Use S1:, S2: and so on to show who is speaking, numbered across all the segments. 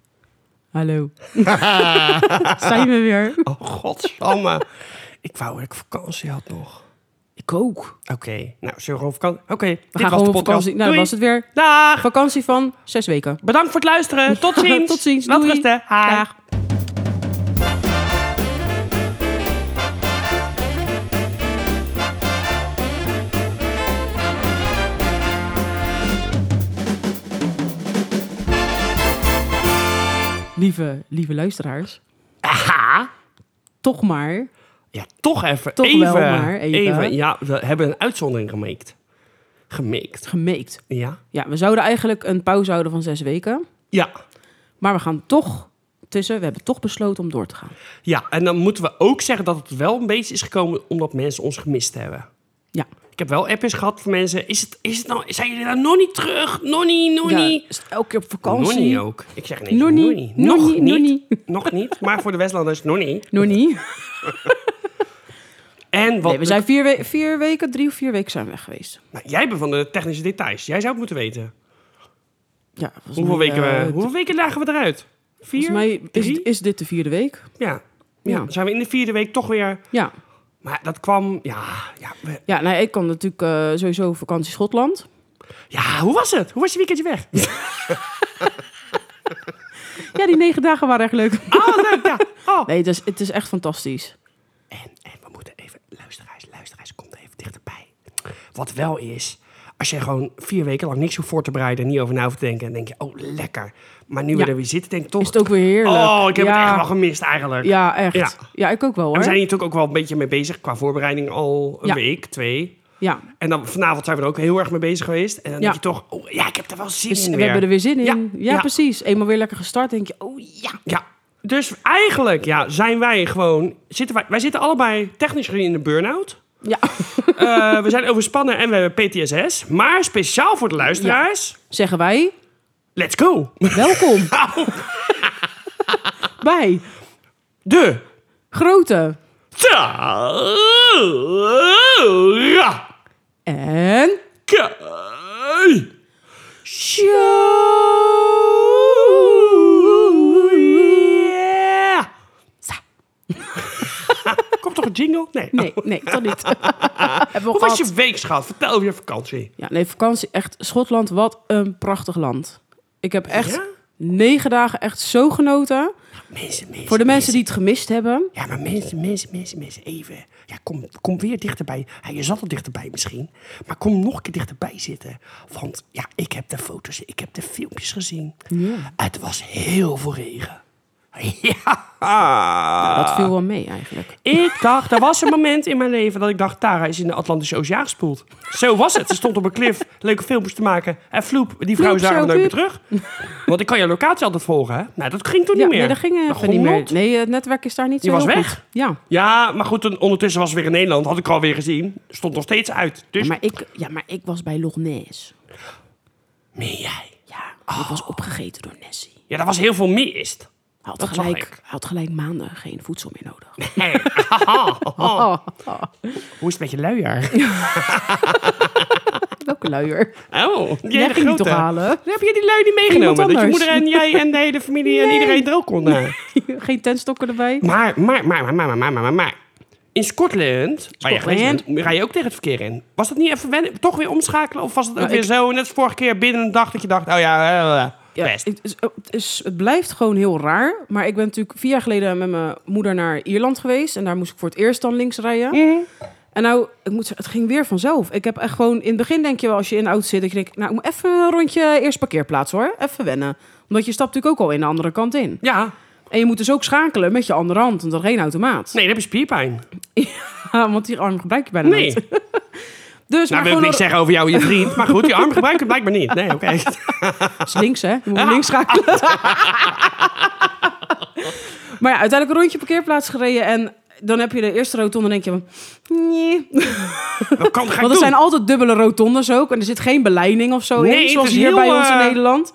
S1: Hallo. Zijn we weer?
S2: Oh, godsamme. ik wou dat ik vakantie had nog.
S1: Ik ook.
S2: Oké, nou, zullen we gewoon vakantie? Oké,
S1: We
S2: dit
S1: gaan
S2: was de
S1: gewoon op
S2: podcast.
S1: vakantie. Nou,
S2: Doei.
S1: was het weer.
S2: Dag.
S1: Vakantie van zes weken.
S2: Bedankt voor het luisteren. Tot ziens.
S1: Tot ziens.
S2: Laat
S1: Doei.
S2: rusten. Haag.
S1: Dag. Lieve, lieve luisteraars.
S2: Aha.
S1: Toch maar.
S2: Ja, toch even.
S1: Toch
S2: even,
S1: wel, maar even.
S2: Ja, we hebben een uitzondering gemaakt. Gemaakt.
S1: Gemeekt.
S2: Ja.
S1: Ja, we zouden eigenlijk een pauze houden van zes weken.
S2: Ja.
S1: Maar we gaan toch tussen. We hebben toch besloten om door te gaan.
S2: Ja, en dan moeten we ook zeggen dat het wel een beetje is gekomen omdat mensen ons gemist hebben.
S1: Ja.
S2: Ik heb wel appjes gehad van mensen. Is het, is het nou, zijn jullie daar nog niet terug? Nonnie,
S1: ja
S2: nonnie.
S1: is het elke keer op vakantie.
S2: Nonnie ook. Ik zeg nee,
S1: Nonnie,
S2: nonnie. Nog
S1: nonnie,
S2: niet.
S1: nonnie.
S2: Nog niet. Maar voor de Westlanders, nonnie.
S1: Nonnie.
S2: En wat
S1: Nee, we zijn vier, we- vier weken, drie of vier weken zijn we weg geweest.
S2: Nou, jij bent van de technische details. Jij zou het moeten weten.
S1: Ja, volgens
S2: Hoeveel,
S1: mij,
S2: weken, we,
S1: eh,
S2: hoeveel weken lagen we eruit? Vier?
S1: Volgens mij is,
S2: Drie?
S1: is dit de vierde week.
S2: Ja. Ja.
S1: Ja.
S2: Zijn we in de vierde week toch weer...
S1: Ja,
S2: Maar dat kwam... Ja, ja, we-
S1: ja nou, ik kan natuurlijk eh, sowieso op vakantie Schotland.
S2: ja, hoe was het? Hoe was je weekendje weg?
S1: Ja, die negen dagen waren echt leuk.
S2: Oh, leuk, ja. Oh.
S1: Nee, het is, het is echt fantastisch.
S2: En, en we moeten even... Luisteraars, luisteraars, komt even dichterbij. Wat wel is... Als je gewoon vier weken lang niks hoeft voor te bereiden... niet over na hoeft te denken... dan denk je, oh, lekker. Maar nu
S1: Ja.
S2: we er weer zitten, denk ik toch...
S1: Is het ook weer heerlijk.
S2: Oh, ik heb
S1: ja,
S2: het echt wel gemist eigenlijk.
S1: Ja, echt. Ja.
S2: Ja.
S1: ik ook wel
S2: En
S1: hoor.
S2: we zijn hier natuurlijk ook wel een beetje mee bezig... qua voorbereiding al een
S1: Ja.
S2: week, twee...
S1: Ja,
S2: En dan vanavond zijn we er ook heel erg mee bezig geweest. En
S1: Ja.
S2: dan denk je toch, oh, ja, ik heb er wel zin
S1: dus
S2: in
S1: we
S2: weer.
S1: hebben er weer zin in. Ja,
S2: ja.
S1: precies. Eenmaal weer lekker gestart, denk je, oh ja.
S2: Ja. Dus eigenlijk ja, zijn wij gewoon... Zitten wij, wij zitten allebei technisch gezien in de burn-out.
S1: Ja,
S2: Eh, we zijn overspannen en we hebben PTSS. Maar speciaal voor de luisteraars...
S1: zeggen wij,
S2: Let's go!
S1: welkom bij
S2: De...
S1: Grote
S2: Tara...
S1: en...
S2: Kei... Yeah. Komt toch een jingle? Nee.
S1: Nee, nee, dat niet. Hebben we al
S2: Hoe was
S1: gehad.
S2: je week, schat? Vertel over je vakantie.
S1: Ja, nee, vakantie echt. Schotland, wat een prachtig land. Ik heb echt
S2: Ja?
S1: negen dagen echt zo genoten.
S2: Mensen, mensen.
S1: Voor de mensen die het gemist hebben.
S2: Ja, maar mensen, mensen, mensen, mensen, even. Ja, kom, kom weer dichterbij. Ja, je zat al dichterbij misschien. Maar kom nog een keer dichterbij zitten. Want ja, ik heb de foto's, ik heb de filmpjes gezien. Het was heel veel regen. Ja.
S1: Dat
S2: Ah.
S1: viel wel mee eigenlijk.
S2: Ik dacht, er was een moment in mijn leven dat ik dacht... Tara is in de Atlantische Oceaan gespoeld. Zo was het. Ze stond op een klif leuke filmpjes te maken. En floep, die vrouw is
S1: Floep,
S2: daar
S1: zo,
S2: nooit meer terug. Want ik kan je locatie altijd volgen, hè? Nou, dat ging toen
S1: Ja,
S2: niet meer.
S1: nee, dat ging even
S2: gewoon
S1: niet meer.
S2: not.
S1: Nee, het netwerk is daar niet zo
S2: Die was
S1: heel
S2: weg.
S1: goed. Ja.
S2: Ja, maar goed, en ondertussen was het weer in Nederland. Had ik alweer gezien. Stond nog steeds uit. Dus...
S1: Ja, maar ik, ja, maar ik was bij Loch Ness.
S2: Meen jij?
S1: Ja, ik
S2: Oh.
S1: was opgegeten door Nessie.
S2: Ja, dat was heel veel mist.
S1: Hij had,
S2: Dat zag
S1: gelijk,
S2: ik.
S1: hij had gelijk maanden geen voedsel meer nodig.
S2: Hey, haha. Oh. Hoe is het met je luier?
S1: Welke luier?
S2: Oh, die
S1: Jij
S2: hele
S1: ging die toch
S2: grote.
S1: halen?
S2: Heb je die lui niet meegenomen? Dat je
S1: anders.
S2: moeder en jij en de hele familie en iedereen er ook kon. eh.
S1: geen tentstokken erbij.
S2: Maar, maar, maar, maar, maar, maar, maar, maar, maar. In Scotland, waar je
S1: Scotland.
S2: geweest bent, rij je ook tegen het verkeer in. Was dat niet even wennen- toch weer omschakelen? Of was het ook
S1: Nou,
S2: weer
S1: ik-
S2: zo, net als vorige keer, binnen een dag dat je dacht... Oh ja, eh, eh,
S1: Ja,
S2: best.
S1: het, is, het, is- het blijft gewoon heel raar. Maar ik ben natuurlijk vier jaar geleden met mijn moeder naar Ierland geweest. En daar moest ik voor het eerst dan links rijden. En nou, ik moet zeggen, het ging weer vanzelf. Ik heb echt gewoon... In het begin denk je wel, als je in de auto zit... dat je denkt, nou, ik moet even een rondje eerst parkeerplaats hoor. Even wennen. Omdat je stapt natuurlijk ook al in de andere kant in.
S2: Ja,
S1: En je moet dus ook schakelen met je andere hand. Want dat is geen automaat.
S2: nee, dan heb je spierpijn.
S1: want die arm gebruik je bijna
S2: Nee,
S1: niet. Dus maar
S2: nou wil ik
S1: gewoon
S2: niks zeggen over jou en je vriend. Maar goed, die arm gebruik ik blijkbaar niet. Nee, oké.
S1: Dat is links, hè? Je moet links schakelen. maar ja, uiteindelijk een rondje parkeerplaats gereden en dan heb je de eerste rotonde en denk je van... Nee.
S2: Dat kan, ga ik
S1: Want er
S2: doen.
S1: zijn altijd dubbele rotondes ook en er zit geen beleiding of zo
S2: Nee,
S1: in,
S2: het
S1: zoals
S2: is
S1: hier
S2: heel,
S1: bij ons in
S2: eh,
S1: Nederland.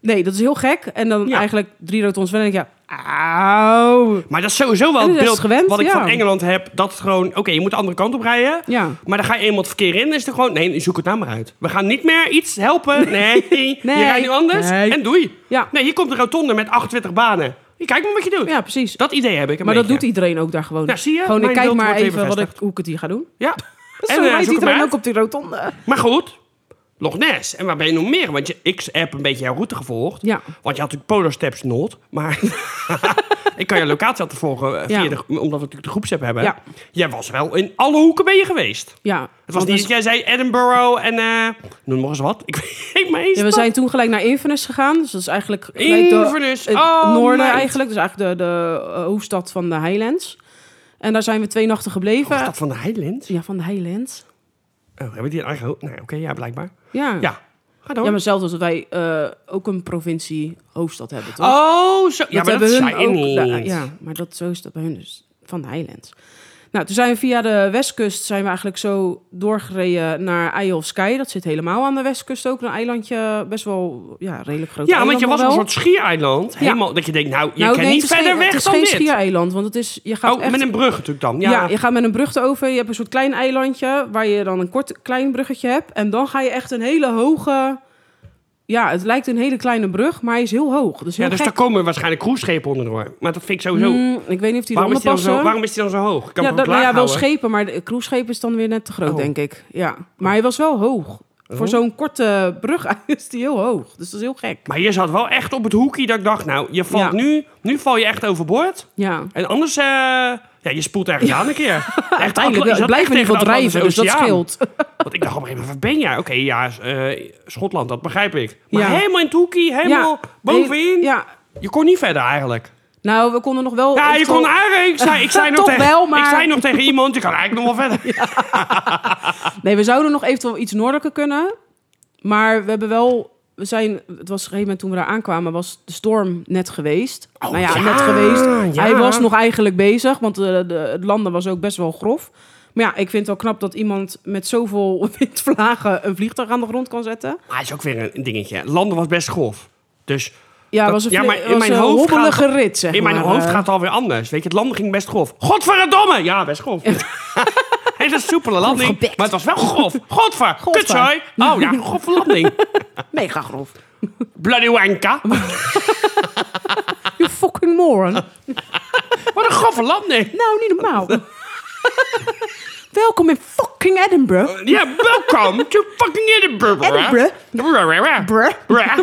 S1: Nee, dat is heel gek. En dan
S2: Ja.
S1: eigenlijk drie rotondes verder denk je, Auw.
S2: Maar dat is sowieso wel
S1: En
S2: het
S1: dat is
S2: beeld
S1: gewend,
S2: wat ik
S1: ja.
S2: van Engeland heb. Dat het gewoon, oké, je moet de andere kant op rijden.
S1: Ja.
S2: Maar dan ga je eenmaal het verkeer in. Dan is het gewoon, nee, zoek het nou maar uit. We gaan niet meer iets helpen. Nee, je rijdt nu anders.
S1: Nee.
S2: En doei.
S1: Ja.
S2: Nee, hier komt een rotonde met 28 banen. Je kijkt maar wat je doet.
S1: ja, precies.
S2: Dat idee heb ik een
S1: maar dat
S2: beetje.
S1: doet iedereen ook daar gewoon.
S2: Ja, zie je?
S1: Gewoon, ik
S2: Mijn
S1: kijk
S2: beeld
S1: maar
S2: wordt weer
S1: even wat ik,
S2: bevestigd.
S1: hoe ik het hier ga doen.
S2: Ja.
S1: Zo
S2: eh,
S1: rijdt
S2: zoek hem
S1: iedereen
S2: uit.
S1: ook op die rotonde.
S2: Maar goed, Loch Ness. En waar ben je nog meer? Want je, ik heb een beetje jouw route gevolgd.
S1: Ja.
S2: Want je had natuurlijk Polar Steps not. Maar ik kan je locatie altijd volgen. eh, Via
S1: Ja.
S2: de, omdat we natuurlijk de groepsapp hebben.
S1: Ja.
S2: Jij was wel in alle hoeken ben je geweest.
S1: Ja.
S2: Het was
S1: want dus-
S2: niet
S1: we-
S2: dat jij zei Edinburgh en... eh, noem nog eens wat. Ik weet maar eens
S1: Ja, we
S2: wat.
S1: zijn toen gelijk naar Inverness gegaan. Dus dat is eigenlijk gelijk de-
S2: Inverness.
S1: het
S2: oh,
S1: noorden
S2: meid.
S1: eigenlijk. Dus eigenlijk de, de eh, hoofdstad van de Highlands. En daar zijn we twee nachten
S2: Oh, Wat
S1: gebleven.
S2: is dat van de Highlands?
S1: Ja, van de Highlands.
S2: Oh, hebben die een eigen... ho- Nee, oké, ja, blijkbaar.
S1: Ja.
S2: Ja, ga door.
S1: Ja, maar zelfs als wij eh, ook een provincie hoofdstad hebben, toch?
S2: Oh, zo. ja, maar
S1: hebben
S2: dat
S1: hun
S2: zei ik niet.
S1: da- ja, maar dat, zo is dat bij hun dus, van de Highlands. Nou, toen zijn we via de westkust zijn we eigenlijk zo doorgereden naar Isle of Skye. Dat zit helemaal aan de westkust ook, een eilandje, best wel ja, redelijk groot
S2: Ja, want
S1: eiland
S2: je
S1: nog
S2: was op een
S1: wel.
S2: soort schiereiland. Helemaal, dat je denkt, nou, je
S1: Nou,
S2: kan
S1: nee,
S2: niet
S1: het is
S2: verder
S1: geen-
S2: weg
S1: Het is
S2: dan
S1: geen
S2: dit.
S1: schiereiland, want het is, je gaat
S2: oh,
S1: echt...
S2: met een brug natuurlijk dan.
S1: ja.
S2: Ja,
S1: je gaat met een brug erover. Je hebt een soort klein eilandje waar je dan een kort klein bruggetje hebt. En dan ga je echt een hele hoge... Ja, het lijkt een hele kleine brug, maar hij is heel hoog. Dus heel
S2: ja dus
S1: gek.
S2: daar komen waarschijnlijk cruiseschepen onderdoor. Maar dat vind ik sowieso...
S1: Mm, ik weet niet of die
S2: waarom,
S1: eronder
S2: is die dan
S1: passen.
S2: zo, waarom is die dan zo hoog? Ik Kan
S1: ja,
S2: hem
S1: dat,
S2: ook laag
S1: nou ja, wel
S2: houden.
S1: schepen, maar de cruisescheep is dan weer net te groot,
S2: Oh.
S1: denk ik. Ja. Maar hij was wel hoog. Voor zo'n korte brug is die heel hoog. Dus dat is heel gek.
S2: Maar je zat wel echt op het hoekje dat ik dacht, nou, je valt
S1: Ja.
S2: nu... Nu val je echt overboord.
S1: Ja.
S2: En anders... eh, ja, je spoelt ergens aan een keer. Echt,
S1: Uiteindelijk
S2: je
S1: wel-
S2: zat
S1: het blijft in ieder
S2: echt tegen de
S1: geval drijven, dus
S2: Atlantische
S1: dat
S2: Oceaan.
S1: scheelt.
S2: Want ik dacht op een gegeven moment, waar ben jij? Oké, ja, eh, Schotland, dat begrijp ik. Maar
S1: Ja.
S2: helemaal in het hoekje, helemaal bovenin.
S1: Ja.
S2: Je kon niet verder eigenlijk.
S1: Nou, we konden nog wel...
S2: Ja, je
S1: oftewel-
S2: kon eigenlijk... Ik zei, ik zei nog
S1: Toch
S2: tegen,
S1: wel, maar-
S2: ik zei nog tegen iemand, je kan eigenlijk nog wel verder.
S1: Nee, we zouden nog eventueel iets noordelijker kunnen. Maar we hebben wel... We zijn, het was op een gegeven moment toen we daar aankwamen, was de storm net geweest.
S2: Oh,
S1: nou ja,
S2: ja,
S1: net geweest.
S2: ja.
S1: Hij was nog eigenlijk bezig, want eh, de, de, het landen was ook best wel grof. Maar ja, ik vind het wel knap dat iemand met zoveel windvlagen een vliegtuig aan de grond kan zetten.
S2: Maar het is ook weer een dingetje. Landen was best grof. Dus
S1: Ja,
S2: Dat-
S1: was een,
S2: ja,
S1: ja,
S2: maar in
S1: was
S2: mijn
S1: een
S2: hoofd gaat-
S1: hobbelige rit, zeg
S2: in mijn
S1: maar.
S2: hoofd
S1: Eh,
S2: gaat het alweer anders. Weet je, het landen ging best grof. Godverdomme! Ja, best grof. Het is een soepele landing, maar
S1: gepikt.
S2: het was wel grof. Godver,
S1: Godver.
S2: kutzooi. Oh ja, grove landing.
S1: Mega grof.
S2: Bloody wanka.
S1: You fucking moron.
S2: Wat een grove landing.
S1: nou, niet normaal. Welkom in fucking Edinburgh.
S2: Ja, welkom to fucking Edinburgh.
S1: Edinburgh.
S2: Edinburgh.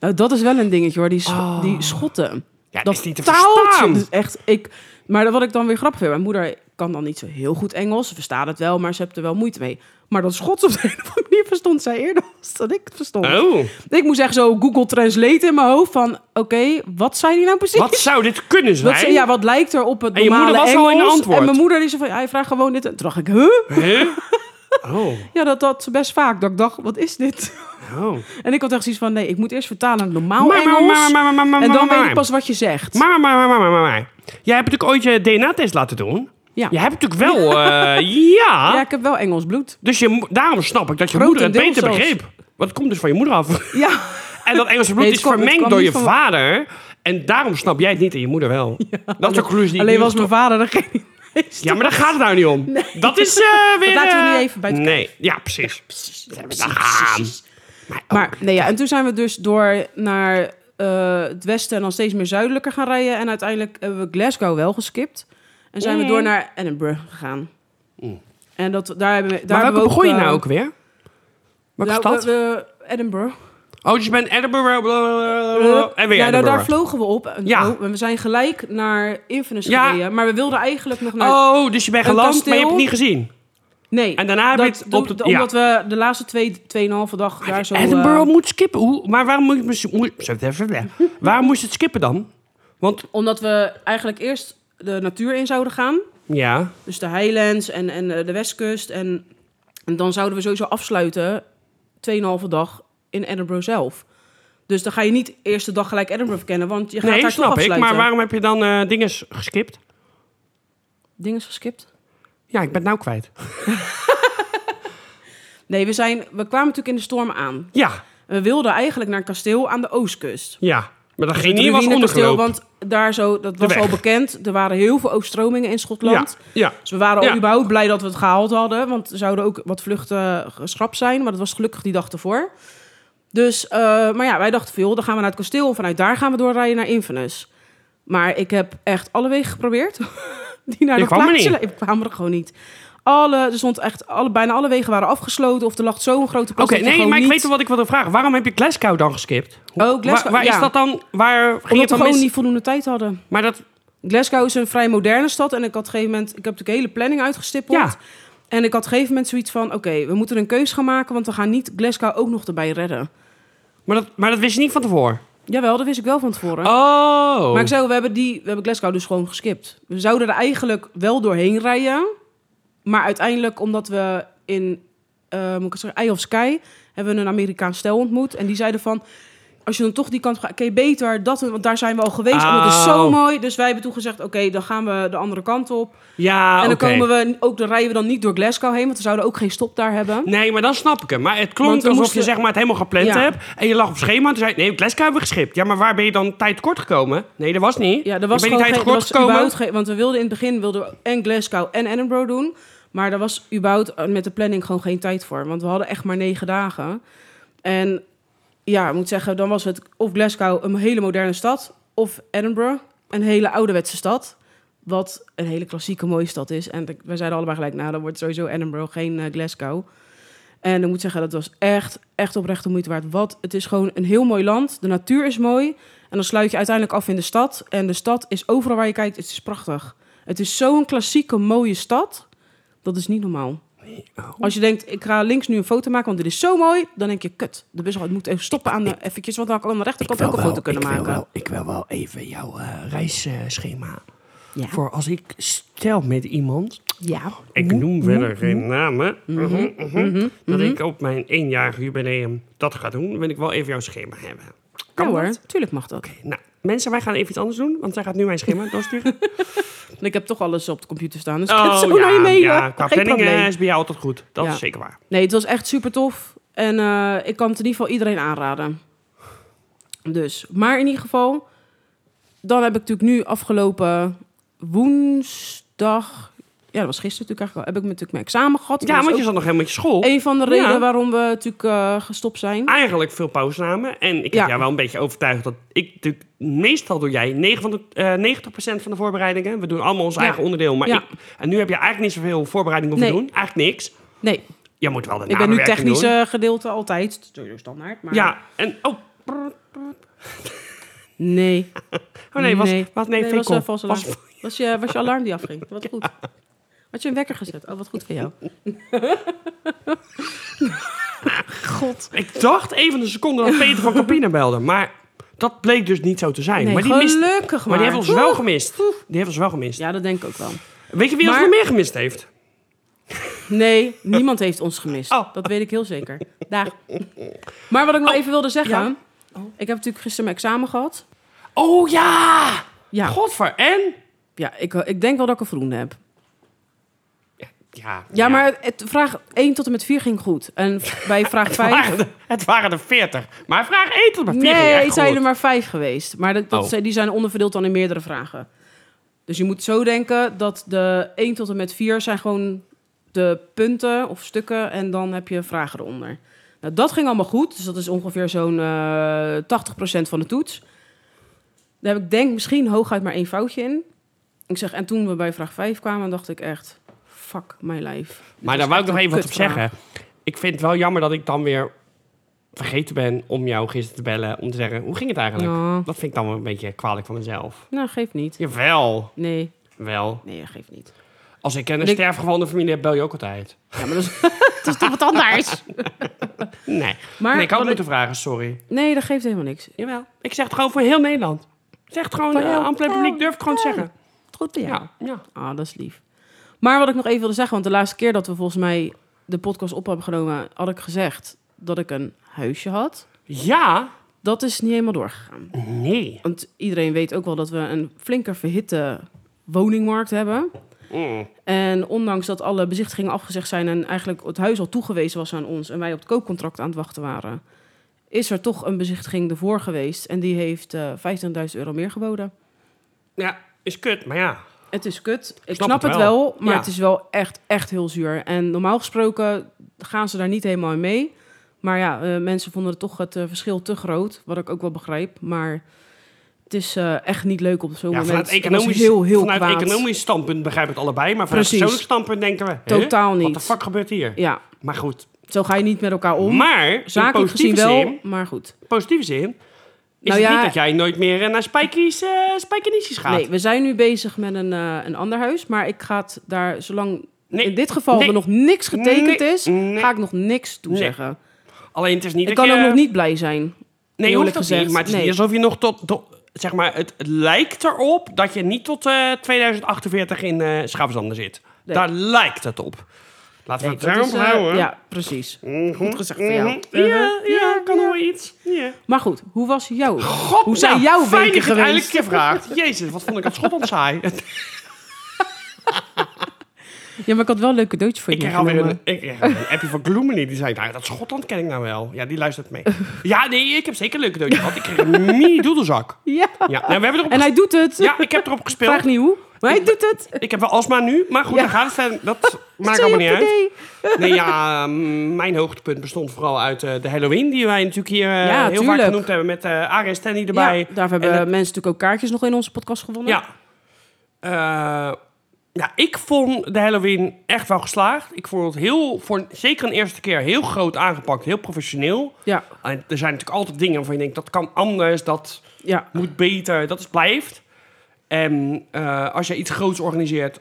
S1: Nou, dat is wel een dingetje hoor, die, Scho- die schotten.
S2: Oh. Ja,
S1: dat
S2: is niet te
S1: taaltje,
S2: verstaan.
S1: dat is echt, ik, maar wat ik dan weer grappig vind, mijn moeder kan dan niet zo heel goed Engels. Ze verstaat het wel, maar ze heeft er wel moeite mee. Maar dat Schots op de een of andere manier verstond zij eerder als dat ik het verstond.
S2: Oh,
S1: Ik moest echt zo Google Translate in mijn hoofd van, oké, wat zei die nou precies?
S2: wat zou dit kunnen
S1: Wat ze-
S2: zijn?
S1: ja, wat lijkt er op het
S2: En je
S1: normale
S2: moeder was al
S1: Engels?
S2: in de antwoord.
S1: En mijn moeder die zei van, ja, hij vraagt gewoon dit. En toen dacht ik, huh?
S2: Huh? Oh,
S1: Ja, dat dat best vaak. Dat ik dacht, wat is dit?
S2: oh.
S1: En ik had echt zoiets van, nee, ik moet eerst vertalen naar normaal
S2: Maar, maar,
S1: Engels.
S2: maar, maar, maar, maar, maar,
S1: en dan
S2: maar.
S1: weet ik pas wat je zegt.
S2: Maar, maar, maar, maar, maar, maar, maar. Jij hebt natuurlijk ooit je DNA-test laten doen.
S1: Ja.
S2: Je hebt natuurlijk wel, eh, ja.
S1: Ja, ik heb wel Engels bloed.
S2: Dus je, mo- daarom snap ik dat je moeder het
S1: Grotendeels
S2: beter
S1: zelfs.
S2: begreep. Want het komt dus van je moeder af.
S1: Ja.
S2: En dat Engelse bloed
S1: Nee, het
S2: is
S1: kwam- het
S2: vermengd
S1: kwam
S2: door je
S1: niet van-
S2: vader. En daarom snap jij het niet en je moeder wel. dat is de conclusie die ik
S1: Alleen
S2: nu
S1: was
S2: getrokken-
S1: mijn vader degene.
S2: Ja, maar daar gaat het nou niet om. Dat is eh, weer...
S1: laten we
S2: eh,
S1: nu even bij het-
S2: Nee, ja, precies. Daar gaan.
S1: Maar nee, ja, en toen zijn we dus door naar eh, het westen en dan steeds meer zuidelijker gaan rijden. En uiteindelijk hebben we Glasgow wel geskipt. En zijn
S2: Mm.
S1: we door naar Edinburgh gegaan. En dat, daar hebben we, daar
S2: Maar
S1: hebben we
S2: welke
S1: ook,
S2: begon je
S1: eh,
S2: nou ook weer? Welke
S1: nou,
S2: stad?
S1: we- we- Edinburgh.
S2: oh, dus je bent Edinburgh... blablabla, en Oh, eh, weer
S1: ja, nou, daar
S2: Edinburgh.
S1: vlogen we op. Oh, En
S2: Ja.
S1: we zijn gelijk naar Inverness
S2: Ja.
S1: gereden. Maar we wilden eigenlijk nog naar...
S2: Oh, dus je bent
S1: nou, Een
S2: geland, maar je hebt het
S1: kasteel.
S2: niet gezien.
S1: nee,
S2: En daarna heb je het
S1: dat,
S2: op de- ja.
S1: omdat we de laatste twee, tweeënhalve dag daar zo...
S2: Edinburgh
S1: eh,
S2: moet skippen. Hoe, maar waarom moet, moest, moest, waarom moest het skippen dan? Want
S1: Omdat we eigenlijk eerst de natuur in zouden gaan.
S2: ja,
S1: Dus de Highlands en, en eh, de Westkust. En, en dan zouden we sowieso afsluiten 2,5 dag in Edinburgh zelf. Dus dan ga je niet eerst de dag gelijk Edinburgh verkennen, want je gaat
S2: nee,
S1: daar toch
S2: snap ik.
S1: afsluiten.
S2: Maar waarom heb je dan eh dingen geskipt?
S1: Ding is geskipt.
S2: Ja, ik ben het nou kwijt.
S1: Nee, we, zijn, we kwamen natuurlijk in de storm aan.
S2: Ja,
S1: We wilden eigenlijk naar een kasteel aan de oostkust.
S2: ja. Maar dat ging
S1: Het
S2: niet was
S1: ruïnekasteel,
S2: ondergelopen.
S1: Want daar zo, dat was
S2: weg.
S1: al bekend. Er waren heel veel overstromingen in Schotland.
S2: Ja,
S1: Dus we waren al
S2: Ja.
S1: überhaupt blij dat we het gehaald hadden. Want er zouden ook wat vluchten geschrapt zijn. Maar dat was gelukkig die dag ervoor. Dus, eh, maar ja, wij dachten veel. Dan gaan we naar het kasteel. Vanuit daar gaan we doorrijden naar Inverness. Maar ik heb echt alle wegen geprobeerd. die naar
S2: Je
S1: dat
S2: kwam er
S1: plaatsje
S2: niet.
S1: le- Ik kwam er gewoon niet. Alle, er stond echt, alle, bijna alle wegen waren afgesloten. Of er lag zo'n grote
S2: Oké,
S1: plas. dat je
S2: nee,
S1: gewoon
S2: maar ik
S1: niet-
S2: weet wel wat ik wilde vragen. Waarom heb je Glasgow dan geskipt?
S1: Oh, Glasgow,
S2: Waar, waar
S1: ja.
S2: is dat dan? Waar ging
S1: Omdat
S2: het
S1: we
S2: dan
S1: gewoon
S2: mis?
S1: niet voldoende tijd hadden.
S2: Maar dat...
S1: Glasgow is een vrij moderne stad. En ik had op een gegeven moment... Ik heb natuurlijk de hele planning uitgestippeld.
S2: Ja.
S1: En ik had op een gegeven moment zoiets van... Oké, we moeten een keus gaan maken. Want we gaan niet Glasgow ook nog erbij redden.
S2: Maar dat, maar dat wist je niet van tevoren.
S1: Jawel, dat wist ik wel van tevoren.
S2: Oh.
S1: Maar ik zei, al, we hebben, die, we hebben Glasgow dus gewoon geskipt. We zouden er eigenlijk wel doorheen rijden. Maar uiteindelijk, omdat we in... eh, moet ik het zeggen? Eye of Sky... Hebben we een Amerikaans stel ontmoet. En die zeiden van... Als je dan toch die kant op gaat, kun je beter dat... Want daar zijn we al geweest. En dat is zo
S2: Oh.
S1: mooi. Dus wij hebben toen gezegd... Oké, dan gaan we de andere kant op.
S2: ja,
S1: en dan
S2: Ah, oké.
S1: komen we ook, dan rijden we dan niet door Glasgow heen, want we zouden ook geen stop daar hebben.
S2: Nee, maar dan snap ik hem. Maar het
S1: Want
S2: klonk
S1: we
S2: alsof
S1: moesten-
S2: je zeg maar, het helemaal gepland
S1: Ja.
S2: hebt. En je lag op schema. En toen zei ik, nee, Glasgow hebben we geschipt. Ja, maar waar ben je dan tijd tekort gekomen? Nee, dat was niet.
S1: Ja,
S2: Je
S1: er was
S2: bent
S1: gewoon
S2: niet tijd
S1: geen, er
S2: tekort
S1: was
S2: gekomen.
S1: überhaupt geen- want we wilden in het begin wilden we en Glasgow en Edinburgh doen, maar daar was überhaupt eh, met de planning gewoon geen tijd voor, want we hadden echt maar negen dagen. En ja, ik moet zeggen, dan was het of Glasgow een hele moderne stad, of Edinburgh een hele ouderwetse stad, wat een hele klassieke mooie stad is. En ik- wij zeiden allebei gelijk, nou, dan wordt sowieso Edinburgh geen eh, Glasgow. En ik moet zeggen, dat was echt, echt oprecht de moeite waard. Wat, het is gewoon een heel mooi land. De natuur is mooi. En dan sluit je uiteindelijk af in de stad. En de stad is overal waar je kijkt, het is prachtig. Het is zo'n klassieke, mooie stad. Dat is niet normaal.
S2: oh,
S1: Als je denkt, ik ga links nu een foto maken, want dit is zo mooi. Dan denk je, kut, de bus moet even stoppen aan de, eventjes. Want dan kan ik aan de rechterkant ook een foto kunnen
S2: ik
S1: maken.
S2: Wil wel, ik wil wel even jouw eh, reisschema.
S1: Ja.
S2: Voor als ik stel met iemand.
S1: Ja.
S2: Ik noem verder geen namen. Mhm.
S1: Mhm.
S2: Dat ik op mijn eenjarig jubileum dat ga doen, wil ik wel even jouw schema hebben.
S1: Kan
S2: Kan
S1: hoor,
S2: dat?
S1: tuurlijk mag dat.
S2: Nou, mensen, wij gaan even iets anders doen, want zij gaat nu mijn schema doorsturen.
S1: En ik heb toch alles op de computer staan, dus ik kan het zo naar je mailen.
S2: Oh, ja, qua
S1: Geen
S2: planning
S1: probleem.
S2: eh, is bij jou altijd goed. Dat
S1: Ja.
S2: is zeker waar.
S1: Nee, het was echt super tof. En eh, ik kan het in ieder geval iedereen aanraden. Dus, maar in ieder geval, dan heb ik natuurlijk nu afgelopen woensdag. Ja, dat was gisteren natuurlijk eigenlijk al. Heb ik natuurlijk mijn examen gehad.
S2: Ja,
S1: Dat
S2: want
S1: is
S2: je zat nog helemaal met je school.
S1: ook een van de redenen
S2: Ja. Ah.
S1: waarom we natuurlijk eh, gestopt zijn.
S2: Eigenlijk veel pauze namen. En ik heb
S1: Ja.
S2: jou wel een beetje overtuigd dat ik natuurlijk... Meestal doe jij 9 van de, eh 90% van de voorbereidingen. We doen allemaal ons
S1: Ja.
S2: eigen onderdeel. Maar
S1: Ja.
S2: ik- en nu heb je eigenlijk niet zoveel voorbereidingen hoeven
S1: Nee.
S2: doen. Eigenlijk niks.
S1: Nee,
S2: Je moet wel de
S1: ik ben nu
S2: namenwerking
S1: technisch
S2: doen.
S1: eh, gedeelte altijd. Dat is standaard. Maar
S2: Ja, en... Oh,
S1: Nee.
S2: oh nee, was, was nee,
S1: was,
S2: Fikkel.
S1: eh, vals alarm.
S2: Was-
S1: Was je, was je alarm die afging? Wat goed. Had je een wekker gezet? Oh, wat goed voor jou. God.
S2: Ik dacht even een seconde dat Peter van Campina belde. Maar dat bleek dus niet zo te zijn.
S1: Nee,
S2: maar, die mist,
S1: gelukkig maar.
S2: maar die heeft ons wel
S1: Oeh.
S2: gemist. Die heeft ons wel gemist.
S1: Ja, dat denk ik ook wel.
S2: Weet je wie
S1: Maar-
S2: ons nog meer gemist heeft?
S1: Nee, niemand heeft ons gemist.
S2: Oh.
S1: Dat weet ik heel zeker. Daar. Maar wat ik nog even wilde zeggen.
S2: Ja.
S1: Ik heb natuurlijk gisteren mijn examen gehad.
S2: Oh ja!
S1: Ja,
S2: Godver, en?
S1: ja ik, ik denk wel dat ik een voldoende heb.
S2: Ja,
S1: Ja, maar het, vraag 1 tot en met 4 ging goed. En bij vraag 5...
S2: waren er- het waren er 40. Maar vraag 1 tot maar 4 ging
S1: Nee,
S2: echt
S1: het zijn
S2: goed.
S1: er maar vijf geweest. Maar dat, dat
S2: Oh.
S1: zijn, die zijn onderverdeeld dan in meerdere vragen. Dus je moet zo denken dat de 1 tot en met 4 zijn gewoon de punten of stukken. En dan heb je vragen eronder. Nou, dat ging allemaal goed. Dus dat is ongeveer zo'n eh 80% van de toets. Daar heb ik denk misschien hooguit maar één foutje in. Ik zeg, en toen we bij vraag 5 kwamen, dacht ik echt... Fuck my life.
S2: Maar daar wou ik nog even wat op
S1: kutvraag.
S2: zeggen. Ik vind het wel jammer dat ik dan weer vergeten ben om jou gisteren te bellen. Om te zeggen, hoe ging het eigenlijk?
S1: Ja.
S2: Dat vind ik dan wel een beetje kwalijk van mezelf.
S1: Nou, geeft niet.
S2: Jawel,
S1: Nee,
S2: wel.
S1: nee, dat geeft niet.
S2: Als ik een
S1: Ik-
S2: sterfgeval in de familie heb, bel je ook altijd.
S1: Ja, maar dat is, dat is toch wat anders?
S2: Nee,
S1: Maar
S2: nee ik had het
S1: wat ik-
S2: moeten vragen, sorry.
S1: Nee, dat geeft helemaal niks.
S2: Jawel, ik zeg het gewoon voor heel Nederland. Ik zeg het gewoon,
S1: Voor heel-
S2: eh, aan het publiek
S1: Ja.
S2: durf ik gewoon te zeggen.
S1: Goed bij jou.
S2: Ja, ja.
S1: Ah, dat is lief. Maar wat ik nog even wilde zeggen, want de laatste keer dat we volgens mij de podcast op hebben genomen, had ik gezegd dat ik een huisje had.
S2: Ja,
S1: Dat is niet helemaal doorgegaan.
S2: nee.
S1: Want iedereen weet ook wel dat we een flinker verhitte woningmarkt hebben.
S2: Mm.
S1: En ondanks dat alle bezichtigingen afgezegd zijn en eigenlijk het huis al toegewezen was aan ons en wij op het koopcontract aan het wachten waren, is er toch een bezichtiging ervoor geweest. En die heeft eh 25.000 euro meer geboden.
S2: Ja, is kut, maar ja.
S1: Het is kut. Ik
S2: snap
S1: snap,
S2: het
S1: het wel, maar
S2: Ja.
S1: het is wel echt, echt heel zuur. En normaal gesproken gaan ze daar niet helemaal in mee. Maar ja, eh, mensen vonden het toch het eh, verschil te groot, wat ik ook wel begrijp. Maar het is eh, echt niet leuk op zo'n
S2: ja
S1: moment.
S2: vanuit
S1: Het was
S2: economisch,
S1: heel, heel
S2: vanuit
S1: kwaad.
S2: economisch standpunt begrijp ik het allebei. Maar vanuit
S1: Precies.
S2: persoonlijk standpunt denken we... hè?
S1: Totaal
S2: Wat
S1: niet.
S2: de fuck gebeurt hier?
S1: Ja,
S2: Maar goed.
S1: zo ga je niet met elkaar om.
S2: Maar, in
S1: Zakelijk gezien
S2: positieve
S1: wel,
S2: zin...
S1: maar goed.
S2: positieve zin... Is
S1: Nou
S2: het
S1: ja-
S2: niet dat jij nooit meer eh, naar spijkies, eh spijkeniesjes gaat?
S1: Nee, we zijn nu bezig met een, eh, een ander huis. Maar ik ga het daar, zolang
S2: Nee.
S1: in dit geval
S2: Nee.
S1: er nog niks getekend
S2: Nee.
S1: is,
S2: Nee.
S1: ga ik nog niks
S2: Nee.
S1: toezeggen.
S2: Alleen het is niet
S1: dus- Ik
S2: dat
S1: kan
S2: je...
S1: ook nog niet blij zijn.
S2: Nee, hoeft
S1: eerlijk
S2: dat
S1: gezegd.
S2: niet. Maar het is
S1: Nee.
S2: niet alsof je nog tot... tot- zeg maar, het, het lijkt erop dat je niet tot eh, 2048 in eh Schaapzanden zit.
S1: Nee.
S2: Daar lijkt het op. Laten we
S1: Nee,
S2: het
S1: dat is,
S2: daarop
S1: eh,
S2: houden.
S1: ja, precies.
S2: Mhm.
S1: Goed gezegd van jou. Eh,
S2: Mhm. Ja, ja, kan nog wel iets. Ja.
S1: Maar goed, hoe was jouw?
S2: God, nou,
S1: Hoe zijn jouw
S2: fijn
S1: weken
S2: dat je het
S1: geweest?
S2: eindelijk een keer vraagt. Jezus, wat vond ik dat schot saai.
S1: Ja, maar ik had wel een leuk cadeautje voor
S2: ik
S1: je
S2: kreeg alweer een,
S1: meegenomen.
S2: ik kreeg alweer een appje van Gloomily. Die zei, nou, dat Schotland ken ik nou wel. Ja, die luistert mee. Ja, nee, ik heb zeker een leuke cadeautje gehad. Ik kreeg een mini-doedelzak.
S1: Ja.
S2: Ja, nou, we hebben erop
S1: En hij doet het.
S2: Ja, ik heb erop gespeeld.
S1: Vraag niet hoe, maar hij doet het.
S2: Ik heb wel astma nu, maar goed,
S1: Ja.
S2: daar gaat het verder. Dat maakt
S1: Stay
S2: allemaal
S1: up
S2: niet
S1: to
S2: uit.
S1: date.
S2: Nee, ja, mm, mijn hoogtepunt bestond vooral uit eh, de Halloween, die wij natuurlijk hier
S1: Ja,
S2: eh, heel vaak
S1: tuurlijk.
S2: genoemd hebben met eh Arie en Stanley erbij.
S1: Ja, daarvoor hebben
S2: En
S1: mensen natuurlijk ook kaartjes nog in onze podcast gewonnen.
S2: Ja. Eh, ja, ik vond de Halloween echt wel geslaagd. Ik vond het heel, voor een- zeker een eerste keer, heel groot aangepakt, heel professioneel.
S1: Ja,
S2: En er zijn natuurlijk altijd dingen waarvan je denkt, dat kan anders, dat
S1: ja.
S2: moet beter, dat is blijft. En eh, als je iets groots organiseert,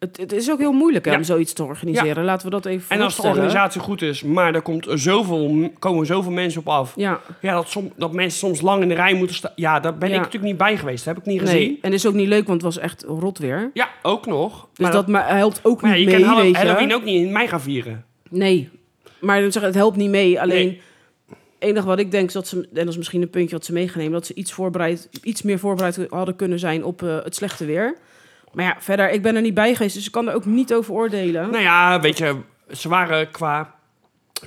S1: Het, het is ook heel moeilijk hè,
S2: Ja.
S1: om zoiets te organiseren. Laten we dat even
S2: en als de
S1: vooropstellen.
S2: organisatie goed is, maar er komt zoveel, komen zoveel mensen op af.
S1: Ja,
S2: Ja, dat, som, dat mensen soms lang in de rij moeten staan. Ja, daar ben
S1: Ja.
S2: ik natuurlijk niet bij geweest, dat heb ik niet gezien.
S1: nee. En is ook niet leuk, want het was echt rot weer.
S2: Ja, ook nog.
S1: Dus dat, ma- helpt ook
S2: Maar ja,
S1: niet
S2: je
S1: mee,
S2: kan Hall-
S1: weet je.
S2: Halloween ook niet in mei gaan vieren.
S1: Nee, maar ik zeg, het helpt niet mee. Alleen
S2: Nee.
S1: het enige wat ik denk is dat ze, en dat is misschien een puntje wat ze meegenomen, dat ze iets, voorbereid, iets meer voorbereid hadden kunnen zijn op eh, het slechte weer. Maar ja, verder, ik ben er niet bij geweest, dus ik kan er ook niet over oordelen.
S2: Nou ja, weet je, ze waren qua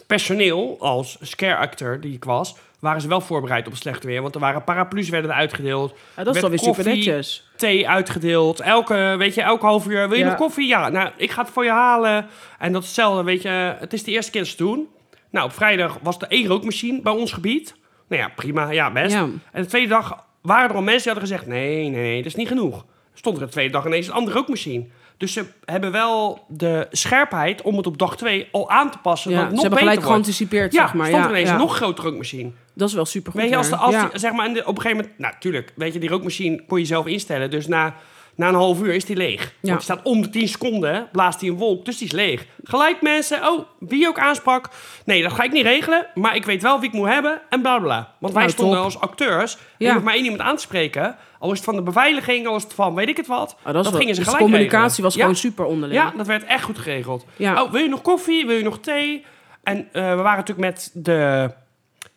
S2: personeel als scare actor die ik was, waren ze wel voorbereid op slecht weer. Want er waren paraplu's werden er uitgedeeld,
S1: Ja, dat is
S2: Met
S1: dan weer super
S2: koffie.
S1: netjes.
S2: thee uitgedeeld. Elke, weet je, elke half uur, wil je
S1: Ja.
S2: nog koffie? Ja, nou, ik ga het voor je halen. En dat is hetzelfde, weet je, het is de eerste keer dat ze het doen. Nou, op vrijdag was er één rookmachine bij ons gebied. Nou ja, prima, ja, best.
S1: Ja.
S2: En de tweede dag waren er al mensen die hadden gezegd: nee, nee, nee, dat is niet genoeg. Stond er de tweede dag ineens een andere rookmachine. Dus ze hebben wel de scherpheid om het op dag twee al aan te passen.
S1: Ja,
S2: dat
S1: ze
S2: het
S1: hebben
S2: nog beter
S1: gelijk
S2: wordt.
S1: geanticipeerd,
S2: Ja,
S1: zeg maar.
S2: stond er
S1: ja,
S2: ineens
S1: ja.
S2: een nog grotere rookmachine.
S1: Dat is wel super goed.
S2: Weet je, als, de, als
S1: ja.
S2: die- zeg maar, en de- op een gegeven moment... Nou, tuurlijk, weet je, die rookmachine kon je zelf instellen. Dus na, na een half uur is die leeg. Want die staat om de 10 seconden, blaast die een wolk, dus die is leeg. Gelijk mensen, oh, wie ook aansprak. Nee, dat ga ik niet regelen, maar ik weet wel wie ik moet hebben en bla bla, bla. Want wij
S1: Nou,
S2: stonden
S1: top.
S2: als acteurs, je
S1: Ja.
S2: hoeft maar één iemand aan te spreken. Al is het van de beveiliging, al is het van weet ik het wat.
S1: Ah, dat is wel-
S2: gingen ze
S1: dus de
S2: gelijk
S1: communicatie
S2: regelen.
S1: was
S2: Ja.
S1: gewoon super onderling.
S2: Ja, dat werd echt goed geregeld.
S1: Ja.
S2: Oh, wil je nog koffie? Wil je nog thee? En eh, we waren natuurlijk met de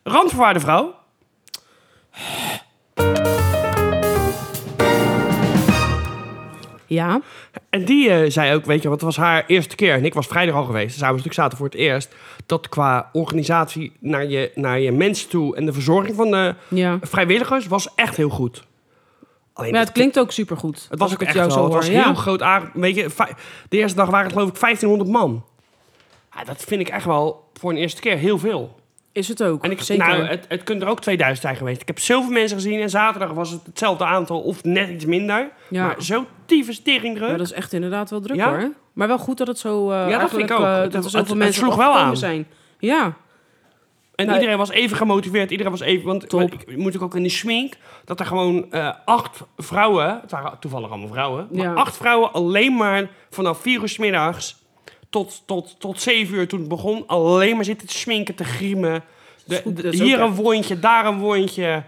S2: randvoorwaarde vrouw.
S1: Ja.
S2: En die eh, zei ook, weet je, want het was haar eerste keer. En ik was vrijdag al geweest. Dus zij was natuurlijk zaterdag voor het eerst. Dat qua organisatie naar je, naar je mensen toe en de verzorging van de
S1: Ja.
S2: vrijwilligers was echt heel goed. Alleen
S1: Maar
S2: dat-
S1: het klinkt ook super goed.
S2: het was ook echt jou zo. Het was heel groot aan. Weet je, fi- de eerste dag waren het geloof ik 1500 man. Ja, dat vind ik echt wel voor een eerste keer heel veel.
S1: Is het ook.
S2: En ik,
S1: Zeker.
S2: Nou, het, het kunnen er ook 2000 zijn geweest. Ik heb zoveel mensen gezien en zaterdag was het hetzelfde aantal of net iets minder.
S1: Ja.
S2: Maar zo tieve stering
S1: Ja, dat is echt inderdaad wel druk
S2: Ja?
S1: hoor. Maar wel goed dat het zo. eh, eigenlijk,
S2: vind ik ook.
S1: eh,
S2: Het-
S1: dat
S2: het-
S1: er zoveel
S2: het
S1: mensen
S2: sloeg
S1: op
S2: wel
S1: afgekomen
S2: aan.
S1: zijn. Ja,
S2: En
S1: Nou,
S2: iedereen was even gemotiveerd. Iedereen was even... Want
S1: Top.
S2: ik- ik moet ik ook in de schmink... dat er gewoon eh, acht vrouwen... Het waren toevallig allemaal vrouwen. Maar
S1: Ja.
S2: acht vrouwen alleen maar vanaf vier uur 's middags... Tot, tot, tot zeven uur toen het begon... alleen maar zitten te schminken, te griemen. De,
S1: is goed,
S2: de-
S1: dat is
S2: hier
S1: ook
S2: een wondje, daar een wondje.
S1: ja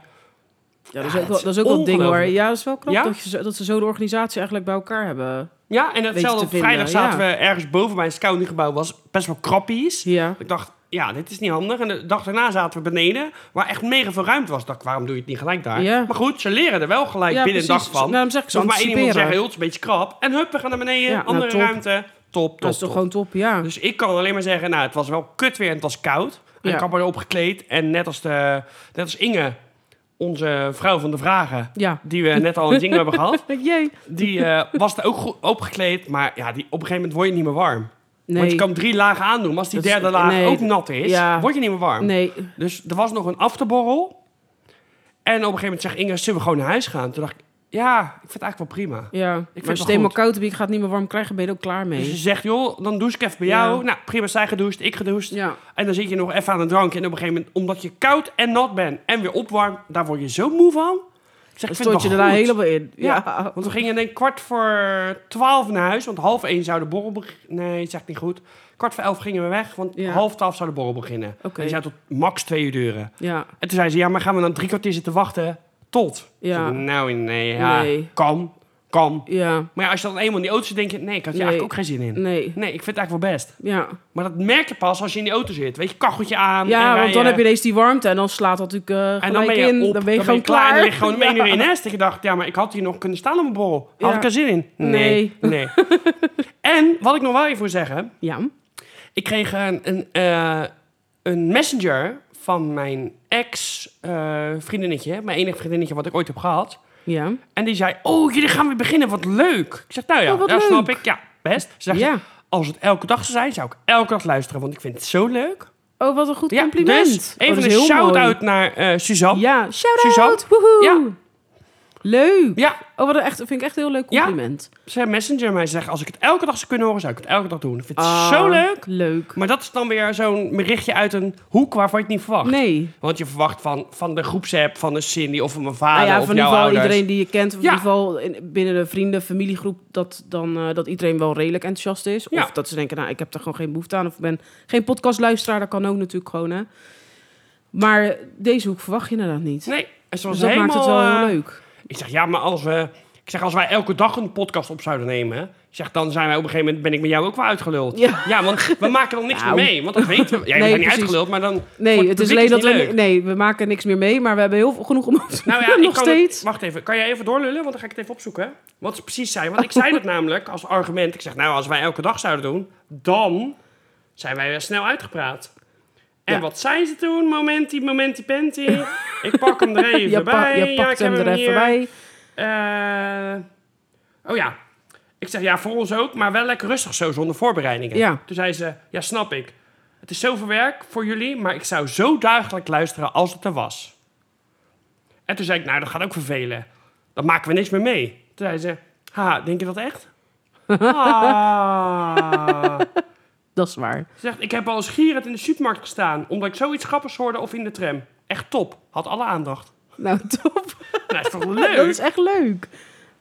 S1: dat is ook
S2: Ja, het
S1: wel,
S2: is
S1: dat is ook wel een ding hoor.
S2: ongelooflijk.
S1: Ja, dat is wel knap
S2: Ja?
S1: dat, je, zo- dat ze zo de organisatie eigenlijk bij elkaar hebben.
S2: Ja, en hetzelfde
S1: te
S2: op vrijdag
S1: vinden,
S2: zaten we ergens boven bij een scoutinggebouw. was best wel krappies.
S1: Ja,
S2: Ik dacht, ja, dit is niet handig. En de dag daarna zaten we beneden, waar echt mega veel ruimte was. Ik dacht, waarom doe je het niet gelijk daar?
S1: Ja.
S2: Maar goed, ze leren er wel gelijk
S1: ja
S2: binnen een
S1: precies.
S2: dag van.
S1: Nou, daarom zeg ik
S2: Dus
S1: zo
S2: hoeft maar één iemand te
S1: anticiperen.
S2: zeggen, joh, het is een beetje krap. En hup, we gaan naar beneden,
S1: Ja, nou,
S2: andere
S1: top.
S2: ruimte. Top, top,
S1: Dat is toch
S2: top.
S1: gewoon top, ja.
S2: Dus ik kan alleen maar zeggen, nou, het was wel kut weer en het was koud. En
S1: Ja.
S2: ik had me erop gekleed. En net als, de, net als Inge, onze vrouw van de vragen,
S1: Ja.
S2: die we net al in het jingle hebben gehad.
S1: Jee.
S2: Die eh, was er ook goed opgekleed. Maar ja, die, op een gegeven moment word je niet meer warm. Want
S1: Nee.
S2: je kan hem drie lagen aandoen. Maar als die
S1: Dat is-
S2: derde laag
S1: nee.
S2: ook nat is,
S1: Ja.
S2: word je niet meer warm.
S1: Nee.
S2: Dus er was nog een afterborrel. En op een gegeven moment zegt Inge, zullen we gewoon naar huis gaan? Toen dacht ik, ja, ik vind het eigenlijk wel prima.
S1: Ja.
S2: het
S1: maar als je
S2: wel
S1: het eenmaal
S2: goed.
S1: koud hebt, je gaat niet meer warm krijgen, ben je er ook klaar
S2: Dus ze
S1: mee.
S2: zegt, joh, dan douche ik even bij
S1: Ja.
S2: jou. Nou, prima, zij gedoucht, ik gedoucht.
S1: Ja.
S2: En dan zit je nog even aan een drankje. En op een gegeven moment, omdat je koud en nat bent en weer opwarmt, daar word je zo moe van. Ik
S1: Dan
S2: zeg, ik vind
S1: stort
S2: het
S1: je
S2: wel
S1: er daar
S2: goed.
S1: helemaal in.
S2: Ja,
S1: Ja.
S2: want we gingen denk ik kwart voor twaalf naar huis. Want half één zou de borrel beginnen. Nee, dat is echt niet goed. Kwart voor elf gingen we weg, want
S1: Ja.
S2: half twaalf zou de borrel beginnen.
S1: Oké.
S2: En die zou tot max twee uur duren.
S1: Ja.
S2: En toen zei ze, ja, maar gaan we dan drie kwartier zitten wachten tot?
S1: Ja.
S2: Ik zei, nou, nee, ja,
S1: Nee.
S2: kan, kan.
S1: Ja.
S2: Maar ja, als je dan eenmaal in die auto zit, denk je, nee, ik had je
S1: Nee.
S2: eigenlijk ook geen zin in.
S1: Nee.
S2: Nee, ik vind het eigenlijk wel best.
S1: Ja.
S2: Maar dat merk je pas als je in die auto zit. Weet je, kacheltje aan. en
S1: Ja, want dan
S2: rijden.
S1: heb je ineens die warmte en dan slaat dat natuurlijk eh,
S2: En dan ben
S1: gelijk
S2: je
S1: in.
S2: op,
S1: dan ben je gewoon klaar.
S2: En dan lig je gewoon om
S1: Ja.
S2: één uur in nest. Ik dacht, ja, maar ik had hier nog kunnen staan op mijn borrel. Had
S1: Ja.
S2: ik er zin in? Nee. nee. en wat ik nog wel even wil zeggen.
S1: Ja.
S2: Ik kreeg een, een, eh, een messenger van mijn ex-vriendinnetje. mijn enige vriendinnetje wat ik ooit heb gehad.
S1: Ja.
S2: En die zei, oh, jullie gaan weer beginnen. Wat leuk. Ik zeg, nou ja,
S1: Oh, wat
S2: dat snap
S1: leuk.
S2: ik. Ja, best. Ze zegt,
S1: Ja.
S2: als het elke dag zou zijn, zou ik elke dag luisteren. Want ik vind het zo leuk.
S1: Oh, wat een goed compliment.
S2: Dus
S1: Oh, dat
S2: even
S1: is
S2: een
S1: heel mooi.
S2: shout-out naar eh, Suzanne.
S1: Ja,
S2: Suzanne.
S1: shout-out. Woehoe.
S2: Ja.
S1: Leuk.
S2: ja,
S1: Oh, wat een echt, vind ik echt een heel leuk
S2: Ja.
S1: compliment.
S2: zijn messenger mij zeggen... als ik het elke dag zou kunnen horen, zou ik het elke dag doen. Ik vind het
S1: Ah,
S2: zo leuk.
S1: Leuk.
S2: Maar dat is dan weer zo'n berichtje uit een hoek waarvan je het niet verwacht.
S1: Nee.
S2: Want je verwacht van, van de groepsapp, van de Cindy of van mijn vader
S1: Nou ja,
S2: of
S1: van in
S2: jouw
S1: ieder geval
S2: ouders.
S1: iedereen die je kent, of
S2: Ja.
S1: in ieder geval in- binnen de vrienden, familiegroep, dat, dan, eh, dat iedereen wel redelijk enthousiast is.
S2: Ja.
S1: Of dat ze denken, nou, ik heb er gewoon geen behoefte aan, of ik ben geen podcastluisteraar, dat kan ook natuurlijk gewoon, hè. Maar deze hoek verwacht je inderdaad niet.
S2: Nee, en ze was
S1: dus dat
S2: helemaal...
S1: maakt het wel heel
S2: eh,
S1: leuk.
S2: Ik zeg, ja, maar als we... Ik zeg, als wij elke dag een podcast op zouden nemen... ik zeg, dan zijn wij op een gegeven moment... ben ik met jou ook wel uitgeluld.
S1: Ja.
S2: want we maken dan niks
S1: Nou.
S2: meer mee. Want dat weten we.
S1: Nee,
S2: Jij bent niet
S1: precies.
S2: uitgeluld, maar dan... voor
S1: Nee, het is
S2: publiek
S1: alleen dat
S2: niet
S1: we...
S2: leuk.
S1: Nee, we maken niks meer mee, maar we hebben heel veel, genoeg om op te
S2: Nou ja, ik
S1: nog
S2: kan
S1: steeds.
S2: Het, wacht even, kan jij even doorlullen? Want dan ga ik het even opzoeken. Wat ze precies zijn. Want ik zei dat namelijk als argument. Ik zeg, nou, als wij elke dag zouden doen, dan zijn wij weer snel uitgepraat. En
S1: Ja.
S2: wat zei ze toen? Momenti, momenti, penti. ik pak hem er even
S1: je, pa-
S2: bij.
S1: je
S2: Ja, ik
S1: pakt
S2: heb
S1: hem er even
S2: hier.
S1: bij.
S2: Eh, oh ja. Ik zeg, ja, voor ons ook, maar wel lekker rustig zo, zonder voorbereidingen.
S1: Ja.
S2: Toen zei ze, ja, snap ik. Het is zoveel werk voor jullie, maar ik zou zo dagelijks luisteren als het er was. En toen zei ik, nou, dat gaat ook vervelen. Dan maken we niks meer mee. Toen zei ze, haha, denk je dat echt? Ah.
S1: Dat is waar.
S2: Ze zegt, ik heb al eens gierend in de supermarkt gestaan... omdat ik zoiets grappigs hoorde of in de tram. Echt top. Had alle aandacht.
S1: Nou, top.
S2: Nou, is toch leuk?
S1: Dat is echt leuk.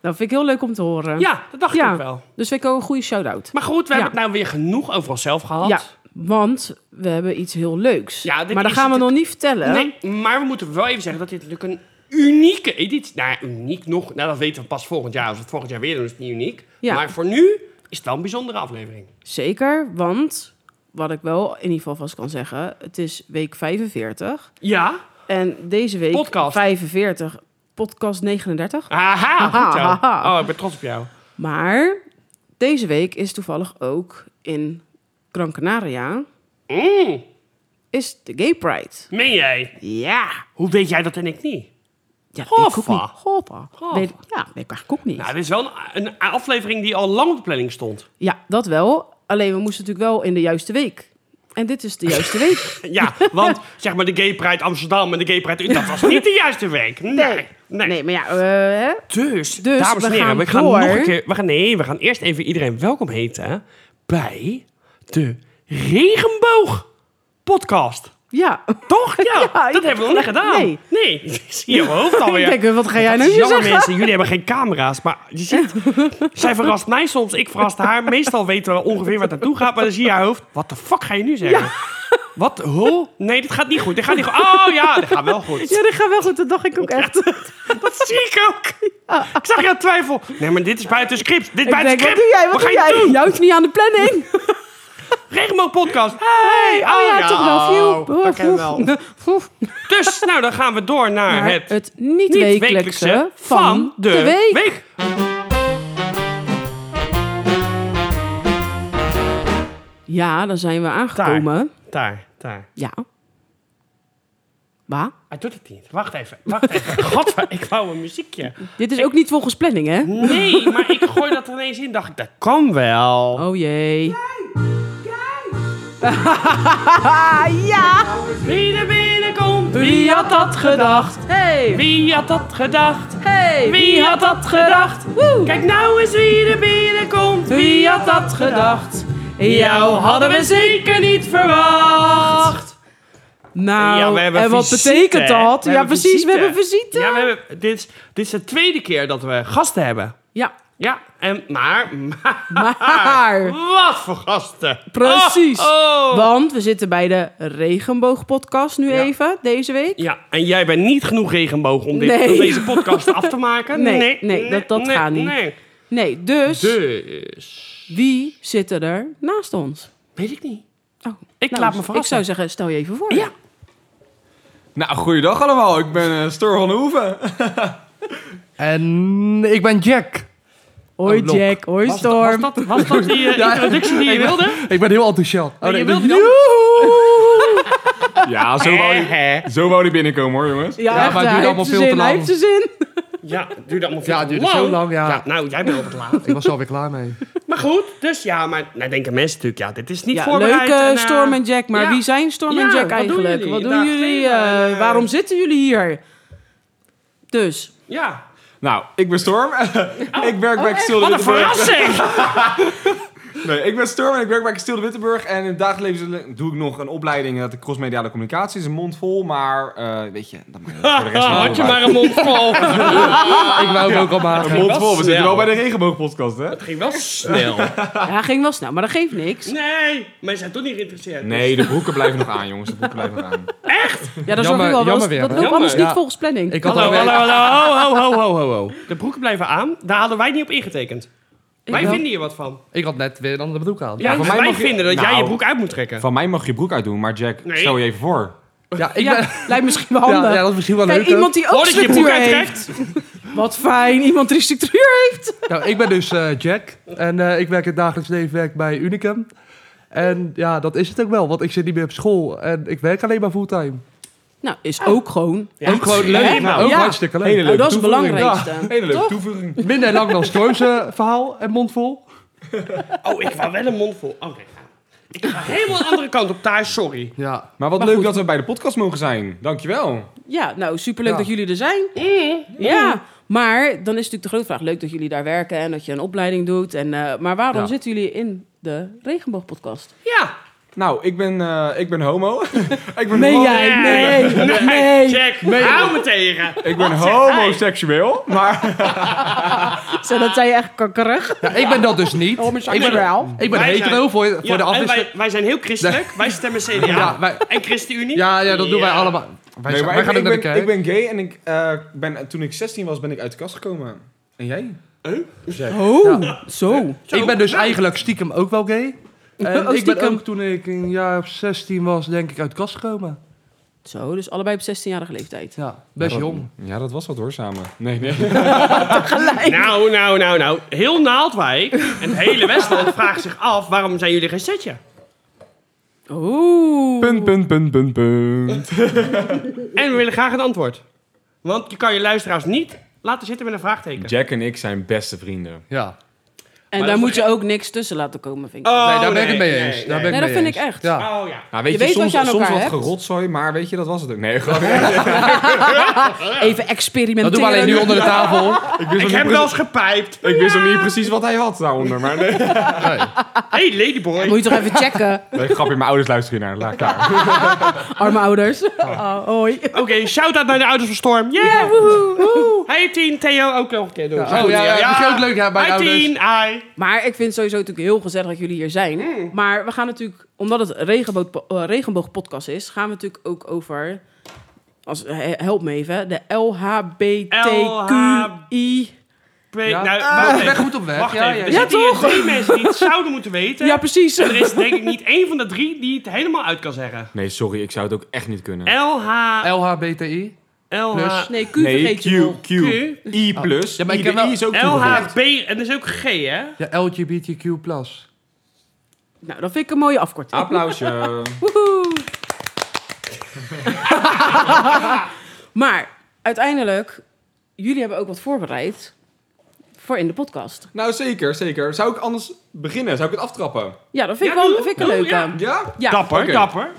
S1: Dat vind ik heel leuk om te horen.
S2: Ja, dat dacht ik
S1: Ja.
S2: ook wel.
S1: Dus vind ik ook een goede shout-out.
S2: Maar goed, we
S1: Ja.
S2: hebben het nou weer genoeg over onszelf gehad.
S1: Ja, want we hebben iets heel leuks.
S2: Ja, dit
S1: maar dat
S2: is
S1: gaan we
S2: het-
S1: nog niet vertellen.
S2: Nee, maar we moeten wel even zeggen dat dit natuurlijk een unieke editie... Nou ja, uniek nog. Nou, dat weten we pas volgend jaar. Als we het volgend jaar weer doen, is het niet uniek.
S1: Ja.
S2: Maar voor nu is het wel een bijzondere aflevering.
S1: Zeker, want wat ik wel in ieder geval vast kan zeggen, het is week 45.
S2: Ja.
S1: En deze week
S2: Podcast.
S1: 45, podcast 39.
S2: Aha,
S1: Aha,
S2: goed zo.
S1: aha.
S2: Oh, ik ben trots op jou.
S1: Maar deze week is toevallig ook in Gran Canaria
S2: Mm,
S1: is de Gay Pride.
S2: meen jij?
S1: Ja.
S2: Hoe weet jij dat en ik niet?
S1: Ja, dat weet ik ook
S2: Hoffa.
S1: niet. Hoppa.
S2: Hoffa.
S1: Weet, ja, weet ik eigenlijk ook niet.
S2: Nou, dit is wel een, een aflevering die al lang op de planning stond.
S1: Ja, dat wel. Alleen we moesten natuurlijk wel in de juiste week. En dit is de juiste week.
S2: Ja, want zeg maar de Gay Pride Amsterdam en de Gay Pride... Dat was niet de juiste week. Nee, nee.
S1: Nee, maar ja, eh, hè?
S2: Dus,
S1: Dus
S2: dames en
S1: we
S2: heren,
S1: gaan
S2: we gaan
S1: door.
S2: nog een keer... We gaan, nee, we gaan eerst even iedereen welkom heten bij de Regenboog Podcast.
S1: ja.
S2: Toch? Ja,
S1: Ja,
S2: dat
S1: ja,
S2: hebben we nog niet gedaan.
S1: nee.
S2: Nee, ik zie je hoofd alweer.
S1: Ik denk, wat ga jij
S2: Dat
S1: nou
S2: is
S1: weer
S2: jammer,
S1: zeggen?
S2: mensen, jullie hebben geen camera's, maar je ziet, zij verrast mij soms, ik verrast haar. Meestal weten we ongeveer waar het naartoe gaat, maar dan zie je haar hoofd. Wat de fuck ga je nu zeggen? Wat? Ho? Nee, dit gaat niet goed. Dit gaat niet goed. Oh ja, dit gaat wel goed.
S1: Ja, dit gaat wel goed. Dat dacht ik ook echt.
S2: Dat zie ik ook. Ik zag jou twijfel. Nee, maar dit is buiten script. Dit
S1: ik
S2: buiten
S1: denk, wat
S2: script.
S1: doe jij? Wat
S2: ga
S1: doe
S2: je
S1: jij?
S2: doen?
S1: Jouw is niet aan de planning.
S2: Regenboog podcast. Hey,
S1: Oh ja, toch wel. View.
S2: nou, dat ken je wel. Dus, nou, dan gaan we door naar
S1: Maar
S2: het,
S1: het niet-wekelijkse van de week. Ja, dan zijn we aangekomen.
S2: Daar, daar.
S1: Ja, Wa?
S2: Hij doet het niet. Wacht even. Wacht even. Gadver, ik wou een muziekje.
S1: Dit is ook niet volgens planning, hè?
S2: Nee, maar ik gooi dat er ineens in. Dacht ik, dat kan wel.
S1: Oh jee.
S2: Wie er binnenkomt,
S1: Wie had dat gedacht? Hey!
S2: Wie had dat gedacht?
S1: Hey!
S2: Wie had dat gedacht? Kijk nou eens wie er binnenkomt.
S1: Wie had dat gedacht? Jou hadden we
S2: zeker niet verwacht.
S1: Nou,
S2: Ja, we hebben
S1: en wat
S2: visite,
S1: betekent
S2: hè?
S1: dat?
S2: We
S1: ja,
S2: hebben
S1: precies,
S2: visite.
S1: we hebben visite.
S2: Ja, we hebben, dit, is, dit is de tweede keer dat we gasten hebben.
S1: Ja,
S2: Ja, en, maar, maar,
S1: maar...
S2: wat voor gasten.
S1: Precies.
S2: Oh, oh.
S1: Want we zitten bij de Regenboogpodcast nu
S2: Ja.
S1: even, deze week.
S2: Ja, en jij bent niet genoeg regenboog om, dit,
S1: Nee.
S2: om deze podcast af te maken.
S1: Nee, nee, dat- dat
S2: nee,
S1: gaat niet.
S2: Nee.
S1: Nee, dus
S2: Dus,
S1: wie zitten er naast ons?
S2: weet ik niet.
S1: Oh,
S2: Ik laat me verrassen.
S1: Ik zou zeggen, stel je even voor.
S2: Ja.
S3: Nou, goeiedag allemaal. Ik ben eh Stor van de Hoeven.
S4: En ik ben Jack.
S1: Hoi
S4: Oh, lok.
S1: Jack, hoi
S2: Was, was
S1: Storm.
S2: dat, was dat die eh,
S4: Ja.
S2: introductie die je wilde?
S4: Ik ben heel enthousiast. Oh,
S2: je
S4: ik ben-
S2: wilde dat-
S3: Ja, zo wou, die,
S2: Eh, Hè?
S3: zo wou die binnenkomen hoor, jongens.
S1: Ja,
S4: Ja,
S1: echt,
S4: maar het
S1: hij
S4: duurt
S1: heeft
S4: allemaal
S1: zijn
S4: veel te
S1: zin, hij
S4: lang.
S1: heeft zijn zin.
S2: Ja, het duurde allemaal veel
S4: Ja,
S2: te
S4: het duurde zo lang, ja.
S2: Nou, jij bent op het laat.
S4: Ik was alweer klaar mee.
S2: Maar goed, dus ja, maar nou denken mensen natuurlijk, ja, dit is niet
S1: Ja,
S2: voorbereid.
S1: leuk eh,
S2: en, eh,
S1: Storm en Jack, maar
S2: ja.
S1: wie zijn Storm
S2: Ja,
S1: en
S2: wat
S1: Jack
S2: doen
S1: eigenlijk?
S2: jullie?
S1: wat doen
S2: Dag,
S1: jullie?
S2: geen,
S1: eh,
S2: eh,
S1: waarom zitten jullie hier? Dus,
S2: Ja.
S3: Nou, ik ben Storm. ik werk bij Kasteel de
S2: Oh, Wat een
S3: Wittenburg.
S2: verrassing!
S3: Nee, ik ben Storm en ik werk bij Kasteel de Wittenburg. En in het dagelijks leven doe ik nog een opleiding eh, dat de crossmediale communicatie is. Een mond vol, maar eh, weet je, dat maakt niet uit. voor de rest van de
S2: Ah, Had je
S3: wereld
S2: maar een mond vol. Het
S4: Ik wou het ook al maken.
S3: uit. Een mond
S2: Wel
S3: vol. We zitten
S2: snel.
S3: wel bij de regenboogpodcast, hè?
S2: ging wel snel.
S1: ja, ging wel snel, maar dat geeft niks.
S2: Nee, maar ze zijn toch niet geïnteresseerd. dus-
S3: Nee, de broeken blijven nog aan, jongens. De broeken blijven nog aan.
S1: Ja, dat is
S4: Jammer-
S1: ook wel
S4: jammer
S1: was-
S4: weer,
S1: Dat loopt
S4: hè?
S2: Jammer,
S1: anders niet
S4: ja.
S1: volgens planning.
S4: Ik had
S2: Hallo,
S4: alweer-
S2: hallo, hallo, ho, ho, ho, ho, ho. De broeken blijven aan. Daar hadden wij niet op ingetekend.
S1: Ik
S2: wij
S1: wel.
S2: vinden hier wat van.
S4: Ik had net weer een andere broek
S2: Ja,
S4: aan.
S2: dus
S3: van mij
S2: wij
S3: mag je-
S2: vinden dat jij je
S3: Nou.
S2: broek uit moet trekken.
S3: Van mij mag je broek uitdoen, maar Jack,
S2: Nee.
S3: stel je even voor.
S4: Ja, ik
S1: ja,
S4: ben...
S1: lijkt misschien wel handig.
S4: Ja, ja, dat is misschien wel
S1: Kijk,
S4: leuk. hè?
S1: iemand die ook
S2: Voordat je je broek
S1: structuur heeft.
S2: uittrekt.
S1: Wat fijn, iemand die structuur heeft.
S4: Nou, ik ben dus eh, Jack. En eh, ik werk in het dagelijks leven werk bij Unicum. En ja, dat is het ook wel. Want ik zit niet meer op school. En ik werk alleen maar fulltime.
S1: Nou, is ook gewoon...
S2: Ja,
S4: ook gewoon leuk.
S2: helemaal.
S4: maar ook
S1: Ja.
S4: hartstikke leuk.
S3: Hele
S1: Nou,
S3: leuke
S1: dat is het
S3: toevoeging.
S1: belangrijkste.
S3: Ja, hele leuke toevoeging.
S4: Minder lang dan Storm's eh, verhaal en mondvol.
S2: Oh, ik wou wel een mond vol. Oh, nee. Ik ga helemaal de andere kant op thuis, sorry.
S4: Ja.
S3: Maar wat
S1: Maar
S3: leuk
S1: goed.
S3: dat we bij de podcast mogen zijn. Dankjewel.
S1: Ja, nou, superleuk
S4: Ja.
S1: dat jullie er zijn. Ja, maar dan is natuurlijk de grote vraag... leuk dat jullie daar werken en dat je een opleiding doet. En, eh, maar waarom
S4: Ja.
S1: zitten jullie in de Regenboogpodcast?
S2: Ja.
S3: Nou, ik ben, eh, ik ben homo. ik ben
S1: Nee,
S3: homo.
S1: jij. Nee, nee.
S2: Jack, hou me tegen.
S3: Ik ben
S2: Wat zegt hij?
S3: homoseksueel. Maar
S1: Zo, dat zei je echt kakkerig.
S4: Ja, ik ben dat dus niet. Ik ben,
S1: wel.
S4: ik ben
S2: Wij
S4: hetero
S2: zijn-
S4: voor, voor
S2: Ja,
S4: de
S2: en
S4: afwisseling.
S2: wij, wij zijn heel christelijk. Wij stemmen CDA.
S4: Ja, wij-
S2: En ChristenUnie.
S4: ja, ja, dat doen wij
S2: Ja.
S4: allemaal. Wij,
S3: nee,
S4: zijn-
S3: maar
S4: wij
S3: ik,
S4: gaan ook
S3: ik
S4: naar
S3: ben,
S4: de kerk.
S3: ik ben gay en ik, eh, ben, toen ik 16 was, ben ik uit de kast gekomen. En jij?
S1: Oh, zo.
S4: Ik ben dus eigenlijk stiekem ook wel gay. En
S1: Oh,
S4: ik ben
S1: stiekem.
S4: ook toen ik een jaar of 16 was, denk ik, uit de kast gekomen.
S1: Zo, dus allebei op 16-jarige leeftijd.
S4: Ja, best
S3: Ja, dat-
S4: jong.
S3: Ja, dat was wat hoor, samen. Nee, nee.
S2: Nou, nou, nou, nou. Heel Naaldwijk en het hele Westland vraagt zich af... waarom zijn jullie geen setje?
S1: Oeh.
S3: punt, punt, punt, punt, punt.
S2: En we willen graag een antwoord. Want je kan je luisteraars niet laten zitten met een vraagteken.
S3: Jack en ik zijn beste vrienden.
S4: Ja.
S1: En
S2: Maar
S1: daar
S2: dat
S1: moet je ook niks tussen laten komen, vind ik.
S2: Oh,
S4: nee, daar ben ik het mee
S2: nee,
S4: eens.
S2: nee,
S4: daar
S2: nee.
S4: ben
S1: Nee,
S4: ik
S1: dat
S4: mee
S1: vind ik
S4: eens.
S1: echt.
S4: Ja.
S2: Oh ja.
S3: Nou, weet
S1: Je
S3: je,
S1: weet wat
S3: soms,
S1: je aan
S3: soms
S1: elkaar
S3: wat
S1: hebt.
S3: gerotzooi, maar weet je, dat was het ook. Nee, gewoon.
S1: Even
S4: Dat
S1: experimenteren.
S4: doen we alleen nu onder de tafel.
S3: ik wist,
S2: Ik
S3: nog
S2: heb wel
S3: niet, pre-
S2: eens gepijpt.
S3: ik wist nog niet precies wat hij had daaronder. Maar nee.
S4: Nee.
S2: Hey, ladyboy.
S1: Moet je toch even checken,
S3: nee grapje, mijn ouders luisteren naar. Laat ik daar.
S1: arme ouders.
S3: Ah.
S1: Oh, hoi.
S2: Oké, shout-out naar de ouders van Storm. Yeah, woehoe. Hey, Tien. Theo ook nog een keer doen.
S4: Oh ja, ja, vind ik ook leuk ja, bij de
S2: Hi,
S4: ouders.
S2: Tien. Hi.
S1: Maar ik vind het sowieso natuurlijk heel gezellig dat jullie hier zijn.
S3: Mm.
S1: Maar we gaan natuurlijk, omdat het regenboog, eh, regenboogpodcast is, gaan we natuurlijk ook over, als, eh, help me even, de LHBTQI.
S2: Twee-
S4: Ja.
S2: Nou,
S4: Ah,
S2: wacht
S4: weg
S2: even.
S4: goed op weg.
S2: Wacht
S4: ja,
S2: even.
S4: ja,
S2: Er
S4: ja.
S2: zitten hier drie mensen die het zouden moeten weten.
S1: Ja, precies.
S2: Er is denk ik niet één van de drie die het helemaal uit kan zeggen.
S3: Nee, sorry, ik zou het ook echt niet kunnen.
S2: LH...
S4: LHBTI.
S2: LH...
S4: Plus.
S1: Nee, Q
S3: Nee,
S1: vergeet
S3: Q,
S1: je nog.
S3: Q, I plus.
S4: Ja, maar
S3: I,
S4: ik
S3: de
S4: heb wel-
S3: I is ook toegevoegd.
S2: LHB... En dat is ook G, hè?
S4: Ja, LGBTQ+.
S1: Nou, dat vind ik een mooie afkorting.
S3: Applausje.
S1: Woehoe. Maar uiteindelijk, jullie hebben ook wat voorbereid voor in de podcast.
S3: Nou, zeker, zeker. Zou ik anders beginnen? Zou ik het aftrappen?
S1: Ja, dat vind ik
S2: Ja,
S1: wel
S2: doe,
S1: vind ik een
S2: doe,
S1: leuke.
S2: ja.
S3: Ja?
S1: Ja.
S2: Dapper,
S3: Oké.
S2: dapper.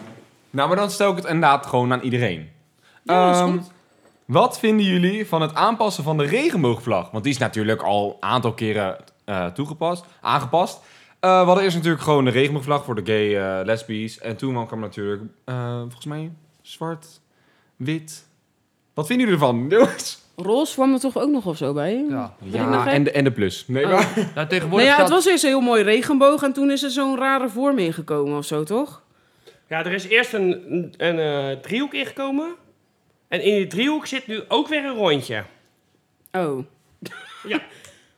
S3: Nou, maar dan stel ik het inderdaad gewoon aan iedereen.
S1: Ja, is
S3: Ehm,
S1: goed.
S3: Wat vinden jullie van het aanpassen van de regenboogvlag? Want die is natuurlijk al een aantal keren eh, toegepast, aangepast. Eh, we hadden eerst natuurlijk gewoon de regenboogvlag voor de gay, eh, lesbisch. En toen kwam natuurlijk, eh, volgens mij, zwart, wit. Wat vinden jullie ervan, jongens?
S1: Roos kwam er toch ook nog of zo bij?
S4: Ja.
S1: ik nog even?
S3: en de, en de plus. Nee,
S1: Oh.
S3: maar-
S4: Nou,
S1: Nou
S4: tegenwoordig
S1: ja, het
S4: staat-
S1: was eerst een heel mooi regenboog en toen is er zo'n rare vorm ingekomen of zo, toch?
S2: Ja, er is eerst een, een, eh, driehoek ingekomen. En in die driehoek zit nu ook weer een rondje.
S1: Oh.
S2: Ja.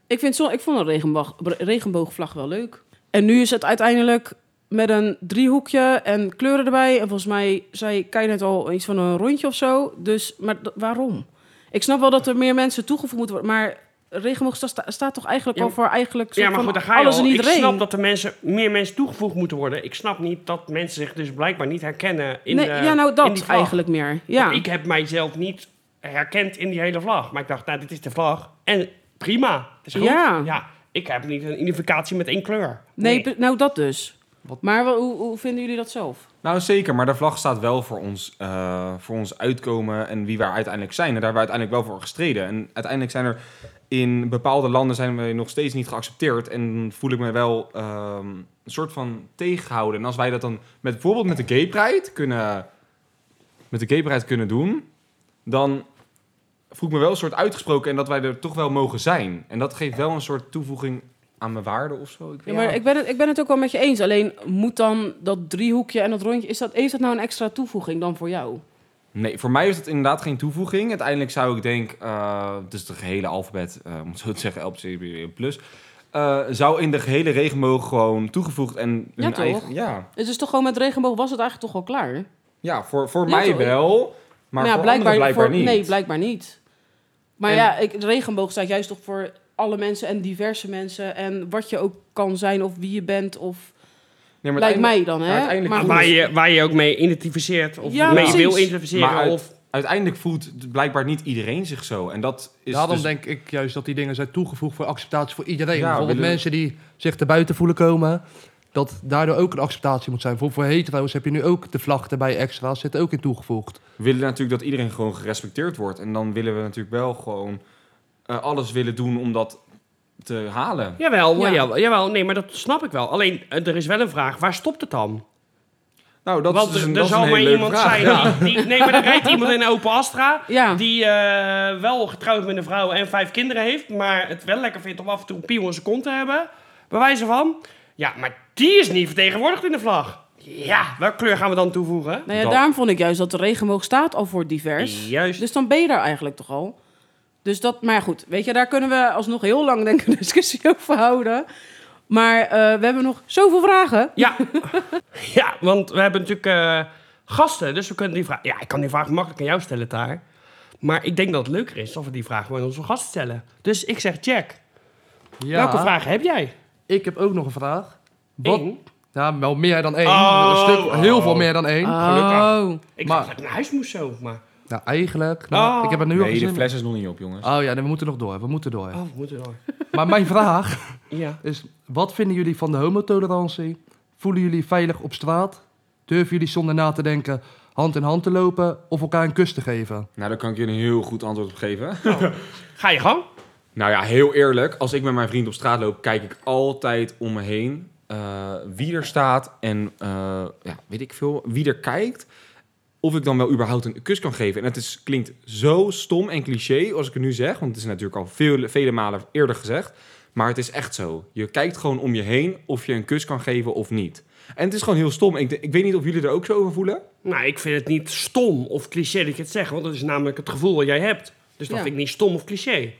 S1: ik, vind zo, ik vond een regenboog, regenboogvlag wel leuk. En nu is het uiteindelijk met een driehoekje en kleuren erbij. En volgens mij zei Kai net al iets van een rondje of zo. Dus, maar d- waarom? Ik snap wel dat er meer mensen toegevoegd moeten worden, maar regenboog sta- sta- staat toch eigenlijk
S2: Ja,
S1: al voor eigenlijk soort
S2: Ja,
S1: van
S2: maar goed, daar ga je
S1: alles
S2: al.
S1: en
S2: Ik
S1: iedereen.
S2: snap dat er mensen, meer mensen toegevoegd moeten worden. Ik snap niet dat mensen zich dus blijkbaar niet herkennen in
S1: nee,
S2: de
S1: ja, nou
S2: in die
S1: dat
S2: vlag.
S1: eigenlijk meer. Ja.
S2: Want ik heb mijzelf niet herkend in die hele vlag. Maar ik dacht, nou, dit is de vlag. En prima, het is goed.
S1: Ja.
S2: ik heb niet een identificatie met één kleur.
S1: Nee, pe- nou dat dus. Maar wel, hoe, hoe vinden jullie dat zelf?
S3: Nou, zeker. Maar de vlag staat wel voor ons, eh, voor ons uitkomen en wie we uiteindelijk zijn. En daar hebben we uiteindelijk wel voor gestreden. En uiteindelijk zijn er in bepaalde landen zijn we nog steeds niet geaccepteerd. En voel ik me wel ehm, een soort van tegenhouden. En als wij dat dan met, bijvoorbeeld met de Gay Pride kunnen, met de Gay Pride kunnen doen... dan voel ik me wel een soort uitgesproken en dat wij er toch wel mogen zijn. En dat geeft wel een soort toevoeging aan mijn waarde of zo. Ik
S1: Ja,
S3: weet
S1: maar ik ben, het, ik ben het ook wel met je eens. Alleen moet dan dat driehoekje en dat rondje... Is dat, heeft dat nou een extra toevoeging dan voor jou?
S3: Nee, voor mij is dat inderdaad geen toevoeging. Uiteindelijk zou ik denk, eh, dus de gehele alfabet, eh, om het zo te zeggen, LPCB plus, eh, zou in de gehele regenboog gewoon toegevoegd en hun
S1: Ja, toch?
S3: eigen. Ja,
S1: Het is toch gewoon met regenboog was het eigenlijk toch wel klaar? Maar,
S3: ja voor, voor
S1: Ja,
S3: mij
S1: toch?
S3: wel, maar voor blijkbaar, blijkbaar
S1: voor-
S3: niet.
S1: Nee, blijkbaar niet. Maar
S3: En-
S1: ja, ik, de regenboog staat juist toch voor alle mensen en diverse mensen. En wat je ook kan zijn of wie je bent of...
S3: Nee, maar
S1: lijkt
S3: uiteindelijk-
S1: mij dan, hè?
S3: maar uiteindelijk
S1: Maar
S3: voelt-
S2: Waar je, waar je ook mee identificeert of
S1: Ja,
S2: mee
S1: precies.
S2: wil identificeren.
S3: Maar uit-
S2: of,
S3: uiteindelijk voelt blijkbaar niet iedereen zich zo. En dat is
S4: Daarom
S3: dus-
S4: denk ik juist dat die dingen zijn toegevoegd voor acceptatie voor iedereen.
S3: Ja,
S4: Bijvoorbeeld
S3: willen-
S4: mensen die zich te buiten voelen komen, dat daardoor ook een acceptatie moet zijn. Bijvoorbeeld voor hetero's heb je nu ook de vlag erbij extra, zit ook in toegevoegd.
S3: We willen natuurlijk dat iedereen gewoon gerespecteerd wordt. En dan willen we natuurlijk wel gewoon eh, alles willen doen om dat te halen.
S2: jawel,
S1: Ja.
S2: jawel, jawel, nee, maar dat snap ik wel. Alleen, eh, er is wel een vraag, waar stopt het dan?
S3: Nou, dat
S2: Want er-
S3: is een,
S2: er
S3: dat is een
S2: zal maar
S3: hele leuke
S2: iemand
S3: vraag.
S2: zijn die, die... Nee, maar er rijdt iemand in een open Astra...
S1: Ja,
S2: die eh, wel getrouwd met een vrouw en vijf kinderen heeft... maar het wel lekker vindt om af en toe een piemel in zijn kont te hebben. Bij wijze van. Ja, maar die is niet vertegenwoordigd in de vlag. Ja, welke kleur gaan we dan toevoegen?
S1: nou ja,
S3: dat-
S1: daarom vond ik juist dat de regenboog staat al voor divers.
S2: Juist.
S1: Dus dan ben je daar eigenlijk toch al. Dus dat, maar ja, goed, weet je, daar kunnen we alsnog heel lang denk ik een discussie over houden. Maar eh, we hebben nog zoveel vragen.
S2: Ja. ja, want we hebben natuurlijk eh, gasten, dus we kunnen die vraag... Ja, ik kan die vraag makkelijk aan jou stellen, Taar. Maar ik denk dat het leuker is als we die vraag gewoon aan onze gasten stellen. Dus ik zeg, Jack,
S4: Ja,
S2: welke vraag heb jij?
S4: Ik heb ook nog een vraag. Wat?
S2: Eén.
S4: Ja, wel meer dan één.
S2: Oh,
S4: een stuk, heel
S2: oh.
S4: veel meer dan één.
S1: Oh.
S2: Ik
S4: Maar-
S2: dacht dat ik naar huis moest zo, maar...
S4: Nou, eigenlijk. nou,
S2: Oh.
S4: Ik heb het nu al
S3: nee, de
S4: gezien.
S3: fles is nog niet op, jongens.
S4: Oh ja, nee, we moeten nog door. We moeten door.
S2: Oh, we moeten door.
S4: Maar mijn vraag
S2: Ja.
S4: is: wat vinden jullie van de homotolerantie? Voelen jullie veilig op straat? Durven jullie zonder na te denken hand in hand te lopen of elkaar een kus te geven?
S3: Nou, daar kan ik je een heel goed antwoord op geven.
S2: Ga je gang.
S3: nou ja, heel eerlijk. Als ik met mijn vriend op straat loop, kijk ik altijd om me heen. eh, wie er staat en eh, ja, weet ik veel, wie er kijkt. Of ik dan wel überhaupt een kus kan geven. En het is, klinkt zo stom en cliché als ik het nu zeg. Want het is natuurlijk al vele, vele malen eerder gezegd. Maar het is echt zo. Je kijkt gewoon om je heen of je een kus kan geven of niet. En het is gewoon heel stom. Ik, ik weet niet of jullie er ook zo over voelen.
S2: Nou, ik vind het niet stom of cliché dat ik het zeg, want dat is namelijk het gevoel dat jij hebt. Dus dat
S1: Ja.
S2: vind ik niet stom of cliché.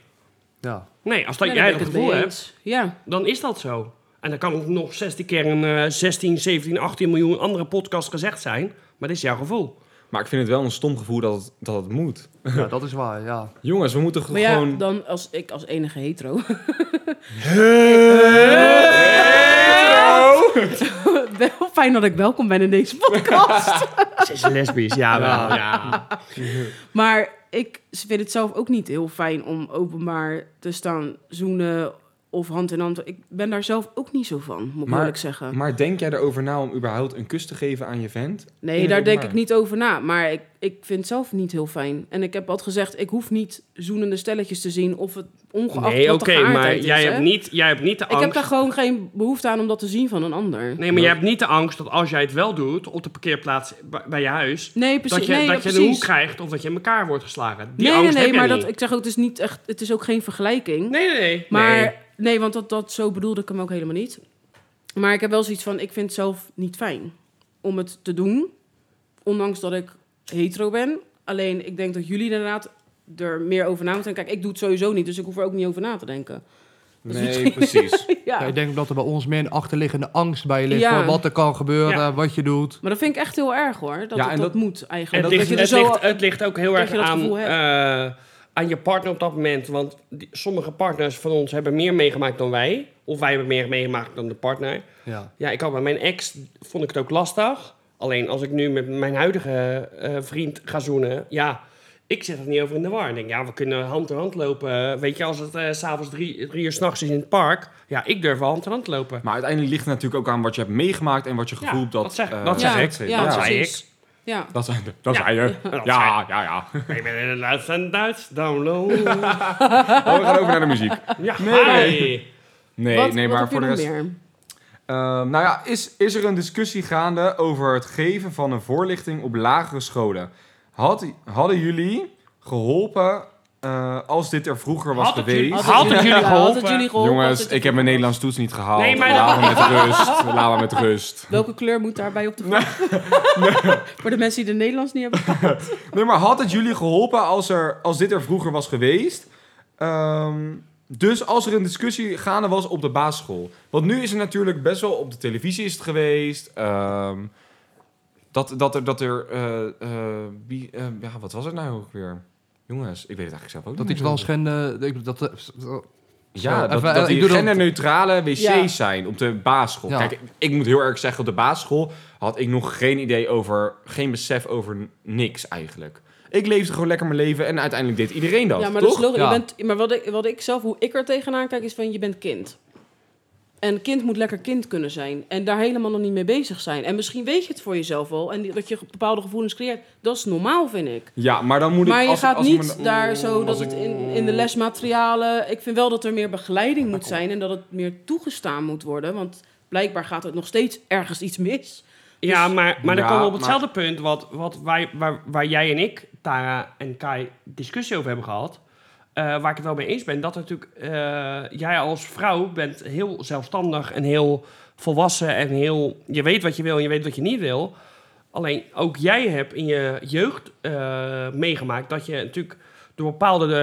S4: Ja.
S2: Nee, als dat
S1: Nee, daar ben ik
S2: jij dat
S1: het
S2: gevoel
S1: mee
S2: hebt,
S1: eens. Ja,
S2: dan is dat zo. En dan kan het nog 16 keer een eh, 16, 17, 18 miljoen andere podcast gezegd zijn, maar dit is jouw gevoel.
S3: Maar ik vind het wel een stom gevoel dat het, dat het moet.
S4: ja, dat is waar, ja.
S3: Jongens, we moeten
S1: maar ja,
S3: gewoon...
S1: dan als ik als enige hetero. wel fijn dat ik welkom ben in deze podcast.
S2: Ze is lesbisch, ja wel. Ja.
S1: maar ik vind het zelf ook niet heel fijn om openbaar te staan zoenen of hand in hand. Ik ben daar zelf ook niet zo van, moet ik
S3: Maar-
S1: eerlijk zeggen.
S3: Maar denk jij erover na om überhaupt een kus te geven aan je vent?
S1: Nee,
S3: In
S1: daar
S3: het
S1: denk ik
S3: openbaar.
S1: niet over na. Maar ik, ik vind het zelf niet heel fijn. En ik heb altijd gezegd, ik hoef niet zoenende stelletjes te zien... of het ongeacht
S2: Nee,
S1: wat de
S2: oké,
S1: geaardheid
S2: maar
S1: is,
S2: jij
S1: hè.
S2: hebt, niet, jij hebt niet de
S1: Ik
S2: angst.
S1: heb daar gewoon geen behoefte aan om dat te zien van een ander.
S2: Nee, maar jij hebt niet de angst dat als jij het wel doet op de parkeerplaats bij- bij je huis,
S1: Nee, precies.
S2: dat je,
S1: nee,
S2: dat je
S1: ja,
S2: de hoek
S1: precies.
S2: krijgt of dat je in elkaar wordt geslagen.
S1: nee,
S2: Die
S1: nee,
S2: angst
S1: nee,
S2: heb jij
S1: maar
S2: niet.
S1: dat, ik zeg ook, het is, niet echt, het is ook geen vergelijking.
S2: Nee, nee, nee.
S1: maar
S2: Nee.
S1: nee, want dat, dat, zo bedoelde ik hem ook helemaal niet. Maar ik heb wel zoiets van, ik vind het zelf niet fijn om het te doen. Ondanks dat ik hetero ben. Alleen, ik denk dat jullie inderdaad er meer over na moeten denken. Kijk, ik doe het sowieso niet, dus ik hoef er ook niet over na te denken.
S3: Nee, precies.
S4: Ja,
S1: Ja.
S4: ik denk dat er bij ons meer een achterliggende angst bij ligt.
S1: Ja.
S4: van Wat er kan gebeuren,
S2: Ja.
S4: wat je doet.
S1: Maar dat vind ik echt heel erg hoor. Dat
S3: Ja,
S1: dat,
S3: en
S1: dat
S3: dat-
S1: moet
S2: Het,
S1: eigenlijk.
S2: ligt,
S1: dat
S2: het,
S1: je er zo-
S2: ligt, het ligt ook heel
S1: dat
S2: erg
S1: je dat
S2: aan,
S1: gevoel
S2: eh, aan je partner op dat moment. Want die- sommige partners van ons hebben meer meegemaakt dan wij. Of wij hebben meer meegemaakt dan de partner.
S4: Ja.
S2: Ja, ik had met mijn ex, vond ik het ook lastig. Alleen als ik nu met mijn huidige eh, vriend ga zoenen, ja, ik zit er niet over in de war. Ik denk, ja, we kunnen hand in hand lopen. Weet je, als het eh, s s'avonds drie, drie uur s'nachts is in het park, ja, ik durf wel hand in hand lopen.
S3: Maar uiteindelijk ligt het natuurlijk ook aan wat je hebt meegemaakt en wat je
S2: Ja,
S3: gevoel hebt dat...
S2: dat zeg-
S3: eh,
S2: dat zeg ik.
S3: zegt.
S2: Ja, nou, dat
S3: ja.
S2: zei
S1: precies. Ja.
S3: Dat zei, dat
S2: Ja.
S3: zei je.
S2: dat
S3: Ja, ja, ja.
S2: Ik ben in het Duits en Duits, download.
S3: Oh, we gaan over naar de muziek.
S2: Ja,
S3: Nee, nee.
S2: hi.
S3: Nee,
S1: Wat-
S3: nee
S1: wat
S3: maar
S1: heb je
S3: voor de
S1: nog
S3: rest...
S1: meer?
S3: Eh, nou ja, is, is er een discussie gaande over het geven van een voorlichting op lagere scholen? Had, hadden jullie geholpen eh, als dit er vroeger was
S2: Had het
S3: geweest?
S2: jullie-
S1: Had
S2: Had het jullie
S1: ja, had het
S2: geholpen?
S1: jullie geholpen? Had
S3: Jongens,
S1: het-
S3: ik heb mijn Nederlands toets niet gehaald.
S2: Nee, maar-
S3: Laat me met rust. Laat me met rust.
S1: Welke kleur moet daarbij op de vlag? Voor de mensen die de Nederlands niet hebben.
S3: Nee, maar had het jullie geholpen als, er, als dit er vroeger was geweest? Ehm, dus als er een discussie gaande was op de basisschool. Want nu is er natuurlijk best wel op de televisie is het geweest. ehm, dat, dat er... Dat er eh, eh, wie, eh, ja, wat was het nou ook weer? Jongens, ik weet het eigenlijk zelf ook
S4: Dat
S3: niet
S4: iets
S3: meer zo
S4: was gende. ik- Dat, eh,
S3: goed. Ja,
S4: Zo,
S3: dat,
S4: even,
S3: dat
S4: eh, ik
S3: die
S4: doe dat-
S3: genderneutrale wc's
S1: Ja.
S3: zijn op de basisschool.
S4: Ja.
S3: Kijk, ik moet heel erg zeggen, op de basisschool had ik nog geen idee over... geen besef over n- niks eigenlijk. Ik leefde gewoon lekker mijn leven en uiteindelijk deed iedereen dat,
S1: Ja, maar dat
S3: toch?
S1: is logisch. Je
S4: Ja.
S1: bent, maar wat ik, wat ik zelf, hoe ik er tegenaan kijk, is van je bent kind. En kind moet lekker kind kunnen zijn. En daar helemaal nog niet mee bezig zijn. En misschien weet je het voor jezelf al. En die- dat je bepaalde gevoelens creëert. Dat is normaal, vind ik.
S3: Ja, maar dan moet ik...
S1: Maar je
S3: als-
S1: gaat
S3: als
S1: niet
S3: mijn- Mm,
S1: daar zo dat het in, in de lesmaterialen... Ik vind wel dat er meer begeleiding moet zijn. En dat het meer toegestaan moet worden. Want blijkbaar gaat het nog steeds ergens iets mis.
S2: Ja, maar, maar dan
S3: Ja,
S2: komen we op
S3: maar-
S2: hetzelfde punt wat, wat wij, waar, waar jij en ik, Tara en Kai, discussie over hebben gehad. Eh, waar ik het wel mee eens ben, dat er natuurlijk, eh, jij als vrouw bent heel zelfstandig en heel volwassen en heel, je weet wat je wil en je weet wat je niet wil. Alleen ook jij hebt in je jeugd eh, meegemaakt dat je natuurlijk door bepaalde,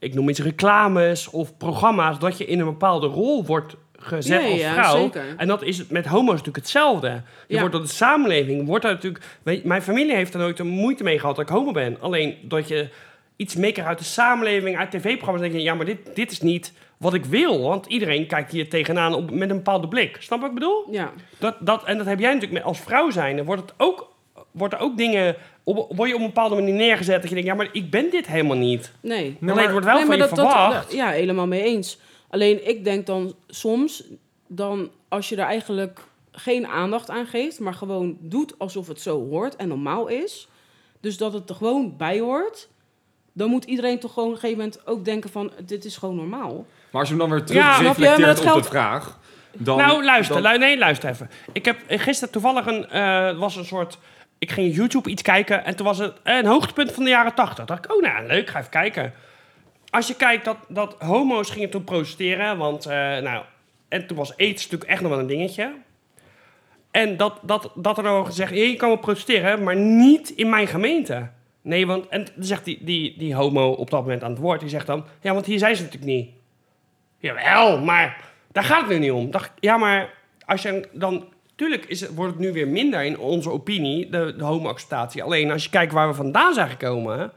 S2: eh, ik noem iets reclames of programma's, dat je in een bepaalde rol wordt gezet
S1: Ja,
S2: als
S1: ja,
S2: vrouw.
S1: zeker.
S2: En dat is het met homo's natuurlijk hetzelfde. Je
S1: Ja.
S2: wordt door de samenleving, wordt daar natuurlijk. Weet, je, mijn familie heeft er nooit een moeite mee gehad dat ik homo ben. Alleen dat je iets mee krijgt uit de samenleving, uit tv-programma's, denk je, ja, maar dit, dit is niet wat ik wil. Want iedereen kijkt hier tegenaan op, met een bepaalde blik. Snap je wat ik bedoel?
S1: Ja.
S2: Dat, dat, en dat heb jij natuurlijk met, als vrouw zijnde, wordt het ook. Wordt er ook dingen. Op, word je op een bepaalde manier neergezet dat je denkt, ja, maar ik ben dit helemaal niet.
S1: Nee.
S3: Nee,
S2: Alleen
S3: maar-
S2: het wordt wel van
S1: maar
S2: je verwacht.
S1: ja, helemaal mee eens. Alleen ik denk dan soms, dan als je er eigenlijk geen aandacht aan geeft, maar gewoon doet alsof het zo hoort en normaal is, dus dat het er gewoon bij hoort, dan moet iedereen toch gewoon op een gegeven moment ook denken van, dit is gewoon normaal.
S3: Maar als je hem dan weer terug
S2: Ja, snap je?
S1: Maar
S3: reflecteert
S1: dat
S3: op
S1: geldt-
S3: de vraag... Dan,
S2: nou, luister.
S3: dan-
S2: lu- nee, luister even. Ik heb eh, gisteren toevallig een... eh, was een soort... Ik ging YouTube iets kijken en toen was het eh, een hoogtepunt van de jaren tachtig. dacht ik, oh nou, leuk, ga even kijken. Als je kijkt dat, dat homo's gingen toen protesteren, want... eh, nou, en toen was aids natuurlijk echt nog wel een dingetje. En dat, dat, dat er dan wordt gezegd, "Hey, je kan wel protesteren, maar niet in mijn gemeente. Nee, want... En dan zegt die, die, die homo op dat moment aan het woord, die zegt dan... Ja, want hier zijn ze natuurlijk niet. Jawel, maar daar gaat het nu niet om. Dacht, ik, ja, maar als je dan. Tuurlijk is, het- wordt het nu weer minder in onze opinie, de, de homo-acceptatie. Alleen als je kijkt waar we vandaan zijn gekomen,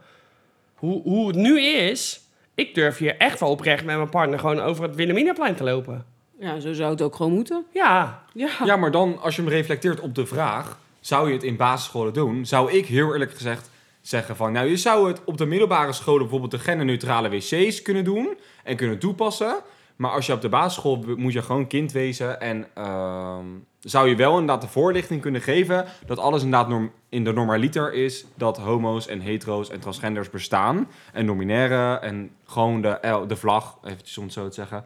S2: hoe, hoe het nu is. Ik durf hier echt wel oprecht met mijn partner gewoon over het Wilhelminaplein te lopen.
S1: Ja, zo zou het ook gewoon moeten.
S2: Ja,
S1: Ja.
S3: Ja, maar dan als je hem reflecteert op de vraag, zou je het in basisscholen doen? Zou ik heel eerlijk gezegd zeggen van, nou je zou het op de middelbare scholen bijvoorbeeld de genderneutrale wc's kunnen doen en kunnen toepassen. Maar als je op de basisschool be- moet je gewoon kind wezen en ehm, zou je wel inderdaad de voorlichting kunnen geven dat alles inderdaad norm- in de normaliter is dat homo's en hetero's en transgenders bestaan en nominaire en gewoon de, eh, de vlag, eventjes om het zo te zeggen,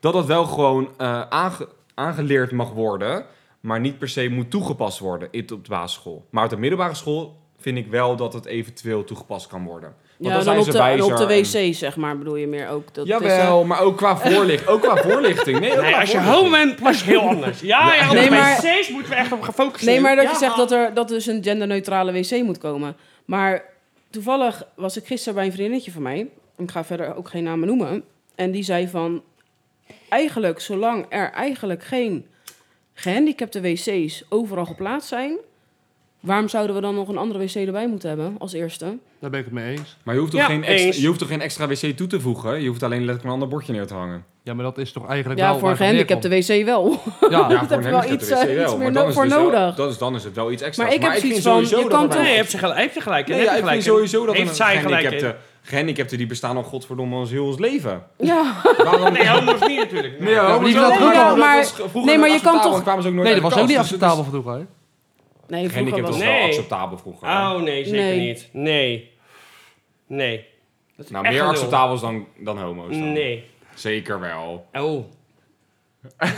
S3: dat dat wel gewoon eh, aange- aangeleerd mag worden maar niet per se moet toegepast worden in- op de basisschool. Maar op de middelbare school vind ik wel dat het eventueel toegepast kan worden. Want
S1: Ja, dan
S3: zijn
S1: op
S3: ze
S1: de,
S3: wijzer
S1: op de
S3: en-
S1: wc, zeg maar, bedoel je meer ook. Dat is, eh,
S3: Jawel, maar ook qua voorlichting. ook qua voorlichting. Nee, ook
S2: nee,
S3: qua
S2: als je
S3: voorlichting.
S2: homo bent, was je heel anders. Ja, ja,
S1: Nee,
S2: nee,
S1: maar-
S2: maar steeds moeten we echt op gaan focussen.
S1: Nee, maar dat
S2: Ja.
S1: je zegt dat er dat dus een genderneutrale wc moet komen. Maar toevallig was ik gisteren bij een vriendinnetje van mij. Ik ga verder ook geen namen noemen. En die zei van... Eigenlijk, zolang er eigenlijk geen gehandicapte wc's overal geplaatst zijn... waarom zouden we dan nog een andere wc erbij moeten hebben als eerste?
S4: Daar ben ik het mee eens.
S3: Maar je hoeft, toch
S2: Ja,
S3: geen extra,
S2: eens.
S3: je hoeft toch geen extra wc toe te voegen? Je hoeft alleen letterlijk een ander bordje neer te hangen.
S4: Ja, maar dat is toch eigenlijk wel...
S1: Ja, voor een
S4: waar het op
S1: gehandicapte wc wel.
S4: neerkomt. Ja,
S1: Ja, heb je wel
S3: handicapte
S1: iets, eh, iets meer no-
S3: is
S1: voor
S3: het dus wel-
S1: nodig.
S3: dat is, dan is het wel iets extra's.
S1: Maar ik heb
S3: vind
S1: zoiets van,
S3: sowieso
S1: je
S3: dat
S1: kan
S3: het
S1: toch-
S2: Nee,
S3: wel-
S2: je hebt ze gelijk. Heeft je gelijk.
S3: Nee,
S2: Heb
S3: ja,
S2: je
S3: ik
S2: gelijk
S3: vind
S2: in.
S3: sowieso dat
S2: Heeft
S3: een
S2: zij gelijk in.
S3: gehandicapte... Gehandicapten die bestaan al godverdomme ons heel ons leven.
S1: ja.
S3: Waarom...
S2: Nee, homo's niet natuurlijk.
S3: Nee, hoor,
S4: maar die
S3: zo-
S4: wel
S3: dat
S4: goed
S3: was-
S4: al.
S1: maar-
S3: dat was vroeger
S1: nee, maar je
S3: acceptabel,
S1: kan toch-
S3: dan kwamen ze ook nooit
S4: Nee,
S3: uit
S4: dat
S3: de
S4: was
S3: kast,
S4: ook niet
S3: dus het is-
S4: acceptabel vroeger, hè?
S1: Nee, vroeger
S3: Gehandicapt
S1: was
S3: was
S1: het...
S3: wel
S2: Nee.
S3: acceptabel vroeger. hè? Nou,
S2: Oh, nee, zeker
S1: Nee.
S2: niet. Nee. Nee. Dat is
S3: nou,
S2: echt
S3: meer
S2: een lul.
S3: acceptabels dan, dan homo's. dan.
S2: Nee.
S3: Zeker wel.
S2: Oh.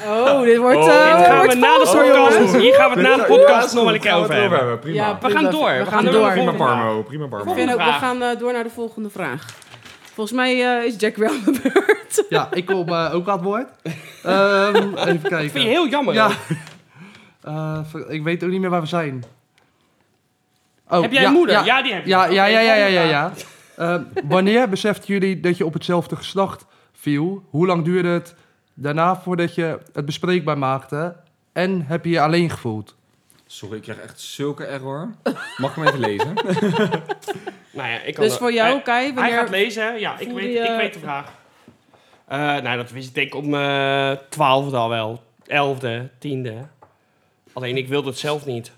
S1: Oh, dit wordt...
S3: Oh,
S1: eh,
S2: Dit gaan we
S1: wordt
S2: na de
S1: fout, jongens.
S2: podcast. Hier gaan we het na de podcast nog wel een keer over hebben.
S3: Prima.
S1: Ja,
S2: We gaan door.
S1: We gaan
S2: door.
S1: door.
S3: prima
S2: Volgende vraag.
S3: Parmo. Prima Parmo.
S1: Ik vind ook, we
S2: vraag.
S1: gaan eh, door naar de volgende vraag. Volgens mij eh, is Jack weer aan de beurt.
S4: Ja, ik kom eh, ook aan het woord. Ehm, even kijken.
S2: Vind je heel jammer.
S4: Ja.
S2: hoor.
S4: Eh, ver- ik weet ook niet meer waar we zijn. Oh,
S2: Heb jij
S4: ja,
S2: een moeder?
S4: Ja,
S2: Ja, die heb je.
S4: ja, ja,
S2: Oké,
S4: ja, ja, ja. ja,
S2: volgende vraag.
S4: ja. Ehm, wanneer beseften jullie dat je op hetzelfde geslacht viel? Hoe lang duurde het daarna voordat je het bespreekbaar maakte? En heb je je alleen gevoeld?
S3: Sorry, ik krijg echt zulke error. Mag ik hem even lezen?
S2: Nou ja, ik kan
S1: Dus
S2: er-
S1: voor jou,
S2: Hij-
S1: Kai,
S2: Hij gaat
S1: wanneer...
S2: lezen, hè? Ja, ik
S1: Voel
S2: weet,
S1: je-
S2: ik weet de vraag. Eh, nou, dat wist ik denk ik op mijn twaalfde al wel. Elfde, tiende. Alleen ik wilde het zelf niet.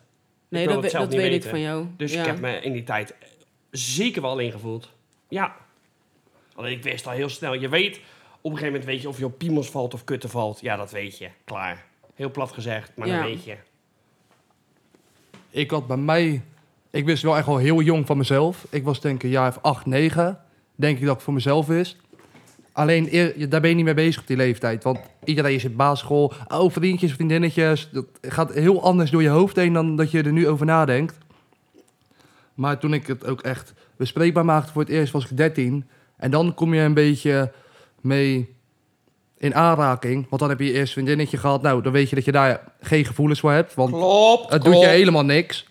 S1: Nee,
S2: wil
S1: dat,
S2: het
S1: we-
S2: zelf
S1: dat
S2: niet
S1: weet ik
S2: weten.
S1: van jou.
S2: Dus
S1: Ja.
S2: ik heb me in die tijd zeker wel alleen gevoeld. Ja. Alleen ik wist al heel snel. Je weet, op een gegeven moment weet je of je op piemels valt of kutten valt. Ja, dat weet je. Klaar. Heel plat gezegd, maar
S1: Ja.
S2: dat weet je.
S4: Ik had bij mij... Ik wist wel echt al heel jong van mezelf. Ik was denk ik een jaar of acht, negen. Denk ik dat het voor mezelf is. Alleen, eer- daar ben je niet mee bezig op die leeftijd. Want iedereen is in basisschool. Oh, vriendjes, vriendinnetjes. Dat gaat heel anders door je hoofd heen dan dat je er nu over nadenkt. Maar toen ik het ook echt bespreekbaar maakte voor het eerst, was ik 13. En dan kom je een beetje mee in aanraking. Want dan heb je je eerst vriendinnetje gehad. Nou, dan weet je dat je daar geen gevoelens voor hebt. Want
S2: Klopt.
S4: het doet je helemaal niks.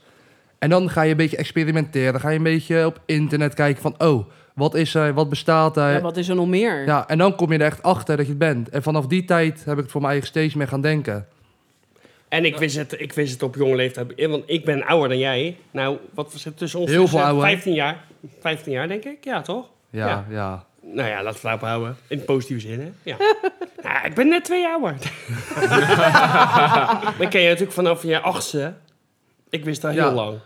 S4: En dan ga je een beetje experimenteren. Ga je een beetje op internet kijken van... oh, wat is er, wat bestaat er?
S1: Ja,
S4: Ja,
S1: wat is er nog meer?
S4: en dan kom je er echt achter dat je het bent. En vanaf die tijd heb ik het voor mij eigen steeds meer gaan denken.
S2: En ik wist, het, ik wist het op jonge leeftijd. Eh, Want ik ben ouder dan jij. Nou, wat zit tussen ons?
S4: Heel veel
S2: Eh,
S4: ouder.
S2: 15 jaar. 15 jaar, denk ik. Ja, toch?
S4: Ja,
S2: Ja.
S4: ja.
S2: Nou ja, laten we het daarop houden. In positieve zin, hè? Ja. Nou, ik ben net twee jaar ouder. Dan ken je natuurlijk vanaf je achtste. Ik wist dat heel
S4: Ja.
S2: lang.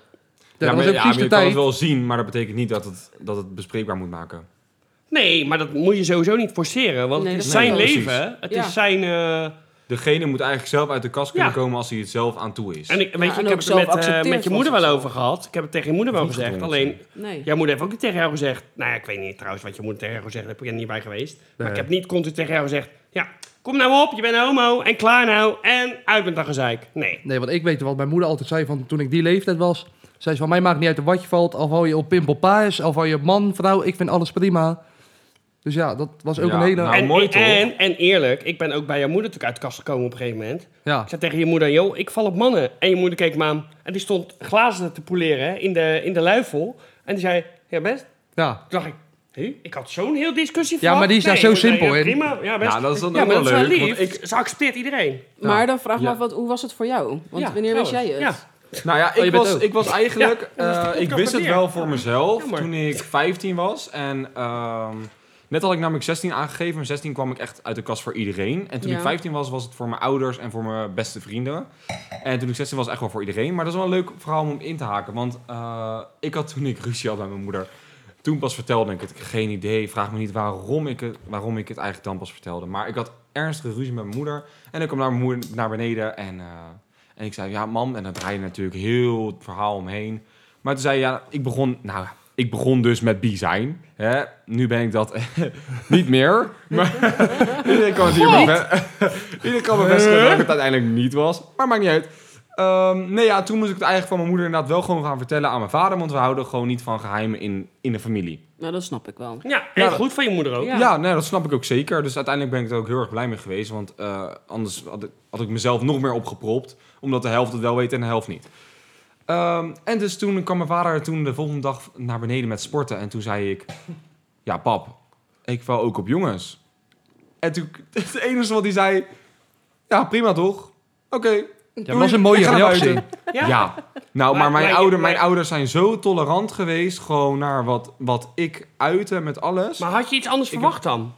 S4: Dat
S3: maar,
S4: was ook
S3: ja,
S4: precies
S3: maar
S4: de
S3: je kan het
S4: tijd.
S3: wel zien, maar dat betekent niet dat het, dat het bespreekbaar moet maken.
S2: Nee, maar dat moet je sowieso niet forceren. Want
S1: Nee,
S2: het is
S1: dat
S2: zijn
S1: klopt.
S3: Nee,
S2: leven. Het
S1: Ja.
S2: is zijn... eh,
S3: Degene moet eigenlijk zelf uit de kast kunnen
S2: Ja.
S3: komen als hij het zelf aan toe is.
S2: en ik, weet
S1: en
S2: je, ik
S1: ook
S2: heb het er
S1: zelf
S2: met, eh,
S1: accepteert
S2: met je
S1: van
S2: moeder wel
S1: zichzelf.
S2: over gehad. Ik heb het tegen je moeder wel
S3: Niet
S2: gezegd.
S3: gedwongen,
S2: Alleen,
S1: Nee.
S2: Jouw moeder heeft ook niet tegen jou gezegd. Nou ja, ik weet niet trouwens wat je moeder tegen jou gezegd heeft. Ik ben er niet bij geweest. Maar
S4: Nee.
S2: ik heb niet continu tegen jou gezegd. Ja, kom nou op, je bent homo en klaar nou. En uit met dat gezeik. Nee.
S4: Nee, want ik weet wat mijn moeder altijd zei van toen ik die leeftijd was. Zei ze van mij maakt niet uit op wat je valt. Al val je op pimpel paars, al val je op man, vrouw. Ik vind alles prima. Dus ja, dat was ook
S3: Ja,
S4: een hele...
S3: nou,
S2: en,
S3: mooi, toch?
S2: en, en eerlijk, ik ben ook bij jouw moeder natuurlijk uit de kast gekomen op een gegeven moment.
S4: ja.
S2: Ik zei tegen je moeder, joh, ik val op mannen. En je moeder keek me aan. En die stond glazen te poleren hè, in de, in de luifel. En die zei, ja best.
S4: ja.
S2: Toen dacht ik, hé, ik had zo'n heel discussie
S4: Ja, maar die is daar
S2: Nee,
S4: zo
S2: ik zei,
S4: simpel
S2: ja,
S4: in.
S2: Prima, ja best.
S3: Ja, dat is dan
S2: ja,
S3: ook
S2: maar
S3: wel
S2: dat is wel
S3: leuk, want
S2: lief. Ze accepteert iedereen.
S1: Maar dan vraag me
S3: Ja.
S1: af, wat, hoe was het voor jou? Want
S2: Ja,
S1: wanneer wist jij
S2: trouwens.
S1: het?
S2: Ja.
S3: Nou ja,
S4: Oh, je
S3: ik,
S4: bent
S3: was,
S4: ook.
S3: ik was eigenlijk... eh,
S2: dat is de
S3: ik
S2: podcast
S3: wist het
S2: van
S3: wel voor mezelf
S2: Jammer.
S3: toen ik 15 was. En ehm, Net had ik namelijk 16 aangegeven. Maar 16 kwam ik echt uit de kast voor iedereen. En toen
S1: Ja.
S3: ik 15 was, was het voor mijn ouders en voor mijn beste vrienden. En toen ik 16 was, echt wel voor iedereen. Maar dat is wel een leuk verhaal om in te haken. Want eh, ik had toen ik ruzie had met mijn moeder... Toen pas vertelde ik het. Ik heb geen idee. Vraag me niet waarom ik, het, waarom ik het eigenlijk dan pas vertelde. Maar ik had ernstige ruzie met mijn moeder. En ik kwam naar mijn moeder naar beneden. En, eh, en ik zei, ja mam. En dan draai je natuurlijk heel het verhaal omheen. Maar toen zei je, ja, ik begon... Nou, ik begon dus met bi zijn. Hè? Nu ben ik dat niet meer. Maar iedereen kan het hier mijn best- Iedereen kan mijn best kunnen dat ik het uiteindelijk niet was. Maar maakt niet uit. Ehm, nee, ja, toen moest ik het eigenlijk van mijn moeder inderdaad wel gewoon gaan vertellen aan mijn vader. Want we houden gewoon niet van geheimen in, in de familie.
S1: Nou, dat snap ik wel.
S2: Ja,
S3: Ja,
S2: heel
S3: dat-
S2: goed van je moeder ook.
S1: Ja.
S3: Ja, nee, dat snap ik ook zeker. Dus uiteindelijk ben ik er ook heel erg blij mee geweest. Want eh, anders had ik, had ik mezelf nog meer opgepropt. Omdat de helft het wel weet en de helft niet. Ehm, en dus toen kwam mijn vader toen de volgende dag naar beneden met sporten. En toen zei ik... Ja, pap, ik val ook op jongens. En toen... Het enige wat hij zei... Ja, prima toch? Oké.
S4: Ja,
S3: doei,
S4: dat was een mooie
S3: ik ga naar
S4: reactie.
S3: buiten. Ja. Nou, maar,
S2: Maar-
S3: mijn,
S2: maar je-
S3: ouder, mijn
S2: maar-
S3: ouders zijn zo tolerant geweest... gewoon naar wat, wat ik uitte met alles.
S2: Maar had je iets anders
S3: Ik heb-
S2: verwacht dan?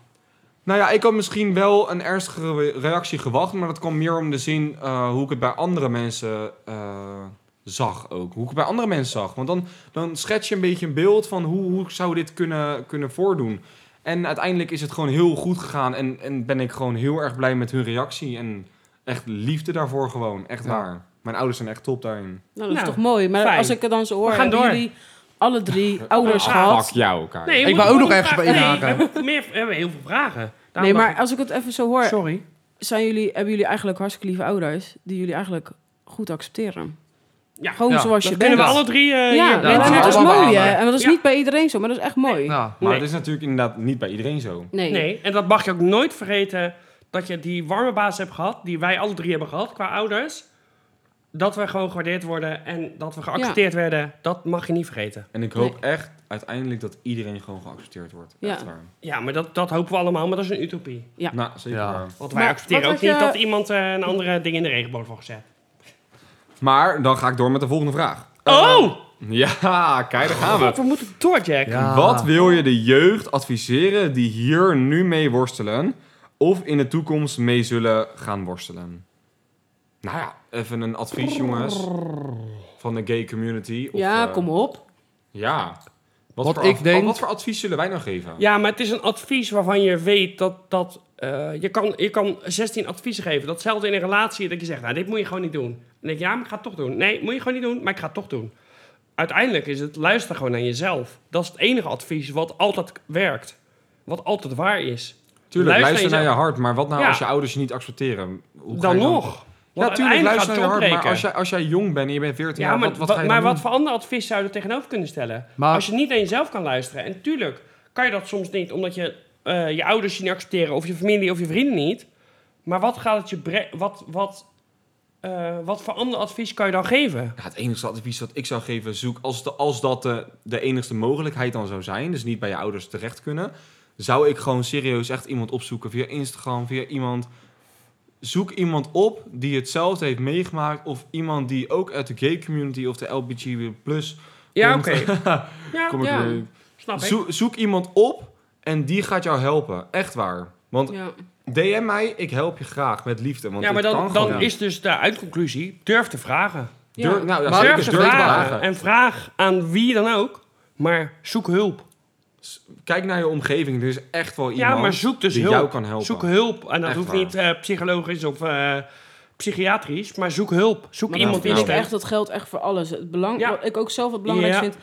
S3: Nou ja, ik had misschien wel een ernstigere reactie gewacht, maar dat kwam meer om de zin eh, hoe ik het bij andere mensen eh, zag ook. Hoe ik het bij andere mensen zag. Want dan, dan schets je een beetje een beeld van hoe, hoe zou dit kunnen, kunnen voordoen. En uiteindelijk is het gewoon heel goed gegaan en, en ben ik gewoon heel erg blij met hun reactie. En echt liefde daarvoor gewoon, echt
S4: Ja.
S3: waar. Mijn ouders zijn echt top daarin.
S1: Nou, dat
S2: Nou,
S1: is toch mooi. Maar
S2: fijn.
S1: als ik het dan zo hoor,
S2: gaan
S1: hebben
S2: door.
S1: jullie alle drie ouders
S2: Ah,
S1: gehad.
S3: Fuck jou, elkaar.
S2: Nee, je
S4: Ik
S2: moet
S4: wou ook nog
S2: gewoon
S4: ergens op
S2: vragen- Nee,
S4: inhaken.
S2: we hebben meer, we hebben heel veel vragen.
S1: Nee,
S2: Daarom
S1: maar
S2: dacht
S1: als ik het even zo
S2: ik-
S1: hoor,
S2: Sorry.
S1: zijn jullie, hebben jullie eigenlijk hartstikke lieve ouders die jullie eigenlijk goed accepteren.
S2: Ja.
S1: Gewoon
S4: Ja,
S1: zoals
S2: Dat
S1: je
S2: kunnen
S1: bent.
S2: we alle drie eh,
S1: ja,
S2: hier.
S1: nee,
S4: Ja,
S1: maar
S4: dat
S1: dat is
S4: is allemaal
S1: mooi, hè?
S4: waar.
S1: En dat is
S2: Ja.
S1: niet bij iedereen zo, maar dat is echt mooi.
S4: Nou,
S3: Maar
S2: Nee.
S3: het is natuurlijk inderdaad niet bij iedereen zo.
S1: Nee.
S2: Nee, en dat mag je ook nooit vergeten dat je die warme baas hebt gehad, die wij alle drie hebben gehad qua ouders. Dat we gewoon gewaardeerd worden en dat we geaccepteerd werden, dat mag je niet vergeten.
S3: En ik hoop echt uiteindelijk dat iedereen gewoon geaccepteerd wordt. Echt
S1: Ja.
S3: waar.
S2: Ja, maar dat, dat hopen we allemaal, maar dat is een utopie.
S3: Nou, zeker
S4: Ja.
S3: waar.
S2: Want wij
S1: Maar
S2: accepteren
S1: wat
S2: ook
S1: had je-
S2: niet dat iemand eh, een andere ding in de regenboog heeft gezet.
S3: Maar dan ga ik door met de volgende vraag.
S2: Oh!
S3: Ja, kijk, daar gaan we.
S2: We moeten door, Jack.
S4: Ja.
S3: Wat wil je de jeugd adviseren die hier nu mee worstelen of in de toekomst mee zullen gaan worstelen? Nou ja, even een advies, jongens. Van de gay community. Of,
S1: ja,
S3: eh,
S1: kom op.
S3: Ja. Wat,
S4: Wat
S3: voor
S4: ik
S3: ad-
S4: denk-
S3: wat voor advies zullen wij nou geven?
S2: Ja, maar het is een advies waarvan je weet dat... dat eh, je, kan, je kan 16 adviezen geven. Datzelfde in een relatie, dat je zegt, nou, dit moet je gewoon niet doen. En dan denk je, ja, maar ik ga het toch doen. Nee, moet je gewoon niet doen, maar ik ga het toch doen. Uiteindelijk is het, luister gewoon naar jezelf. Dat is het enige advies wat altijd werkt. Wat altijd waar is.
S3: Tuurlijk,
S2: luister
S3: luister, naar je
S2: jezelf.
S3: hart, maar wat nou
S2: Ja.
S3: als je ouders je niet accepteren? Hoe ga
S2: Dan
S3: je
S2: nog.
S3: Ja, tuurlijk,
S2: uiteindelijk
S3: luister
S2: gaat
S3: naar je
S2: het
S3: hart, maar
S2: opbreken.
S3: als jij, als jij jong bent en je bent 14
S2: Ja,
S3: jaar,
S2: maar,
S3: wat, wat
S2: wat,
S3: ga je
S2: maar
S3: dan
S2: wat voor ander advies zou je er tegenover kunnen stellen?
S4: Maar-
S2: Als je niet aan jezelf kan luisteren. En tuurlijk kan je dat soms niet, omdat je eh, je ouders je niet accepteren, of je familie of je vrienden niet. Maar wat gaat het je bre- wat, wat, eh, wat voor ander advies kan je dan geven?
S3: Ja, het enige advies dat ik zou geven, zoek als, de, als dat de, de enigste mogelijkheid dan zou zijn, dus niet bij je ouders terecht kunnen, zou ik gewoon serieus echt iemand opzoeken via Instagram, via iemand. Zoek iemand op die hetzelfde heeft meegemaakt of iemand die ook uit de gay community of de LBG plus.
S2: Ja,
S3: komt.
S2: oké. ja,
S3: Kom ik
S1: Ja.
S3: weer-
S2: snap ik.
S3: Zoek- zoek iemand op en die gaat jou helpen, echt waar. Want
S1: Ja.
S3: DM mij, ik help je graag met liefde. Want
S2: Ja, maar
S3: dit
S2: dan,
S3: kan gewoon
S2: dan
S3: niet.
S2: is dus de uitconclusie, durf te vragen.
S1: Ja.
S3: Durf- nou, ja,
S4: Maar-
S3: zeker,
S2: Durf te
S3: durf te
S2: vragen.
S3: vragen.
S2: En vraag aan wie dan ook, maar zoek hulp.
S3: Kijk naar je omgeving. Er is echt wel iemand
S2: Ja, maar zoek dus
S3: die
S2: hulp.
S3: jou kan helpen.
S2: Zoek hulp. En dat
S3: Echt
S2: hoeft
S3: waar.
S2: niet eh, psychologisch of eh, psychiatrisch, maar zoek hulp. Zoek
S1: Maar
S2: iemand
S1: dat
S2: in
S1: vind
S2: de
S1: ik echt, dat geldt echt voor alles. Het belang,
S2: Ja.
S1: Wat ik ook zelf het belangrijk
S2: Ja.
S1: vind,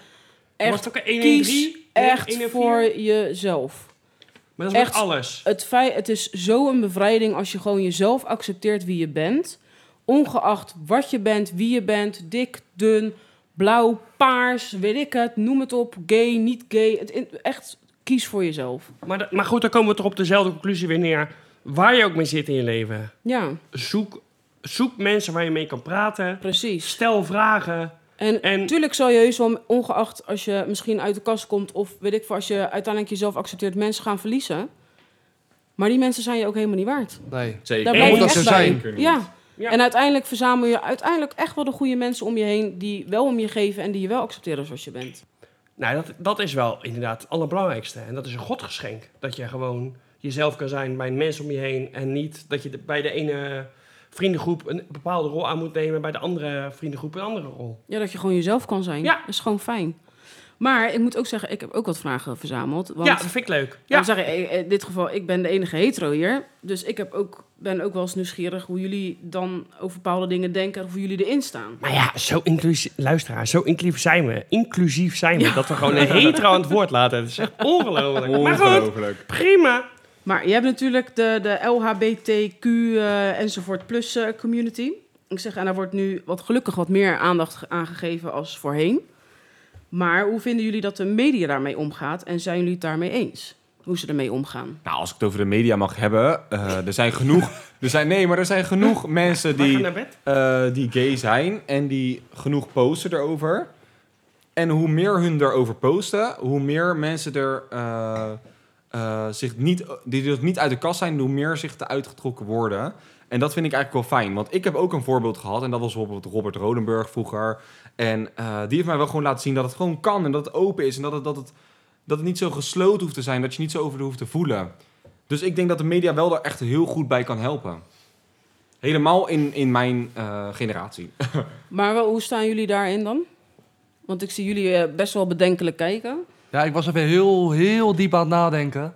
S2: Wordt
S1: echt
S2: ook een 1 in
S1: kies
S2: 3,
S1: echt
S2: 1 in 4.
S1: voor jezelf.
S2: Maar dat is
S1: echt-
S2: met alles.
S1: het feit, het is zo een bevrijding als je gewoon jezelf accepteert wie je bent. Ongeacht wat je bent, wie je bent, dik, dun, blauw, paars, weet ik het, noem het op, gay, niet gay. Het, in- echt, kies voor jezelf.
S2: Maar, dat- maar goed, dan komen we toch op dezelfde conclusie weer neer. Waar je ook mee zit in je leven.
S1: Ja,
S2: Zoek, zoek mensen waar je mee kan praten.
S1: precies.
S2: Stel vragen.
S1: En
S2: En-
S1: natuurlijk zal je heus wel, ongeacht als je misschien uit de kast komt of weet ik veel, als je uiteindelijk jezelf accepteert, mensen gaan verliezen. Maar die mensen zijn je ook helemaal niet waard.
S4: Nee.
S3: Zeker.
S1: Daar blijf
S2: blijf moet
S1: je
S4: dat
S1: echt
S4: zo
S1: bij.
S4: zijn.
S3: Zeker niet.
S1: Ja.
S2: Ja.
S1: En uiteindelijk verzamel je uiteindelijk echt wel de goede mensen om je heen die wel om je geven en die je wel accepteren zoals je bent.
S2: Nou, dat, dat is wel inderdaad het allerbelangrijkste. En dat is een godgeschenk. Dat je gewoon jezelf kan zijn bij mensen om je heen. En niet dat je de- bij de ene vriendengroep een bepaalde rol aan moet nemen. Bij de andere vriendengroep een andere rol.
S1: Ja, dat je gewoon jezelf kan zijn.
S2: Ja.
S1: Dat is gewoon fijn. Maar ik moet ook zeggen, ik heb ook wat vragen verzameld. Want
S2: ja, dat vind ik leuk.
S1: Ja.
S2: Ja,
S1: Ik zeggen, eh, in dit geval, ik ben de enige hetero hier. Dus ik heb ook, ben ook wel eens nieuwsgierig hoe jullie dan over bepaalde dingen denken. Of hoe jullie erin staan.
S2: Maar ja, zo inclusief, luisteraar, zo inclusief zijn we. Inclusief zijn we.
S1: Ja.
S2: Dat we gewoon een hetero aan het woord laten. Dat is echt ongelooflijk. Maar goed,
S3: Ongelooflijk.
S2: prima.
S1: Maar je hebt natuurlijk de, de LHBTQ eh, enzovoort plus eh, community. Ik zeg, en daar wordt nu wat gelukkig wat meer aandacht ge- aan gegeven als voorheen. Maar hoe vinden jullie dat de media daarmee omgaat? En zijn jullie het daarmee eens? Hoe ze ermee omgaan?
S3: Nou, als ik het over de media mag hebben. eh, er zijn genoeg. er zijn, nee, maar er zijn genoeg mensen
S2: We gaan
S3: die,
S2: naar bed.
S3: eh, die gay zijn. En die genoeg posten erover. En hoe meer hun erover posten, hoe meer mensen er. eh, eh, zich niet, die dus niet uit de kast zijn, hoe meer zich eruit getrokken worden. En dat vind ik eigenlijk wel fijn. Want ik heb ook een voorbeeld gehad. En dat was bijvoorbeeld Robert Rodenburg vroeger. En eh, die heeft mij wel gewoon laten zien dat het gewoon kan. En dat het open is. En dat het, dat het dat het niet zo gesloten hoeft te zijn, dat je niet zo over hoeft te voelen. Dus ik denk dat de media wel daar echt heel goed bij kan helpen. Helemaal in, in mijn eh, generatie.
S1: Maar wel, hoe staan jullie daarin dan? Want ik zie jullie eh, best wel bedenkelijk kijken.
S4: Ja, ik was even heel, heel diep aan het nadenken.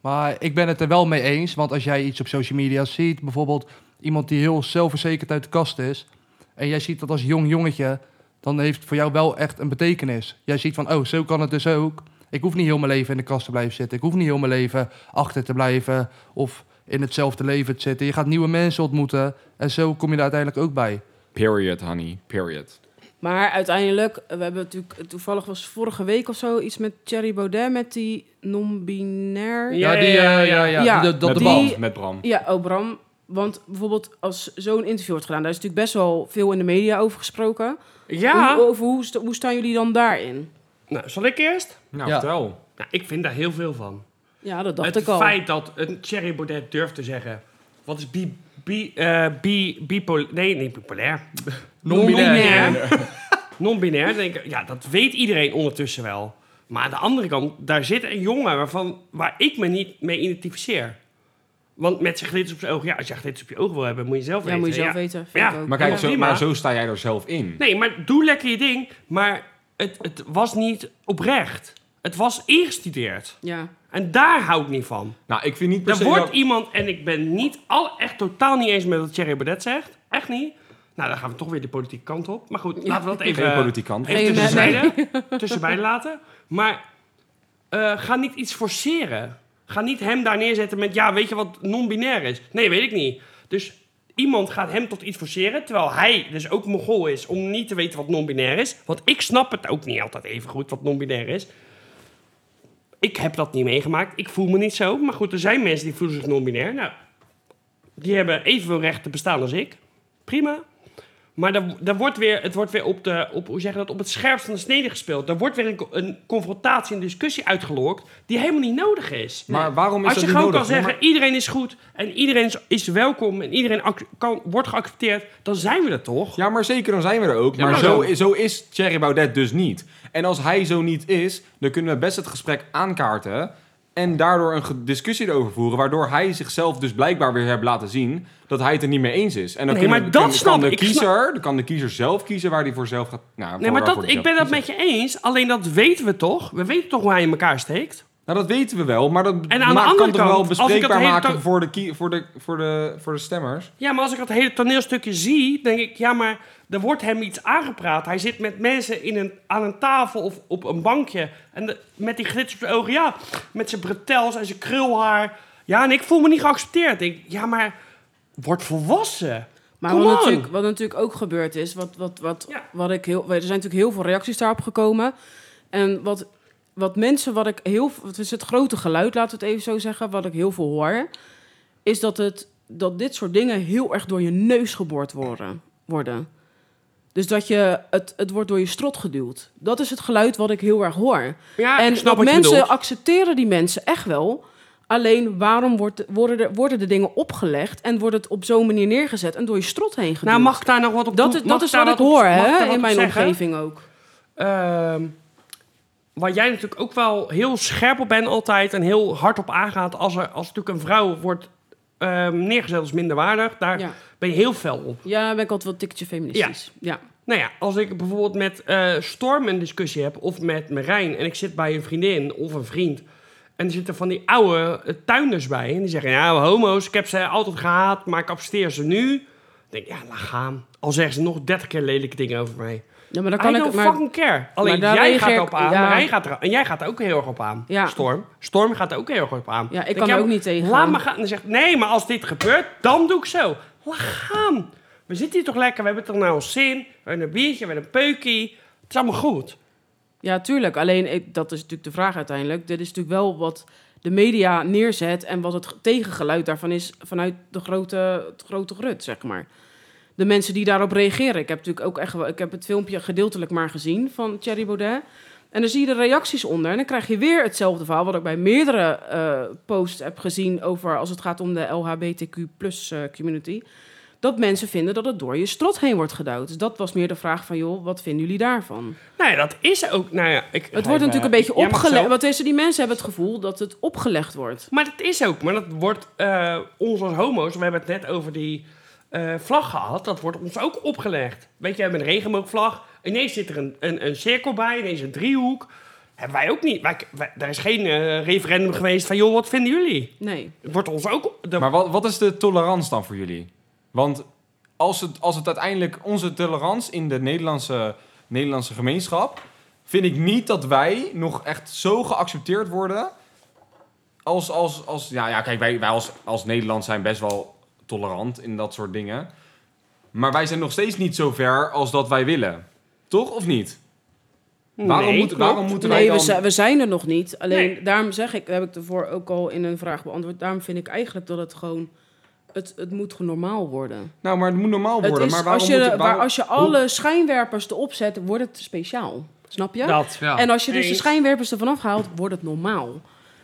S4: Maar ik ben het er wel mee eens. Want als jij iets op social media ziet, bijvoorbeeld iemand die heel zelfverzekerd uit de kast is. En jij ziet dat als jong jongetje, dan heeft het voor jou wel echt een betekenis. Jij ziet van, oh, zo kan het dus ook. Ik hoef niet heel mijn leven in de kast te blijven zitten. Ik hoef niet heel mijn leven achter te blijven of in hetzelfde leven te zitten. Je gaat nieuwe mensen ontmoeten en zo kom je er uiteindelijk ook bij.
S3: Period, honey. Period.
S1: Maar uiteindelijk, eh, we hebben natuurlijk toevallig was vorige week of zo iets met Thierry Baudet met die non-binair.
S2: Ja,
S4: die,
S2: ja,
S4: eh,
S2: ja.
S1: Ja,
S4: die- dat- dat
S3: met,
S4: de
S1: die-
S4: bal.
S3: Bram, met Bram.
S1: Ja, oh Bram. Want bijvoorbeeld als zo'n interview wordt gedaan, daar is natuurlijk best wel veel in de media over gesproken.
S2: Ja.
S1: Hoe, over hoe, sta- hoe staan jullie dan daarin?
S2: Nou, zal ik eerst?
S3: Nou,
S4: Ja.
S3: vertel.
S2: Nou, ik vind daar heel veel van.
S1: Ja, dat dacht
S2: het
S1: ik al.
S2: feit dat een Thierry Baudet durft te zeggen... Wat is bi... bi... eh, bi... bipol- Nee, niet bipolair. Non-binair. Non-binair. Dan denk ik, ja, dat weet iedereen ondertussen wel. Maar aan de andere kant, daar zit een jongen waarvan, waar ik me niet mee identificeer. Want met zijn glitters op zijn ogen... Ja, als je glitters op je ogen wil hebben, moet je zelf
S1: Ja,
S2: weten.
S1: moet je zelf weten. vind
S2: Ja,
S1: ik ook.
S3: Maar kijk,
S1: Ja.
S3: zo,
S2: prima.
S3: maar zo sta jij er zelf in.
S2: Nee, maar doe lekker je ding. Maar het, het was niet oprecht. Het was ingestudeerd.
S1: Ja.
S2: En daar hou ik niet van.
S3: Nou, ik vind niet per
S2: Er
S3: se
S2: wordt
S3: dat-
S2: iemand, en ik ben niet al, echt totaal niet eens met wat Thierry Baudet zegt. Echt niet. Nou, dan gaan we toch weer de politieke kant op. Maar goed, laten we dat even...
S3: geen dus- politikant.
S2: Even
S1: Nee,
S2: tussen tussenbeide laten. Maar eh, ga niet iets forceren. Ga niet hem daar neerzetten met... Ja, weet je wat non-binair is? Nee, weet ik niet. Dus iemand gaat hem tot iets forceren... terwijl hij dus ook mogol is om niet te weten wat non-binair is. Want ik snap het ook niet altijd even goed wat non-binair is. Ik heb dat niet meegemaakt. Ik voel me niet zo. Maar goed, er zijn mensen die voelen zich non-binair. Nou, die hebben evenveel recht te bestaan als ik. Prima. Maar dan, dan wordt weer, het wordt weer op, de, op, hoe zeg je dat, op het scherpst van de snede gespeeld. Er wordt weer een, co- een confrontatie, een discussie uitgelokt die helemaal niet nodig is.
S3: Maar waarom is
S2: Als
S3: dat
S2: je
S3: niet
S2: gewoon
S3: nodig?
S2: kan zeggen, iedereen is goed en iedereen is, is welkom en iedereen ac- kan, wordt geaccepteerd, dan zijn we er toch?
S3: Ja, maar zeker, dan zijn we er ook. maar
S2: maar
S3: zo,
S2: dan-
S3: zo is Thierry Baudet dus niet. En als hij zo niet is, dan kunnen we best het gesprek aankaarten... en daardoor een ge- discussie erover voeren... waardoor hij zichzelf dus blijkbaar weer heeft laten zien... dat hij het er niet mee eens is. En dan
S2: Nee,
S3: kunnen-
S2: maar dat
S3: kan- kan,
S2: snap
S3: de
S2: ik. Ik snap-
S3: kiezer, Dan kan de kiezer zelf kiezen waar hij voor zelf gaat... Nou, voor
S2: Nee, maar
S3: waarvoor
S2: dat,
S3: hij
S2: ik ben
S3: zelf
S2: dat
S3: kiest.
S2: met je eens, alleen dat weten we toch? We weten toch hoe hij in elkaar steekt?
S3: Nou, dat weten we wel, maar dat
S2: de
S3: maakt-
S2: andere
S3: kan toch
S2: kant,
S3: wel
S2: als ik dat
S3: bespreekbaar
S2: hele
S3: maken
S2: to-
S3: voor, de kie- voor, de, voor, de, voor de stemmers?
S2: Ja, maar als ik dat hele toneelstukje zie, denk ik, ja, maar er wordt hem iets aangepraat. Hij zit met mensen in een, aan een tafel of op een bankje. En de- met die glitser op de ogen, ja, met zijn bretels en zijn krulhaar. Ja, en ik voel me niet geaccepteerd. Ik, denk, ja, maar word volwassen.
S1: Maar
S2: Come
S1: wat
S2: on.
S1: natuurlijk, wat natuurlijk ook gebeurd is, wat, wat, wat,
S2: Ja.
S1: wat ik heel, er zijn natuurlijk heel veel reacties daarop gekomen. En wat, wat mensen, wat ik heel, het is het grote geluid, laten we het even zo zeggen, wat ik heel veel hoor, is dat, het, dat dit soort dingen heel erg door je neus geboord worden. worden. Dus dat je, het, het wordt door je strot geduwd. Dat is het geluid wat ik heel erg hoor.
S2: Ja,
S1: en
S2: ik snap
S1: dat
S2: wat je
S1: mensen
S2: bedoelt.
S1: accepteren die mensen echt wel. Alleen waarom wordt, worden, er, worden de dingen opgelegd en wordt het op zo'n manier neergezet en door je strot heen geduwd?
S2: Nou, mag ik daar nog wat op
S1: dat,
S2: toe-
S1: dat
S2: mag
S1: is
S2: daar
S1: wat ik
S2: op-
S1: hoor
S2: mag ik daar
S1: hè,
S2: wat
S1: in
S2: op
S1: mijn
S2: zeggen?
S1: omgeving ook.
S2: Ehm, waar jij natuurlijk ook wel heel scherp op bent altijd en heel hard op aangaat als er als natuurlijk een vrouw wordt ehm, neergezet als minderwaardig, daar
S1: Ja.
S2: ben je heel fel op.
S1: Ja, daar ben ik altijd wel een tikkeltje feministisch. Ja.
S2: Nou ja, als ik bijvoorbeeld met eh, Storm een discussie heb of met Marijn en ik zit bij een vriendin of een vriend en er zitten van die oude eh, tuinders bij en die zeggen, ja, homo's, ik heb ze altijd gehaat, maar ik absteer ze nu. Ik denk, ja, laat gaan. Al zeggen ze nog 30 keer lelijke dingen over mij.
S1: Ja, maar dan
S2: I
S1: kan ik...
S2: don't
S1: Maar,
S2: fucking care. Alleen
S1: daar
S2: jij
S1: reageer
S2: gaat
S1: ik-
S2: erop aan,
S1: ja.
S2: maar hij gaat er, en jij gaat er ook heel erg op aan.
S1: Ja.
S2: Storm. Storm gaat er ook heel erg op aan.
S1: ja, ik
S2: Denk,
S1: kan er
S2: maar
S1: ook niet tegen.
S2: Laat maar gaan. En dan zegt, nee, maar als dit gebeurt, dan doe ik zo. Laat gaan. We zitten hier toch lekker, we hebben het er nou ons zin. We hebben een biertje, we hebben een peukie. Het is allemaal goed.
S1: Ja, tuurlijk. Alleen, ik- dat is natuurlijk de vraag uiteindelijk. Dit is natuurlijk wel wat de media neerzet en wat het ge- tegengeluid daarvan is vanuit de grote, het grote grut, zeg maar. De mensen die daarop reageren. Ik heb natuurlijk ook echt wel, ik heb het filmpje gedeeltelijk maar gezien van Thierry Baudet. En dan zie je de reacties onder. En dan krijg je weer hetzelfde verhaal. Wat ik bij meerdere eh, posts heb gezien over als het gaat om de LHBTQ plus eh, community. Dat mensen vinden dat het door je strot heen wordt geduwd. Dus dat was meer de vraag van, joh, wat vinden jullie daarvan?
S2: Nou ja, dat is ook... Nou ja, ik,
S1: Het wordt natuurlijk een beetje opgelegd. Want deze, die mensen hebben het gevoel dat het opgelegd wordt.
S2: Maar dat is ook. Maar dat wordt eh, ons als homo's, we hebben het net over die eh, vlag gehad, dat wordt ons ook opgelegd. Weet je, we hebben een regenboogvlag. Ineens zit er een, een, een cirkel bij, ineens een driehoek. Hebben wij ook niet. Wij, wij- er is geen eh, referendum geweest van, joh, wat vinden jullie?
S1: Nee.
S2: Het wordt ons ook... op- de-
S3: Maar wat, wat is de tolerantie dan voor jullie? Want als het, als het uiteindelijk onze tolerantie in de Nederlandse, Nederlandse gemeenschap... vind ik niet dat wij nog echt zo geaccepteerd worden... als... als, als ja, ja, kijk, wij, wij als, als Nederland zijn best wel tolerant in dat soort dingen. Maar wij zijn nog steeds niet zo ver als dat wij willen. Toch of niet? waarom,
S2: Nee,
S3: moet,
S2: klopt.
S3: waarom moeten wij
S1: Nee,
S3: dan...
S1: we, zi- we zijn er nog niet. Alleen
S2: Nee.
S1: daarom zeg ik, heb ik ervoor ook al in een vraag beantwoord. Daarom vind ik eigenlijk dat het gewoon. Het, het moet gewoon normaal worden.
S3: Nou, maar het moet normaal worden.
S1: het is,
S3: maar waarom
S1: als, je,
S3: moet het-
S1: waar,
S3: waarom-
S1: als je alle schijnwerpers erop zet, wordt het speciaal. Snap je?
S2: Dat.
S4: Ja.
S1: En als je dus de
S2: Nou, Eens.
S1: schijnwerpers ervan afhaalt, wordt het normaal.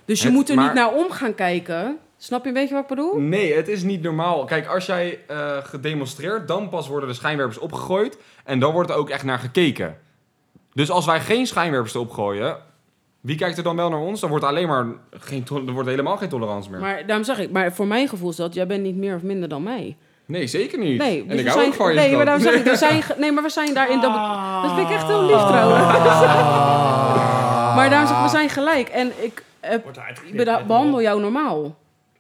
S1: Dus je
S3: Het-
S1: moet er
S3: maar-
S1: niet naar om gaan kijken. Snap je een beetje wat ik bedoel?
S3: Nee, het is niet normaal. Kijk, als jij eh, gedemonstreerd, dan pas worden de schijnwerpers opgegooid. En dan wordt er ook echt naar gekeken. Dus als wij geen schijnwerpers erop gooien, wie kijkt er dan wel naar ons? Dan wordt er alleen maar geen to- er wordt helemaal geen tolerantie meer.
S1: Maar daarom zeg ik, maar voor mijn gevoel is dat jij bent niet meer of minder dan mij.
S3: Nee, zeker niet.
S1: Nee,
S3: en
S1: dus
S3: ik
S1: we
S3: hou
S1: zijn,
S3: ook van je.
S1: nee, maar
S3: schat.
S1: daarom zeg ik, we zijn, ge- nee, maar we zijn daarin. Dat, be- dat vind ik echt heel lief trouwens.
S2: Ah.
S1: maar daarom zeg ik, we zijn gelijk. En ik, eh,
S2: Wordt
S1: ik
S2: uitgeknipt
S1: beda-
S2: met-
S1: behandel jou normaal.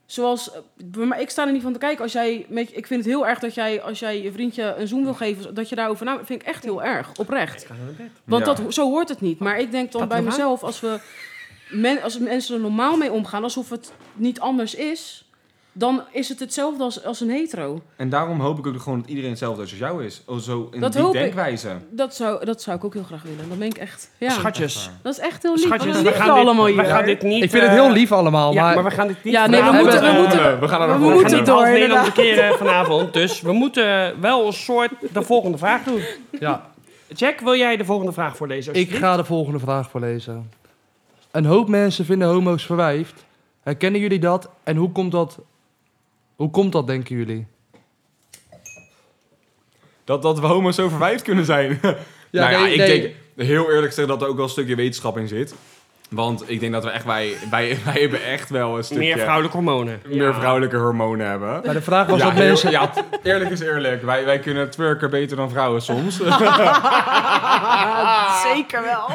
S1: Zoals, eh, maar ik sta er niet van te kijken. Als jij, met, je- ik vind het heel erg dat jij, als jij je vriendje een zoen wil geven, dat je daarover na. vind ik echt heel erg, oprecht. Want
S3: Ja.
S1: dat, zo hoort het niet. Maar ik denk dan bij
S2: normaal?
S1: mezelf, als, we men, als mensen er normaal mee omgaan, alsof het niet anders is, dan is het hetzelfde als, als een hetero.
S3: En daarom hoop ik ook gewoon dat iedereen hetzelfde is als jou is. Oh, zo in
S1: Dat
S3: die
S1: hoop ik.
S3: denkwijze.
S1: Dat zou, dat zou ik ook heel graag willen. Dat ben ik echt. Ja.
S2: Schatjes.
S1: Dat is echt heel lief.
S2: Schatjes,
S1: Wat
S2: we
S1: lief
S2: gaan, dit,
S1: allemaal
S2: we
S1: hier.
S2: gaan dit niet...
S4: Ik vind het heel
S2: eh,
S4: lief allemaal,
S2: Ja,
S4: maar...
S2: maar we gaan dit niet...
S1: Ja, nee, we
S2: vragen.
S1: moeten, we
S4: we-
S1: moeten,
S3: Eh, we gaan er
S1: we
S3: nog voor.
S1: moeten
S2: niet
S1: door.
S2: half Nederland
S1: inderdaad.
S2: verkeren vanavond, dus we moeten wel een soort de volgende vraag doen.
S4: ja.
S2: Jack, wil jij de volgende vraag voorlezen?
S4: Ik
S2: alsjeblieft?
S4: ga de volgende vraag voorlezen. Een hoop mensen vinden homo's verwijfd. Herkennen jullie dat? En hoe komt dat? Hoe komt dat, denken jullie?
S3: Dat, dat we homo's zo verwijfd kunnen zijn. nou ja,
S4: nee,
S3: ik
S4: nee.
S3: denk heel eerlijk gezegd dat er ook wel een stukje wetenschap in zit. Want ik denk dat we echt, wij, wij, wij hebben echt wel een stukje...
S2: Meer vrouwelijke hormonen.
S3: meer vrouwelijke hormonen hebben.
S4: Maar de vraag was dat
S3: heel-
S4: mensen...
S3: ja, t- eerlijk is eerlijk. Wij, wij kunnen twerken beter dan vrouwen soms.
S1: Ah, Zeker wel.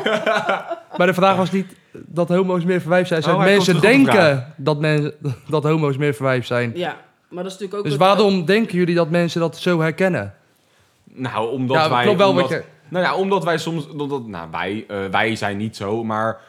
S4: Maar de vraag was niet dat homo's meer verwijfd zijn. Zijn
S3: Oh, hij
S4: mensen
S3: komt terug op de
S4: denken dat, men, dat homo's meer verwijfd zijn.
S1: Ja, maar dat is natuurlijk ook.
S4: Dus
S1: het-
S4: waarom denken jullie dat mensen dat zo herkennen?
S3: nou, omdat
S4: ja,
S3: wij...
S4: klopt wel
S3: omdat,
S4: wat je...
S3: Nou ja, omdat wij soms... Omdat, nou, wij, eh, wij zijn niet zo, maar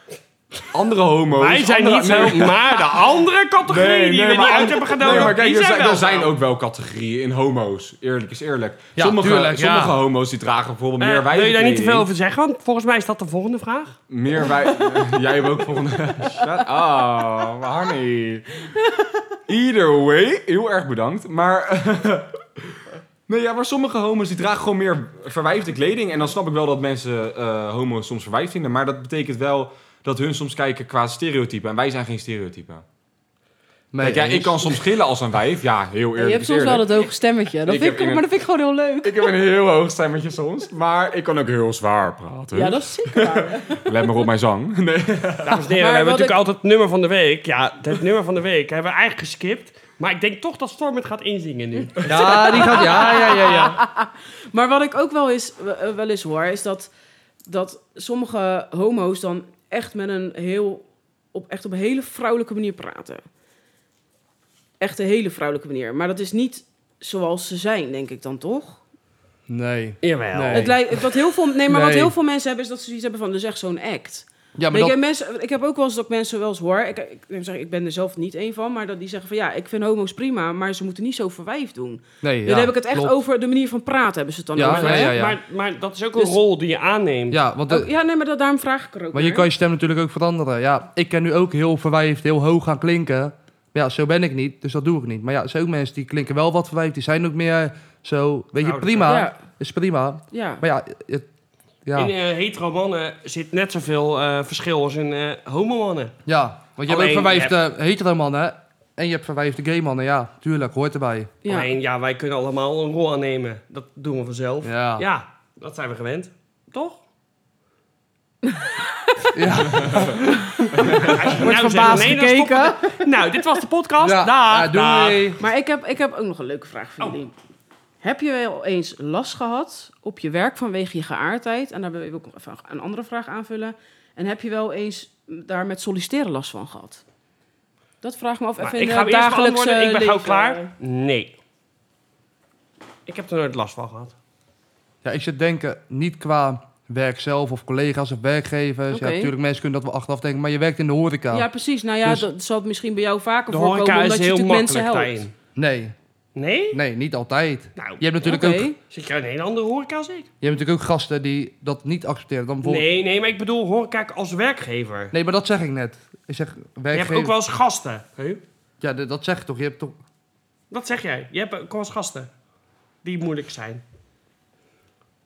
S3: andere homo's...
S2: Wij zijn
S3: andere-
S2: niet zo,
S3: nee,
S2: maar de andere categorie
S3: Nee,
S2: die
S3: nee,
S2: we
S3: maar
S2: niet uit
S3: an-
S2: hebben
S3: Nee,
S2: gedoken,
S3: maar kijk,
S2: die
S3: er zijn,
S2: zijn,
S3: er
S2: wel.
S3: zijn ook wel categorieën in homo's. Eerlijk is eerlijk.
S4: Ja,
S3: sommige
S4: tuurlijk, ja.
S3: sommige homo's die dragen bijvoorbeeld
S2: Eh,
S3: meer wij.
S2: wil je daar niet te veel over zeggen? Want volgens mij is dat de volgende vraag.
S3: Meer wij... Jij hebt ook volgende... Shut up, honey. Either way, heel erg bedankt. Maar... nee, ja, maar sommige homo's die dragen gewoon meer verwijfde kleding. En dan snap ik wel dat mensen eh, homo's soms verwijfd vinden. Maar dat betekent wel dat hun soms kijken qua stereotypen. En wij zijn geen stereotypen.
S4: Mee
S3: Kijk, ja,
S4: eens.
S3: ik kan soms gillen als een wijf. Ja, heel eerlijk.
S1: je hebt
S3: is
S1: soms wel
S3: eerlijk.
S1: dat hoge stemmetje. Dat
S3: Ik
S1: vind ik,
S3: heb
S1: maar dat
S3: in-
S1: vind ik gewoon heel leuk.
S3: Ik heb een heel hoog stemmetje soms, maar ik kan ook heel zwaar praten.
S1: Ja, dat is zeker waar.
S3: Let maar op mijn zang. Nee.
S2: Dames en heren,
S1: Maar
S2: we hebben
S1: wat
S2: natuurlijk altijd het nummer van de week. Ja, het nummer van de week hebben we eigenlijk geskipt. Maar ik denk toch dat Storm het gaat inzingen nu.
S4: Ja, die gaat... Ja, ja, ja, ja.
S1: Maar wat ik ook wel eens, eh, wel eens hoor, is dat, dat sommige homo's dan echt met een heel... Op, echt op een hele vrouwelijke manier praten. Echt een hele vrouwelijke manier. Maar dat is niet zoals ze zijn, denk ik dan toch?
S4: Nee.
S2: Jawel.
S4: Nee.
S1: Het lijkt, wat heel veel, nee, maar wat
S4: Nee.
S1: heel veel mensen hebben, is dat ze iets hebben van, dus echt zo'n act.
S4: Ja, maar
S1: Weet je,
S4: dat...
S1: mensen, ik heb ook wel eens dat ik mensen wel eens hoor. Ik, ik, ik, zeg, ik ben er zelf niet één van, maar dat die zeggen van ja, ik vind homo's prima, maar ze moeten niet zo verwijfd doen.
S4: Nee, ja,
S1: dan heb ik het echt
S4: klopt.
S1: over de manier van praten, hebben ze het dan
S4: Ja,
S1: over.
S4: nee,
S1: hè?
S4: ja, ja.
S2: Maar, maar dat is ook een
S1: Dus-
S2: rol die je aanneemt.
S4: Ja, want... de-
S1: Oh, ja, nee, maar dat, daarom vraag ik er ook
S4: Maar je
S1: naar.
S4: kan je stem natuurlijk ook veranderen. Ja, ik kan nu ook heel verwijfd, heel hoog gaan klinken. Maar ja, zo ben ik niet, dus dat doe ik niet. Maar ja, er zijn ook mensen die klinken wel wat verwijfd. Die zijn ook meer zo, weet je,
S2: Ouder.
S4: prima.
S1: Ja,
S4: Is prima.
S1: ja.
S4: Maar ja, het, ja,
S2: In eh, hetero mannen zit net zoveel eh, verschil als in eh homo mannen.
S4: ja. Want je hebt ook
S2: Alleen,
S4: verwijfde hetero mannen en je hebt verwijfde gay mannen. Ja, tuurlijk, hoort erbij.
S1: ja.
S2: Alleen, ja, wij kunnen allemaal een rol aannemen. Dat doen we vanzelf. Ja,
S4: Ja.
S2: dat zijn we gewend. Toch?
S4: Ja.
S2: Wordt
S1: verbaasd
S2: nou, dit was de podcast.
S4: Ja,
S2: Dag,
S4: ja,
S2: dag.
S4: doei.
S1: Maar ik heb, ik heb ook nog een leuke vraag voor
S2: Oh.
S1: jullie. Heb je wel eens last gehad op je werk vanwege je geaardheid? En daar wil ik ook nog even een andere vraag aanvullen. En heb je wel eens daar met solliciteren last van gehad? Dat vraag ik me af.
S2: Maar
S1: Even
S2: Nou, ik
S1: in
S2: ga hem
S1: het
S2: eerst
S1: dagelijkse
S2: beantwoorden. Ik ben gauw
S1: leven.
S2: klaar. Nee. Ik heb er nooit last van gehad.
S4: ja, ik zit denken, niet qua werk zelf of collega's of werkgevers.
S1: Oké.
S4: Ja, natuurlijk, mensen kunnen dat wel achteraf denken. Maar je werkt in de horeca.
S1: Ja, precies. Nou ja,
S4: Dus-
S1: dat zal het misschien bij jou vaker
S2: De
S1: voorkomen.
S2: horeca
S1: omdat
S2: is
S1: je
S2: heel
S1: natuurlijk mensen
S2: makkelijk
S1: helpt.
S2: daarin.
S4: Nee,
S2: Nee?
S4: nee, niet altijd.
S2: Nou,
S4: Je hebt natuurlijk
S1: Oké.
S4: ook
S2: zit je in een hele andere horeca als ik?
S4: Je hebt natuurlijk ook gasten die dat niet accepteren. Dan bijvoorbeeld... nee.
S2: Nee, nee, maar ik bedoel horeca als werkgever.
S4: maar dat zeg ik net. Ik zeg
S2: Je
S4: werkgever.
S2: hebt ook wel eens gasten. Hè?
S4: Ja, d- dat zeg ik toch. Je hebt toch...
S2: Dat zeg jij. Je hebt ook wel eens gasten. Die moeilijk zijn.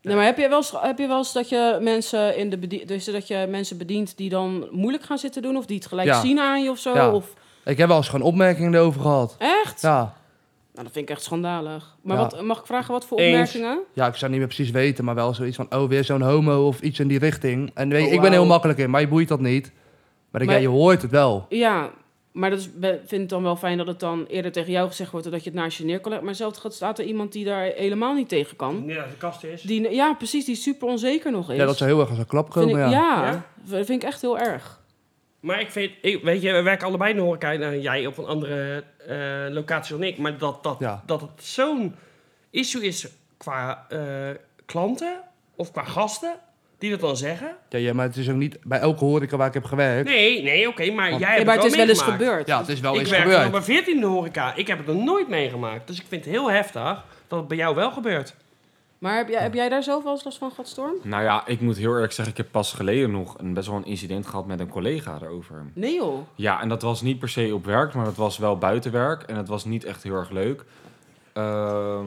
S1: Nee, Nou, maar heb je, wel eens, heb je wel eens dat je mensen in de bedien- dus dat je mensen bedient die dan moeilijk gaan zitten doen of die het gelijk
S4: Ja.
S1: zien aan je of zo?
S4: Ja.
S1: Of
S4: Ik heb wel eens gewoon opmerkingen erover gehad.
S1: echt?
S4: Ja.
S1: Nou, dat vind ik echt schandalig. Maar
S4: Ja.
S1: wat, mag ik vragen wat voor
S2: Eens.
S1: opmerkingen?
S4: ja, ik zou niet meer precies weten, maar wel zoiets van... Oh, weer zo'n homo of iets in die richting. En weet, je,
S1: Oh,
S4: ik ben heel
S1: wauw.
S4: makkelijk in, maar je boeit dat niet. Maar, ik,
S1: Maar-
S4: ja, je hoort het wel.
S1: Ja, maar dat is, be- vind ik dan wel fijn dat het dan eerder tegen jou gezegd wordt dan dat je het naast je neer kan leggen. Maar zelfs gaat- staat er iemand die daar helemaal niet tegen kan.
S2: Nee, dat de kast is.
S1: Die, ja, precies, die super onzeker nog is.
S4: Ja, dat zou heel erg als een klap
S1: vind
S4: komen,
S1: ik,
S4: ja.
S1: ja.
S2: Ja?
S1: dat vind ik echt heel erg.
S2: Maar ik vind, ik, weet je, we werken allebei in de horeca. Nou, jij op een andere eh, locatie dan ik. Maar dat, dat,
S4: Ja.
S2: dat het zo'n issue is qua eh, klanten of qua gasten die dat dan zeggen.
S4: Ja, ja, maar het is ook niet bij elke horeca waar ik heb gewerkt.
S2: Nee, nee, oké, maar jij hebt
S1: Ja, maar het is wel eens
S2: meegemaakt.
S1: gebeurd.
S4: Ja, het is wel
S2: ik
S4: eens
S2: werk
S4: gebeurd.
S2: nog maar 14 in de horeca. Ik heb het nog nooit meegemaakt. Dus ik vind het heel heftig dat het bij jou wel gebeurt.
S1: Maar heb jij, heb jij daar zelf wel eens last van gehad, Storm?
S3: Nou ja, ik moet heel eerlijk zeggen, ik heb pas geleden nog een, best wel een incident gehad met een collega daarover.
S1: Nee joh.
S3: Ja, en dat was niet per se op werk, maar dat was wel buiten werk. En dat was niet echt heel erg leuk. Ehm,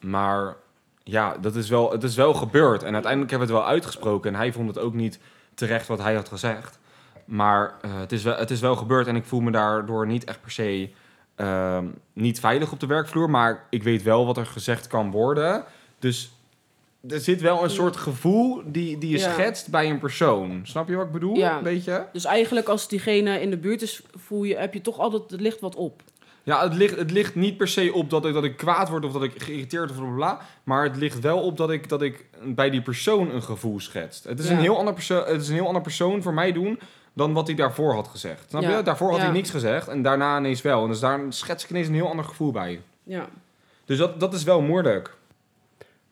S3: maar ja, dat is wel, het is wel gebeurd. En uiteindelijk hebben we het wel uitgesproken. En hij vond het ook niet terecht wat hij had gezegd. Maar eh, het, is wel, het is wel gebeurd. En ik voel me daardoor niet echt per se ehm, niet veilig op de werkvloer. Maar ik weet wel wat er gezegd kan worden. Dus er zit wel een soort gevoel die, die je
S1: Ja.
S3: schetst bij een persoon. Snap je wat ik bedoel?
S1: Ja.
S3: Een beetje?
S1: Dus eigenlijk als diegene in de buurt is, voel je, heb je toch altijd het licht wat op.
S3: Ja, het ligt, het ligt niet per se op dat ik, dat ik kwaad word of dat ik geïrriteerd of bla, bla bla. Maar het ligt wel op dat ik, dat ik bij die persoon een gevoel schetst. Het is,
S1: Ja.
S3: een, heel ander perso- het is een heel ander persoon voor mij doen dan wat hij daarvoor had gezegd. Snap
S1: Ja.
S3: je? Daarvoor had
S1: Ja.
S3: hij niks gezegd en daarna ineens wel. En dus daar schets ik ineens een heel ander gevoel bij.
S1: Ja.
S3: Dus dat, dat is wel moeilijk.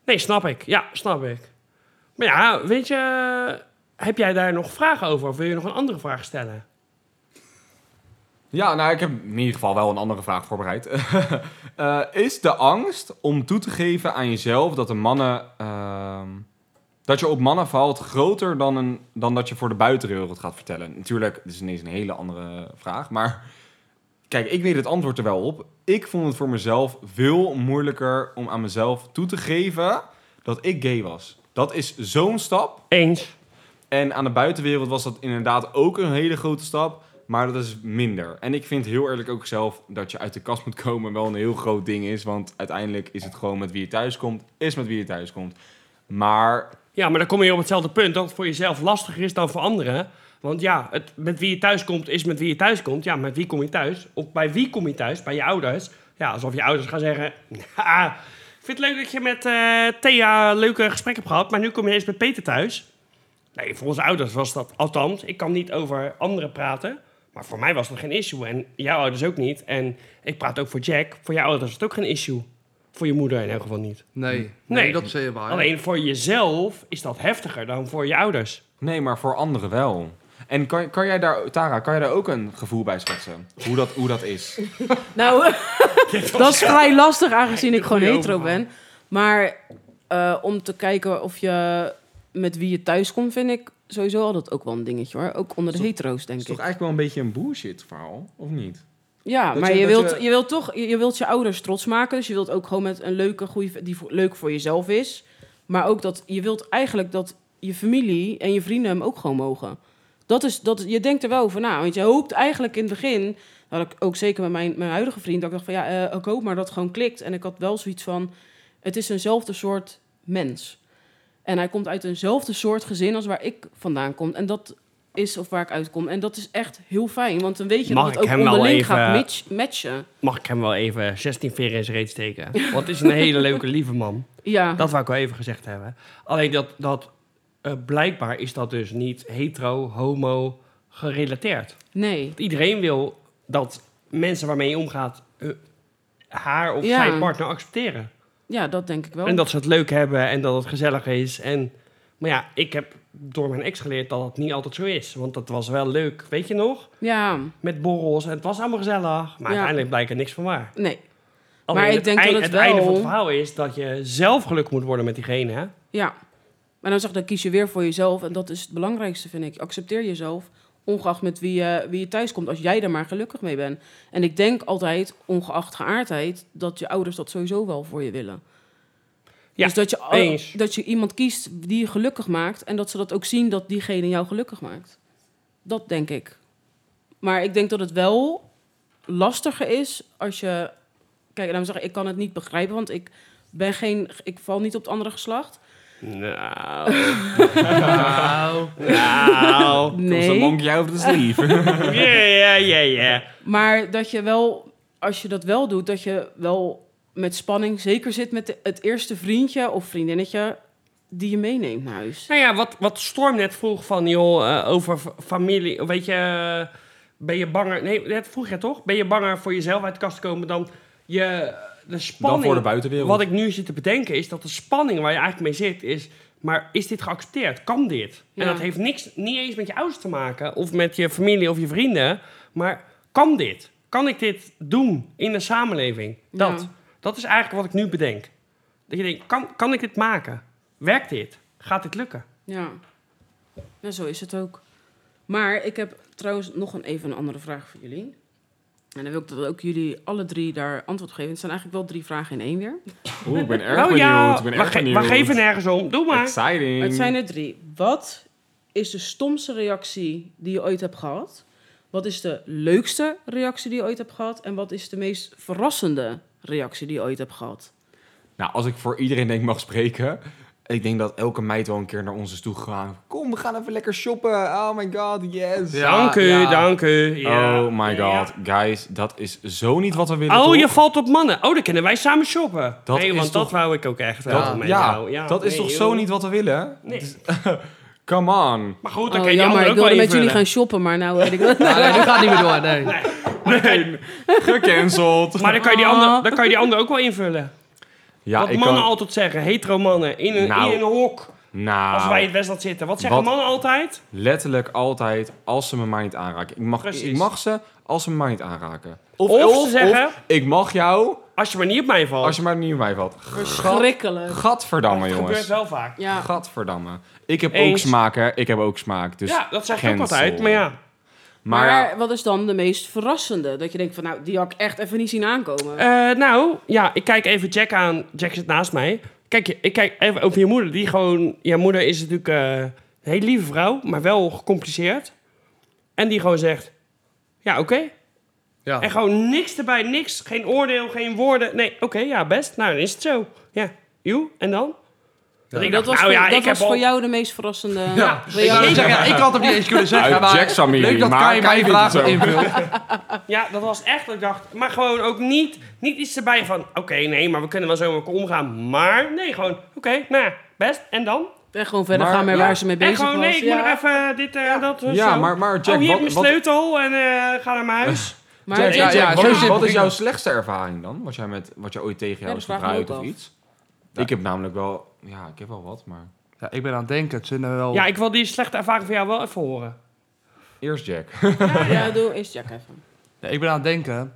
S2: Nee, snap ik. Ja, snap ik. Maar ja, weet je, heb jij daar nog vragen over? Of wil je nog een andere vraag stellen?
S3: Ja, nou, ik heb in ieder geval wel een andere vraag voorbereid. Eh, is de angst om toe te geven aan jezelf dat de mannen. ehm, dat je op mannen valt groter dan, een, dan dat je voor de buitenwereld gaat vertellen? Natuurlijk, dit is ineens een hele andere vraag. Maar kijk, ik weet het antwoord er wel op. Ik vond het voor mezelf veel moeilijker om aan mezelf toe te geven dat ik gay was. Dat is zo'n stap.
S2: Eens.
S3: En aan de buitenwereld was dat inderdaad ook een hele grote stap. Maar dat is minder. En ik vind heel eerlijk ook zelf dat je uit de kast moet komen wel een heel groot ding is. Want uiteindelijk is het gewoon met wie je thuis komt, is met wie je thuis komt. Maar
S2: Ja, maar dan kom je op hetzelfde punt dat het voor jezelf lastiger is dan voor anderen. Want ja, het, met wie je thuis komt is met wie je thuis komt. Ja, met wie kom je thuis? Of bij wie kom je thuis? Bij je ouders. Ja, alsof je ouders gaan zeggen... "Ja, ik vind het leuk dat je met eh, Thea leuke gesprekken hebt gehad... maar nu kom je eens met Peter thuis. Nee, voor onze ouders was dat... Althans, ik kan niet over anderen praten... maar voor mij was dat geen issue. En jouw ouders ook niet. En ik praat ook voor Jack. Voor jouw ouders was het ook geen issue. Voor je moeder in elk geval niet.
S4: Nee, nee,
S2: Nee.
S4: dat is heel waar.
S2: Alleen voor jezelf is dat heftiger dan voor je ouders.
S3: nee, maar voor anderen wel. En kan, kan jij daar, Tara, kan jij daar ook een gevoel bij schetsen? Hoe dat, hoe dat is?
S1: Nou, dat is vrij lastig aangezien ik gewoon
S2: goeie
S1: hetero ben. Maar eh, om te kijken of je met wie je thuis komt, vind ik sowieso altijd ook wel een dingetje hoor. Ook onder de hetero's, denk
S3: is toch
S1: ik.
S3: eigenlijk wel een beetje een bullshit verhaal, of niet?
S1: Ja,
S3: dat
S1: maar
S3: je-
S1: je,
S3: dat
S1: wilt,
S3: je-
S1: je... wilt toch je, je wilt je ouders trots maken. Dus je wilt ook gewoon met een leuke, goede die voor- leuk voor jezelf is. Maar ook dat je wilt eigenlijk dat je familie en je vrienden hem ook gewoon mogen. Dat is, dat, je denkt er wel over na. Want je hoopt eigenlijk in het begin, dat ik ook zeker met mijn, mijn huidige vriend, dat ik dacht van ja, eh, ik hoop maar dat het gewoon klikt. En ik had wel zoiets van, het is eenzelfde soort mens. En hij komt uit eenzelfde soort gezin als waar ik vandaan kom. En dat is of waar ik uitkom. En dat is echt heel fijn. Want dan weet je
S2: Mag
S1: dat
S2: ik
S1: het ook
S2: hem nou
S1: onderling
S2: even-
S1: gaat match- matchen.
S2: Mag ik hem wel even 16 veren in zijn reet steken? Want het is een hele leuke, lieve man.
S1: Ja.
S2: Dat wou ik wel even gezegd hebben. Alleen dat, dat eh, blijkbaar is dat dus niet hetero, homo gerelateerd.
S1: Nee.
S2: Iedereen wil dat mensen waarmee je omgaat eh, haar of
S1: Ja.
S2: zijn partner accepteren.
S1: Ja, dat denk ik wel.
S2: En dat ze het leuk hebben en dat het gezellig is. En, maar ja, ik heb door mijn ex geleerd dat dat niet altijd zo is. Want dat was wel leuk, weet je nog?
S1: Ja.
S2: Met borrels en het was allemaal gezellig. Maar uiteindelijk blijkt er niks van waar.
S1: Nee.
S2: Alleen
S1: ik
S2: het
S1: denk dat
S2: eind-
S1: het
S2: het einde van het
S1: wel-
S2: verhaal is dat je zelf gelukkig moet worden met diegene. Hè?
S1: Ja. Maar dan zeg ik, dan kies je weer voor jezelf. En dat is het belangrijkste, vind ik. Accepteer jezelf, ongeacht met wie je, wie je thuis komt. Als jij er maar gelukkig mee bent. En ik denk altijd, ongeacht geaardheid... dat je ouders dat sowieso wel voor je willen.
S2: Ja,
S1: dus dat je, al-
S2: eens.
S1: dat je iemand kiest die je gelukkig maakt... en dat ze dat ook zien dat diegene jou gelukkig maakt. Dat denk ik. Maar ik denk dat het wel lastiger is als je... Kijk, laat me zeggen, ik kan het niet begrijpen, want ik ben geen... Ik val niet op het andere geslacht.
S2: Nou,
S4: Nou,
S2: nou.
S3: Komt zo'n
S1: Nee,
S3: monkey over de sleeve?
S2: Ja, ja, ja, ja.
S1: maar dat je wel, als je dat wel doet, dat je wel met spanning zeker zit met de- het eerste vriendje of vriendinnetje die je meeneemt naar huis.
S2: Nou ja, wat, wat Storm net vroeg van, joh, eh, over f- familie, weet je, eh, ben je banger, nee, dat vroeg je toch? Ben je banger voor jezelf uit de kast te komen dan je, de
S3: Dan
S2: spanning?
S3: voor de buitenwereld.
S2: Wat ik nu zit te bedenken is dat de spanning waar je eigenlijk mee zit is... maar is dit geaccepteerd? Kan dit?
S1: Ja.
S2: En dat heeft niks, niet eens met je ouders te maken... of met je familie of je vrienden. Maar kan dit? Kan ik dit doen in de samenleving? Dat,
S1: Ja.
S2: dat is eigenlijk wat ik nu bedenk. Dat je denkt, kan, kan ik dit maken? Werkt dit? Gaat dit lukken?
S1: Ja. ja, zo is het ook. Maar ik heb trouwens nog een, even een andere vraag voor jullie. En dan wil ik dat ook jullie alle drie daar antwoord op geven. Het zijn eigenlijk wel drie vragen in één weer.
S3: Oeh, ik ben erg
S2: Nou
S3: benieuwd.
S2: ja,
S3: ik ben
S2: we,
S3: erg
S2: ge- we
S3: benieuwd.
S2: geven nergens om. Doe maar.
S3: Exciting.
S1: Maar
S2: Ehm.
S1: het zijn er drie. Wat is de stomste reactie die je ooit hebt gehad? Wat is de leukste reactie die je ooit hebt gehad? En wat is de meest verrassende reactie die je ooit hebt gehad?
S3: Nou, als ik voor iedereen denk ik mag spreken. Ik denk dat elke meid wel een keer naar ons is toegegaan. Kom, we gaan even lekker shoppen. Oh my god, yes.
S4: Ja.
S2: Dank u,
S4: ja.
S2: dank u. Ja.
S3: Oh my
S2: Ja.
S3: god, guys, dat is zo niet wat we willen.
S2: Oh,
S3: toch?
S2: je valt op mannen. Oh, dan kunnen wij samen shoppen.
S3: Dat
S2: nee,
S3: is
S2: want
S3: toch-
S2: dat wou ik ook echt wel
S3: dat,
S2: mee
S3: ja,
S2: jou. Oh, Ja,
S3: dat is
S2: nee,
S3: toch
S2: joh.
S3: zo niet wat we willen?
S2: Nee.
S3: Come on.
S2: Maar goed, dan
S1: Oh,
S2: kan je
S1: jammer, ik
S2: anderen ook wel
S1: wilde met
S2: invullen.
S1: jullie gaan shoppen, maar nou weet ik dat.
S4: nou, nee, dat gaat niet meer door, nee.
S3: Nee, gecanceld.
S2: Maar dan kan, je die ander, dan kan je die ander ook wel invullen.
S3: Ja,
S2: Wat
S3: ik
S2: mannen
S3: kan...
S2: altijd zeggen, hetero mannen, in een,
S3: Nou.
S2: in een hok, als wij in
S3: Nou,
S2: het Westland zitten. Wat zeggen
S3: Wat-
S2: mannen altijd?
S3: letterlijk altijd als ze me maar niet aanraken. Ik mag,
S2: Precies.
S3: ik mag ze als ze me maar niet aanraken.
S2: Of ze zeggen-
S3: ik mag jou
S2: Als je maar niet op mij valt.
S3: als je maar niet op mij valt.
S1: Verschrikkelijk.
S3: Gadverdamme,
S2: dat
S3: jongens.
S2: gebeurt wel vaak. Ja,
S1: Ja,
S3: Gadverdamme. Ik heb ook
S2: Eens.
S3: smaak, hè. Ik heb ook smaak. Dus
S2: dat zeg ik ook
S3: cancel.
S2: altijd. Maar ja,
S1: maar,
S3: Maar ja,
S1: wat is dan de meest verrassende? Dat je denkt van, nou, die had ik echt even niet zien aankomen.
S2: Eh, nou, ja, ik kijk even Jack aan. Jack zit naast mij. Kijk, ik kijk even over je moeder. Die gewoon... Je moeder is natuurlijk eh, een hele lieve vrouw, maar wel gecompliceerd. En die gewoon zegt... Ja, oké.
S3: Ah.
S4: Ja.
S2: En gewoon niks erbij, niks. Geen oordeel, geen woorden. Nee, oké, ja, best. Nou, dan is het zo. Ja, joe, en dan? Dat ik
S1: Dat
S2: dacht,
S1: was,
S2: nou
S1: voor,
S2: ja,
S1: dat
S2: ik
S1: was
S2: heb
S1: voor
S2: al-
S1: jou de meest verrassende...
S4: Ja,
S1: Wil je
S4: ik,
S1: dat zeggen?
S4: wou zeggen, ik had het niet eens kunnen zeggen,
S3: Uit
S4: maar
S3: Jack's familie,
S4: leuk dat
S3: maar
S4: Kai
S3: Kai
S4: mijn
S3: vindt
S4: vragen
S3: het zo.
S4: invult.
S2: Ja, dat was echt dat ik dacht. Maar gewoon ook niet, niet iets erbij van... Oké, nee, maar we kunnen wel zo met elkaar omgaan. Maar nee, gewoon, oké, nou ja, best. En dan?
S1: En gewoon verder
S3: Maar-
S1: gaan met
S3: ja.
S1: waar ze mee
S2: En
S1: bezig
S2: gewoon, nee,
S1: was.
S2: ik
S1: Ja.
S2: moet nog even dit en dat. en
S3: Ja,
S2: zo.
S3: maar- maar Jack,
S2: oh, hier heb je
S3: wat-
S2: mijn sleutel en eh, ga naar mijn huis.
S1: Maar
S3: Jack,
S4: ja,
S3: Jack,
S4: ja,
S3: wat,
S4: zo
S3: is,
S4: simpel
S3: wat is
S4: ging
S3: jouw
S4: het.
S3: slechtste ervaring dan? Wat jij, met, wat jij ooit tegen jou
S1: Ja,
S3: is
S1: dat vraag ik me
S3: gebruikt of
S1: ook af.
S3: iets? Ik heb namelijk wel... Ja, ik heb wel wat, maar...
S4: Ja, ik ben aan het denken, het zijn er
S3: Oh.
S4: wel...
S2: Ja, ik wil die slechte ervaring van jou wel even horen.
S3: Eerst Jack.
S1: Ja, ja, doe eerst Jack even.
S4: Ja, ik ben aan het denken,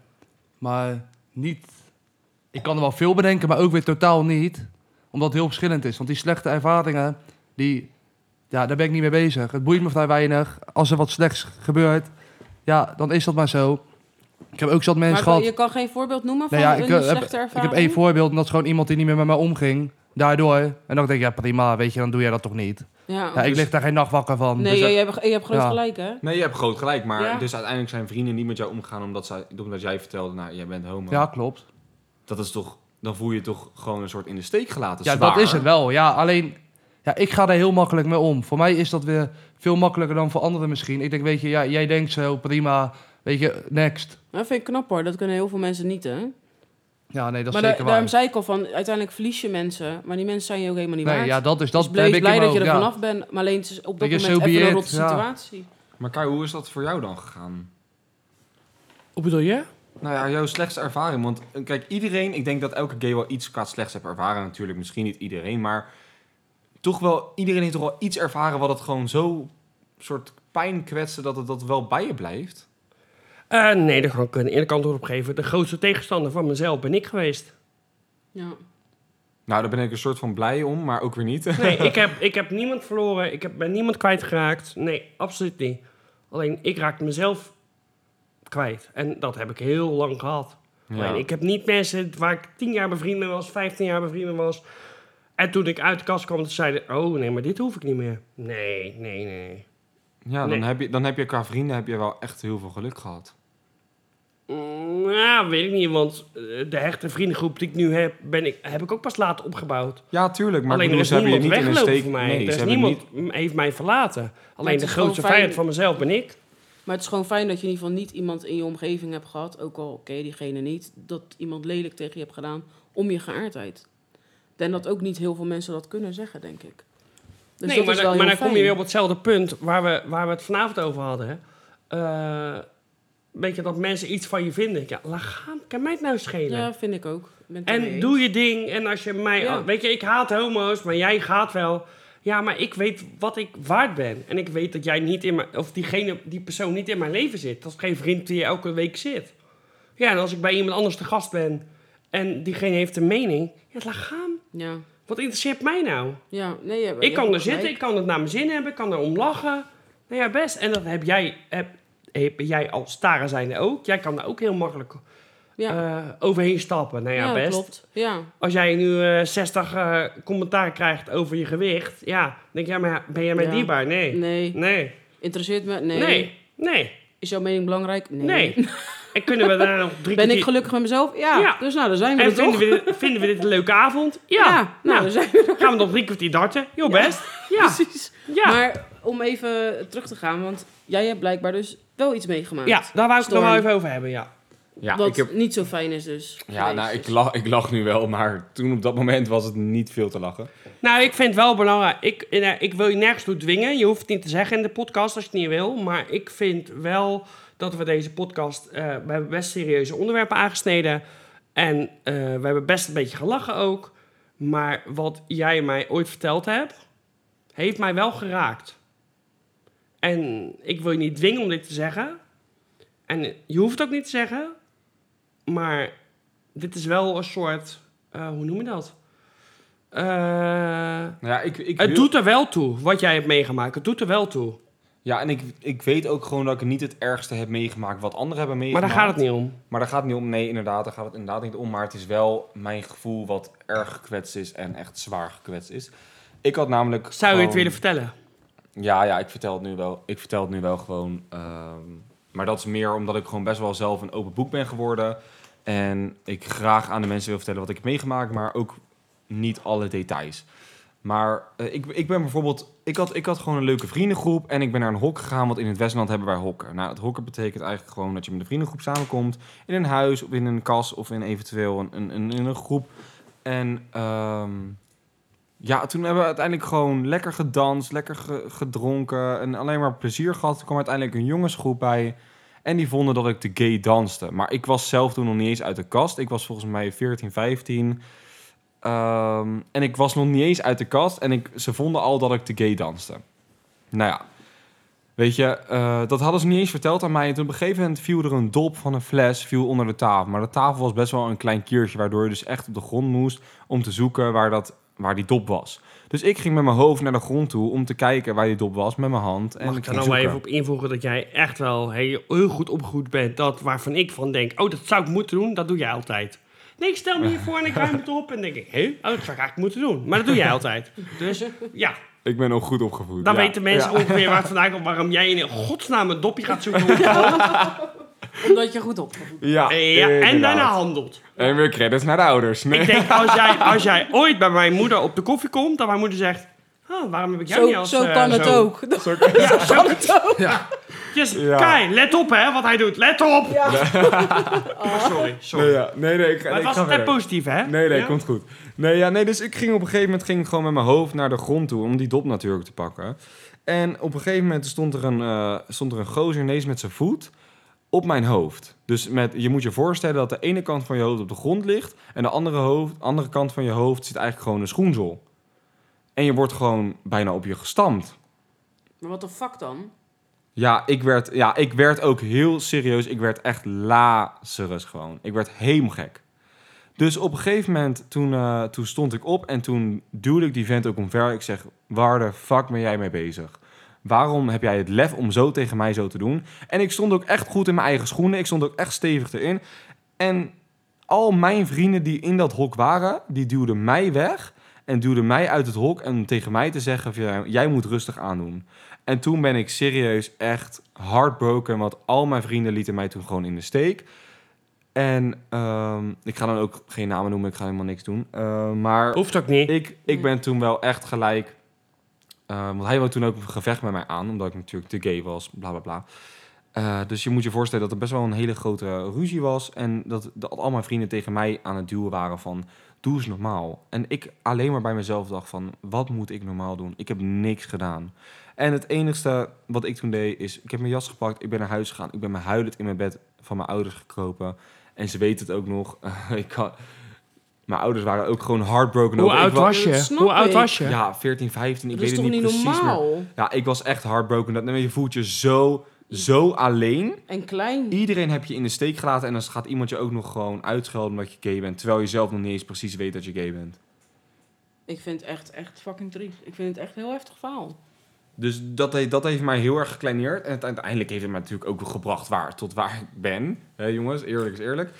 S4: maar niet. Ik kan er wel veel bedenken, maar ook weer totaal niet. Omdat het heel verschillend is. Want die slechte ervaringen, die, ja, daar ben ik niet mee bezig. Het boeit me vrij weinig. Als er wat slechts gebeurt, ja, dan is dat maar zo. Ik heb ook zat mensen
S1: Maar je
S4: gehad.
S1: kan geen voorbeeld noemen van
S4: Nou ja,
S1: een
S4: ik, eh, heb,
S1: slechte
S4: ik
S1: ervaring?
S4: heb één voorbeeld, en dat is gewoon iemand die niet meer met mij omging. Daardoor. En dan denk ik, ja prima, weet je, dan doe jij dat toch niet.
S1: Ja.
S4: Ja, ik lig daar geen nacht wakker van.
S1: Dus- Nee,
S4: Dus,
S1: je,
S4: eh,
S1: je hebt, je hebt groot
S4: Ja.
S1: gelijk, hè?
S3: Nee, je hebt groot gelijk, maar
S1: Ja.
S3: dus uiteindelijk zijn vrienden niet met jou omgegaan omdat, zij, omdat jij vertelde, nou, jij bent homo.
S4: ja, klopt.
S3: Dat is toch, dan voel je je toch gewoon een soort in de steek gelaten.
S4: Ja,
S3: zwaar.
S4: dat is het wel. Ja, alleen ja, ik ga daar heel makkelijk mee om. Voor mij is dat weer veel makkelijker dan voor anderen misschien. Ik denk, weet je, ja, jij denkt zo, prima, weet je, next.
S1: Dat vind ik knap, hoor. Dat kunnen heel veel mensen niet, hè?
S4: Ja, nee, dat is
S1: maar
S4: zeker
S1: da-
S4: waar.
S1: daarom zei ik al van, uiteindelijk verlies je mensen. Maar die mensen zijn je ook helemaal niet
S4: nee,
S1: waard.
S4: ja, dat is, dat
S1: dus bleef
S4: heb ik
S1: blij
S4: hem
S1: dat je
S4: ook,
S1: er
S4: ja.
S1: vanaf bent. Maar alleen het is op dat
S4: Denk je,
S1: moment
S4: so
S1: even
S4: be
S1: een
S4: it,
S1: rotte
S4: ja.
S1: situatie.
S3: Maar Kai, hoe is dat voor jou dan gegaan?
S2: Hoe bedoel je?
S3: Nou ja, jouw slechtste ervaring. Want eh, kijk, iedereen, ik denk dat elke gay wel iets qua slechts heeft ervaren. Natuurlijk, misschien niet iedereen, maar toch wel, iedereen heeft toch wel iets ervaren wat het gewoon zo soort pijn kwetsen dat het dat wel bij je blijft.
S2: Eh, nee, daar kan ik een eerlijk antwoord op geven. De grootste tegenstander van mezelf ben ik geweest.
S1: Ja.
S3: Nou, daar ben ik een soort van blij om, maar ook weer niet.
S2: Nee, ik heb, ik heb niemand verloren. Ik heb, ben niemand kwijtgeraakt. Nee, absoluut niet. Alleen, ik raakte mezelf kwijt. En dat heb ik heel lang gehad. Alleen, ik heb niet mensen waar ik 10 jaar mijn vrienden was, 15 jaar mijn vrienden was. En toen ik uit de kast kwam, toen zeiden oh nee, maar dit hoef ik niet meer. Nee, nee, nee.
S3: Ja, dan,
S2: Nee.
S3: heb je, dan heb je qua vrienden heb je wel echt heel veel geluk gehad.
S2: Mm, Nou, weet ik niet, want eh, de hechte vriendengroep die ik nu heb, ben ik, heb ik ook pas later opgebouwd.
S3: Ja, tuurlijk, maar
S2: Alleen
S3: ik
S2: er
S3: bedoel,
S2: is
S3: ze hebben je
S2: niemand
S3: niet in een
S2: weggelopen
S3: steek.
S2: voor mij.
S3: Nee, ze
S2: er is
S3: hebben
S2: niemand
S3: niet.
S2: m- heeft mij verlaten. Alleen
S1: het
S2: de
S1: is
S2: grootste
S1: gewoon fijn-
S2: vijand van mezelf ben ik.
S1: Maar het is gewoon fijn dat je in ieder geval niet iemand in je omgeving hebt gehad. Ook al oké, diegene niet. Dat iemand lelijk tegen je hebt gedaan om je geaardheid. En dat ook niet heel veel mensen dat kunnen zeggen, denk ik. Dus
S2: nee,
S1: dat
S2: maar,
S1: is
S2: dan-
S1: wel heel
S2: maar dan kom je
S1: fijn.
S2: weer op hetzelfde punt waar we, waar we het vanavond over hadden. hè. Eh, weet je, dat mensen iets van je vinden. Ja, laat gaan. Kan mij het nou schelen?
S1: Ja, vind ik ook. Ik ben het ermee
S2: En
S1: eens.
S2: doe je ding. En als je mij...
S1: Ja.
S2: Weet je, ik haat homo's, maar jij gaat wel. Ja, maar ik weet wat ik waard ben. En ik weet dat jij niet in mijn... Of diegene, die persoon niet in mijn leven zit. Dat is geen vriend die elke week zit. Ja, en als ik bij iemand anders te gast ben... En diegene heeft een mening. Ja, laat gaan.
S1: Ja.
S2: Wat interesseert mij nou?
S1: Ja, nee, je hebt- je
S2: ik kan
S1: hebt
S2: er
S1: gelijk.
S2: zitten, ik kan het naar mijn zin hebben, ik kan er om lachen. Nou ja, best. En dat heb jij, heb, heb jij als staren zijnde ook. Jij kan daar ook heel makkelijk
S1: Ja,
S2: eh, overheen stappen. Nou ja,
S1: ja,
S2: best.
S1: klopt. Ja.
S2: Als jij nu eh, 60 eh, commentaar krijgt over je gewicht, ja, dan denk jij, maar ben jij mij
S1: Ja.
S2: dierbaar? Nee.
S1: Nee.
S2: Nee.
S1: Interesseert me? Nee.
S2: Nee. Nee. Nee.
S1: Is jouw mening belangrijk? Nee.
S2: en kunnen we daar nog drie
S1: Ben ik
S2: keer-
S1: gelukkig met mezelf? Ja.
S2: Ja.
S1: Dus nou, daar zijn we
S2: En
S1: er toch?
S2: vinden we, dit, vinden we dit een leuke avond? Ja.
S1: Ja, nou,
S2: Nou,
S1: daar zijn we
S2: gaan we nog drie kwartier darten? Jo, best. Ja. Ja.
S1: precies. Maar om even terug te gaan, want jij hebt blijkbaar dus wel iets meegemaakt.
S2: ja, daar wou ik het
S1: Storm.
S2: nog wel even over hebben, ja.
S3: Ja,
S1: wat
S3: ik heb,
S1: niet zo fijn is dus.
S3: ja
S1: geweest
S3: nou, ik
S1: is.
S3: lach, ik lach nu wel, maar toen op dat moment was het niet veel te lachen.
S2: Nou, ik vind het wel belangrijk. Ik, eh, ik wil je nergens toe dwingen. Je hoeft het niet te zeggen in de podcast als je het niet wil. Maar ik vind wel dat we deze podcast... eh, we hebben best serieuze onderwerpen aangesneden. En eh, we hebben best een beetje gelachen ook. Maar wat jij mij ooit verteld hebt... heeft mij wel geraakt. En ik wil je niet dwingen om dit te zeggen. En je hoeft het ook niet te zeggen. Maar dit is wel een soort... eh, hoe noem je dat? Eh...
S3: Nou Ja, ik, ik
S2: Het
S3: wil-
S2: doet er wel toe, wat jij hebt meegemaakt. Het doet er wel toe.
S3: Ja, en ik, ik weet ook gewoon dat ik niet het ergste heb meegemaakt wat anderen hebben
S2: Maar
S3: meegemaakt.
S2: daar gaat het niet om.
S3: Maar daar gaat het niet om. Nee, inderdaad, daar gaat het inderdaad niet om. Maar het is wel mijn gevoel wat erg gekwetst is en echt zwaar gekwetst is. Ik had namelijk.
S2: Zou je het
S3: gewoon-
S2: willen vertellen?
S3: Ja, ja, ik vertel het nu wel. Ik vertel het nu wel gewoon. ehm, Maar dat is meer omdat ik gewoon best wel zelf een open boek ben geworden. En ik graag aan de mensen wil vertellen wat ik heb meegemaakt, maar ook niet alle details. Maar eh, ik, ik ben bijvoorbeeld... Ik had, ik had gewoon een leuke vriendengroep en ik ben naar een hok gegaan, want in het Westland hebben wij hokken. Nou, het hokken betekent eigenlijk gewoon dat je met een vriendengroep samenkomt in een huis of in een kas of in eventueel een, een, een, in een groep. En ehm, ja, toen hebben we uiteindelijk gewoon lekker gedanst, lekker ge- gedronken en alleen maar plezier gehad. Er kwam uiteindelijk een jongensgroep bij en die vonden dat ik te gay danste. Maar ik was zelf toen nog niet eens uit de kast. Ik was volgens mij 14, 15. Ehm, en ik was nog niet eens uit de kast en ik, ze vonden al dat ik te gay danste. Nou ja, Weet je, eh, dat hadden ze niet eens verteld aan mij. En toen op een gegeven moment viel er een dop van een fles viel onder de tafel. Maar de tafel was best wel een klein kiertje, waardoor je dus echt op de grond moest om te zoeken waar, dat, waar die dop was. Dus ik ging met mijn hoofd naar de grond toe om te kijken waar die dop was met mijn hand. En
S2: Mag ik
S3: ik
S2: daar
S3: ging
S2: nou maar
S3: zoeken.
S2: even op invoegen dat jij echt wel heel, heel goed opgegroeid bent. Dat waarvan ik van denk, oh, dat zou ik moeten doen, dat doe jij altijd. Nee, ik stel me hiervoor en ik ruim het op en denk ik, hé, oh, dat zou ik eigenlijk moeten doen. Maar dat doe jij altijd. Dus ja,
S3: Ik ben ook goed opgevoed.
S2: dan
S3: eh? ja.
S2: weten mensen
S3: Ja.
S2: ongeveer waar het vandaan komt, waarom jij in godsnaam een dopje gaat zoeken.
S1: Omdat je goed op.
S3: Ja,
S2: Ja, en
S3: inderdaad.
S2: daarna handelt.
S3: En weer credits naar de ouders. Nee.
S2: Ik denk, als jij, als jij ooit bij mijn moeder op de koffie komt, dan mijn moeder zegt, oh, waarom heb ik jou niet
S1: Zo,
S2: als...
S1: zo
S2: eh,
S1: kan het
S2: zo?"
S1: ook. Zo kan het ook.
S2: Yes,
S3: Ja.
S2: Kai, let op hè, wat hij doet. Let op!
S1: Ja.
S2: Oh, sorry, sorry.
S3: Nee, ja. nee, nee, ik, ga-
S2: Maar
S3: ik
S2: het
S3: ga
S2: was net
S3: verder.
S2: positief, hè?
S3: Nee, nee,
S2: Ja?
S3: komt goed. Nee, ja, nee, dus ik ging op een gegeven moment ging ik gewoon met mijn hoofd naar de grond toe om die dop natuurlijk te pakken. En op een gegeven moment stond er een, eh, stond er een gozer ineens met zijn voet op mijn hoofd. Dus met, je moet je voorstellen dat de ene kant van je hoofd op de grond ligt en de andere, hoofd, andere kant van je hoofd zit eigenlijk gewoon een schoensel. En je wordt gewoon bijna op je gestampt.
S1: Maar wat de fuck dan?
S3: Ja, ik werd, ja, ik werd ook heel serieus. Ik werd echt lazerus gewoon. Ik werd heemgek. Dus op een gegeven moment, toen, eh, toen stond ik op en toen duwde ik die vent ook omver. Ik zeg, waar de fuck ben jij mee bezig? Waarom heb jij het lef om zo tegen mij zo te doen? En ik stond ook echt goed in mijn eigen schoenen. Ik stond ook echt stevig erin. En al mijn vrienden die in dat hok waren, die duwden mij weg. En duwden mij uit het hok en tegen mij te zeggen, van, "Ja, jij moet rustig aandoen. En toen ben ik serieus echt heartbroken, want al mijn vrienden lieten mij toen gewoon in de steek. En ehm, ik ga dan ook geen namen noemen, ik ga helemaal niks doen. Eh, maar
S2: Hoeft ook niet.
S3: ik, ik ben toen wel echt gelijk. eh, want hij wou toen ook een gevecht met mij aan, omdat ik natuurlijk te gay was, bla bla bla. Eh, dus je moet je voorstellen dat er best wel een hele grote ruzie was. En dat, dat al mijn vrienden tegen mij aan het duwen waren van... Doe eens normaal. En ik alleen maar bij mezelf dacht van... Wat moet ik normaal doen? Ik heb niks gedaan. En het enigste wat ik toen deed is... Ik heb mijn jas gepakt, ik ben naar huis gegaan. Ik ben me huilend in mijn bed van mijn ouders gekropen. En ze weten het ook nog. ik had, mijn ouders waren ook gewoon heartbroken.
S4: Hoe
S3: over. Ik
S4: oud
S3: wa-
S4: was
S1: Dat
S4: je?
S1: snap
S4: Hoe oud
S1: ik.
S4: was je?
S3: ja, 14, 15. Ik
S1: Dat
S3: weet
S1: is
S3: het
S1: toch
S3: niet
S1: niet
S3: precies. meer.
S1: normaal?
S3: Ja, ik was echt heartbroken. Dat, je voelt je zo, zo alleen.
S1: En klein.
S3: Iedereen heb je in de steek gelaten. En dan gaat iemand je ook nog gewoon uitschelden omdat je gay bent. Terwijl je zelf nog niet eens precies weet dat je gay bent.
S1: Ik vind het echt, echt fucking triest. Ik vind het echt een heel heftig verhaal.
S3: Dus dat, he- dat heeft mij heel erg gekleineerd. En het- uiteindelijk heeft het mij natuurlijk ook gebracht waar, tot waar ik ben. Hè, jongens, eerlijk is eerlijk.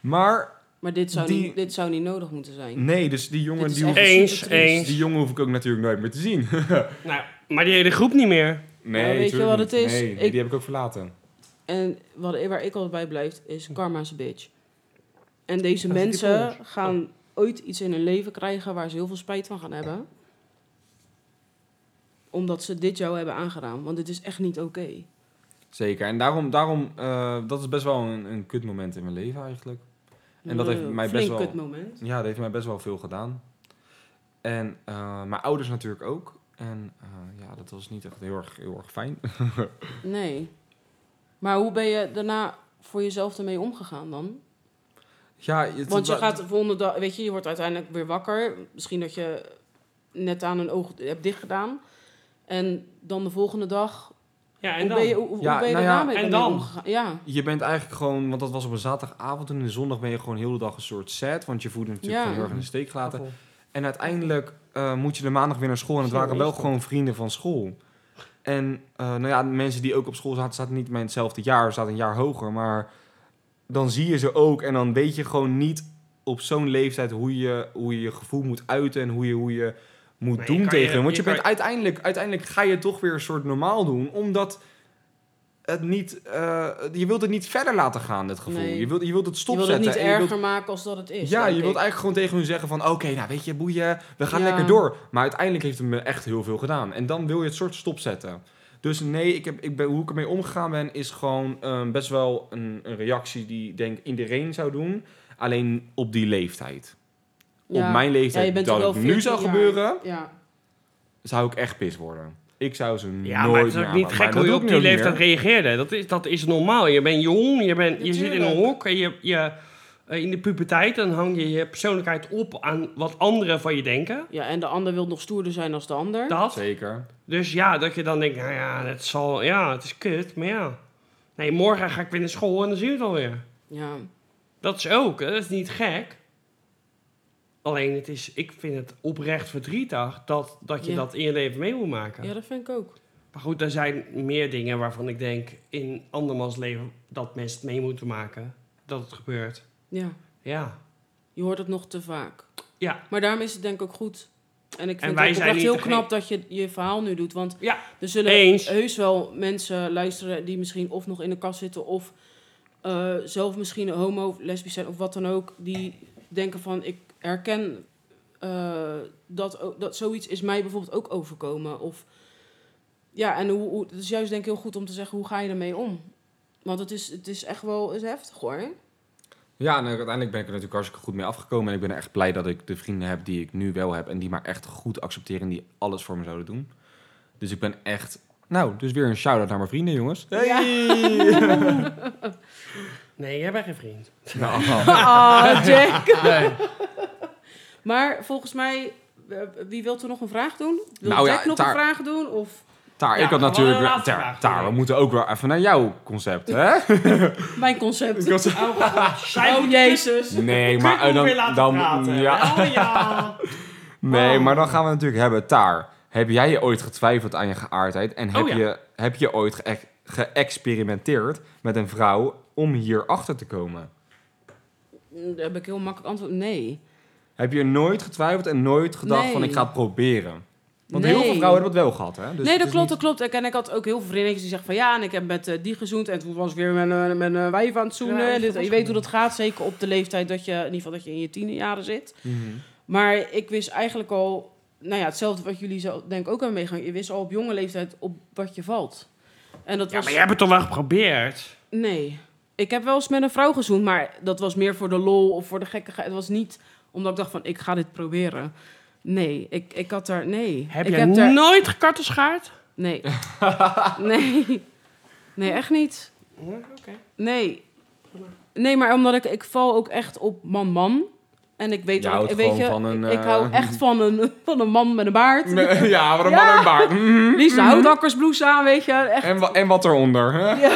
S3: Maar
S1: Maar dit zou,
S3: Die-
S1: niet, dit zou niet nodig moeten zijn.
S3: nee, dus die
S1: Dit
S3: jongen,
S1: is
S3: die
S1: echt
S3: hoef,
S2: Eens,
S1: super triest.
S2: eens.
S3: die jongen hoef ik ook natuurlijk nooit meer te zien.
S2: Nou, maar die hele groep niet meer.
S3: nee,
S1: Ja, weet je
S3: tuurlijk
S1: wat
S3: niet.
S1: het is?
S3: Nee, nee,
S1: Ik-
S3: die heb ik ook verlaten.
S1: En wat, waar ik altijd bij blijf, is
S3: Mm.
S1: karma's bitch. En deze
S4: Dat is die
S1: mensen
S4: polders.
S1: gaan ooit iets in hun leven krijgen waar ze heel veel spijt van gaan hebben. Omdat ze dit jou hebben aangedaan. Want dit is echt niet oké.
S3: Zeker. En daarom, daarom eh, dat is best wel een, een kut moment in mijn leven eigenlijk. En dat heeft
S1: Eh,
S3: mij
S1: flink
S3: best wel-
S1: kut moment.
S3: Ja, dat heeft mij best wel veel gedaan. En eh, mijn ouders natuurlijk ook. En eh, ja, dat was niet echt heel erg, heel erg fijn.
S1: Nee. Maar hoe ben je daarna voor jezelf ermee omgegaan dan?
S3: ja, het-
S1: Want je
S3: wa-
S1: gaat de volgende dag, weet je, je wordt uiteindelijk weer wakker. Misschien dat je net aan een oog hebt dichtgedaan. En dan de volgende dag.
S2: Ja, en
S1: Hoe
S2: dan?
S1: ben je, hoe, hoe
S3: Ja,
S1: ben je
S3: nou ja,
S1: daarna mee-
S2: en
S1: mee
S2: dan?
S1: omgegaan? Ja.
S3: Je bent eigenlijk gewoon, want dat was op een zaterdagavond en in de zondag ben je gewoon heel de dag een soort sad. Want je voelde natuurlijk
S1: Ja.
S3: gewoon heel erg in de steek gelaten. En uiteindelijk eh, moet je de maandag weer naar school. En het waren wel gewoon vrienden van school. En eh, nou ja, de mensen die ook op school zaten, zaten niet mijn hetzelfde jaar, zaten een jaar hoger. Maar dan zie je ze ook en dan weet je gewoon niet op zo'n leeftijd hoe je hoe je, je gevoel moet uiten en hoe je, hoe je moet
S2: Nee, je
S3: doen
S2: kan
S3: tegen
S2: je-
S3: hen. Want
S2: je
S3: je,
S2: kan
S3: bent uiteindelijk, uiteindelijk ga je toch weer een soort normaal doen, omdat het niet, eh, je wilt het niet verder laten gaan, dit gevoel.
S1: Nee.
S3: Je, wilt, je wilt het
S1: Je wil het
S3: stopzetten.
S1: niet
S3: en je
S1: erger
S3: wilt-
S1: maken als dat het is.
S3: ja,
S1: denk
S3: je
S1: ik.
S3: wilt eigenlijk gewoon tegen hun zeggen van... oké, nou weet je, boeien, we gaan
S1: Ja.
S3: lekker door. Maar uiteindelijk heeft het me echt heel veel gedaan. En dan wil je het soort stopzetten. Dus nee, ik heb, ik ben, hoe ik ermee omgegaan ben... is gewoon ehm, best wel een, een reactie die ik denk iedereen zou doen. Alleen op die leeftijd.
S1: Ja.
S3: Op mijn
S1: Ja, je
S3: leeftijd,
S1: bent
S3: dat
S1: wel
S3: het nu
S1: 14
S3: zou
S1: jaar.
S3: gebeuren...
S1: Ja.
S3: zou ik echt pis worden. Ik zou ze nooit
S2: Ja, maar het is
S3: meer
S2: ook niet
S3: aanpakken.
S2: gek
S3: Maar
S2: hoe
S3: dat
S2: je
S3: doe
S2: op
S3: ik
S2: die
S3: nu ook niet
S2: leeftijd
S3: meer.
S2: reageerde. Dat is, dat is normaal. Je bent jong, je, bent, je zit in een
S1: Natuurlijk.
S2: hok en je, je, eh, in de puberteit dan hang je je persoonlijkheid op aan wat anderen van je denken.
S1: ja, en de ander wil nog stoerder zijn als de ander.
S2: Dat.
S3: Zeker.
S2: Dus ja, dat je dan denkt, nou ja, het, zal, ja, het is kut, maar ja. Nee, morgen ga ik weer naar school en dan zien we het alweer.
S1: Ja.
S2: Dat is ook, hè, dat is niet gek. Alleen, het is, ik vind het oprecht verdrietig dat, dat je
S1: Ja.
S2: dat in je leven mee moet maken.
S1: ja, dat vind ik ook.
S2: Maar goed, er zijn meer dingen waarvan ik denk in andermans leven dat mensen het mee moeten maken. Dat het gebeurt.
S1: Ja.
S2: Ja.
S1: Je hoort het nog te vaak.
S2: Ja.
S1: Maar daarom is het denk ik ook goed. En ik
S2: En
S1: vind
S2: wij
S1: het ook
S2: zijn
S1: echt
S2: niet
S1: heel
S2: degene-
S1: knap dat je je verhaal nu doet. Want
S2: Ja,
S1: er zullen
S2: eens.
S1: heus wel mensen luisteren die misschien of nog in de kast zitten... of eh, zelf misschien homo of lesbisch zijn of wat dan ook... die denken van ik herken eh, dat, o- dat zoiets is mij bijvoorbeeld ook overkomen. Of, ja, en hoe, hoe, het is juist denk ik heel goed om te zeggen hoe ga je ermee om? Want het is, het is echt wel het is heftig hoor.
S3: Ja, en uiteindelijk ben ik er natuurlijk hartstikke goed mee afgekomen. En ik ben er echt blij dat ik de vrienden heb die ik nu wel heb. En die maar echt goed accepteren en die alles voor me zouden doen. Dus ik ben echt... Nou, dus weer een shout-out naar mijn vrienden, jongens. Hey!
S2: Nee, jij bent geen vriend.
S3: Nou,
S1: Oh, Jack.
S4: Nee.
S1: Maar volgens mij, eh, wie wil er nog een vraag doen? Wil
S3: Nou ja,
S1: Jack nog
S3: daar-
S1: een vraag doen? Of
S3: Taar,
S2: Ja,
S3: ik had
S2: we hadden
S3: natuurlijk...
S2: een
S3: wel-
S2: laatste
S3: Taar,
S2: vraag,
S3: Taar,
S2: denk
S3: we
S2: ik.
S3: moeten ook wel even naar jouw concept, hè?
S1: mijn concept.
S2: Zij
S1: Oh, jezus.
S3: Nee,
S2: maar,
S3: maar... eh,
S2: weer
S3: dan,
S2: laten
S3: dan,
S2: praten.
S3: ja.
S2: Oh ja.
S3: Nee,
S2: Oh.
S3: maar dan gaan we natuurlijk hebben... Taar, heb jij je ooit getwijfeld aan je geaardheid? En heb,
S2: Oh, ja.
S3: je, heb je ooit ge- geëxperimenteerd met een vrouw om hierachter te komen?
S1: Mm, Daar heb ik heel makkelijk antwoord. Nee.
S3: Heb je nooit getwijfeld en nooit gedacht
S1: Nee.
S3: van ik ga het proberen? Want
S1: Nee.
S3: heel veel vrouwen hebben het wel gehad, hè? Dus
S1: nee,
S3: het
S1: dat
S3: is
S1: klopt,
S3: niet-
S1: dat klopt. Ik- En ik had ook heel veel vriendinnetjes die zeggen van ja, en ik heb met eh, die gezoend en toen was ik weer met, een- met een wijf aan het zoenen.
S2: Ja,
S1: En dit-
S2: dat
S1: je weet hoe dat gaat, zeker op de leeftijd dat je, in ieder geval dat je in je tienerjaren zit.
S3: Mhm.
S1: Maar ik wist eigenlijk al, nou ja, hetzelfde wat jullie zo, denk ik ook hebben meegaan. Je wist al op jonge leeftijd op wat je valt. En dat
S2: ja,
S1: was...
S2: maar jij hebt het toch wel geprobeerd?
S1: Nee. Ik heb wel eens met een vrouw gezoend, maar dat was meer voor de lol of voor de gekkigheid. Het was niet omdat ik dacht van, ik ga dit proberen. Nee, ik, ik had daar... Nee.
S2: Heb
S1: ik
S2: jij
S1: daar-
S2: nooit gekartenschaard?
S1: Nee. nee. Nee, echt niet.
S2: Oké.
S1: Nee. Nee, maar omdat ik... Ik val ook echt op man-man. En ik weet...
S3: Je
S1: ook-
S3: houdt
S1: weet
S3: gewoon van een,
S1: Ik
S3: eh,
S1: hou echt van een, van een man met een baard.
S3: Nee, ja, wat een man en baard. Mhm.
S1: Liefst een houtdakkersblouse aan, weet je. Echt.
S3: En, wa- en wat eronder. hè?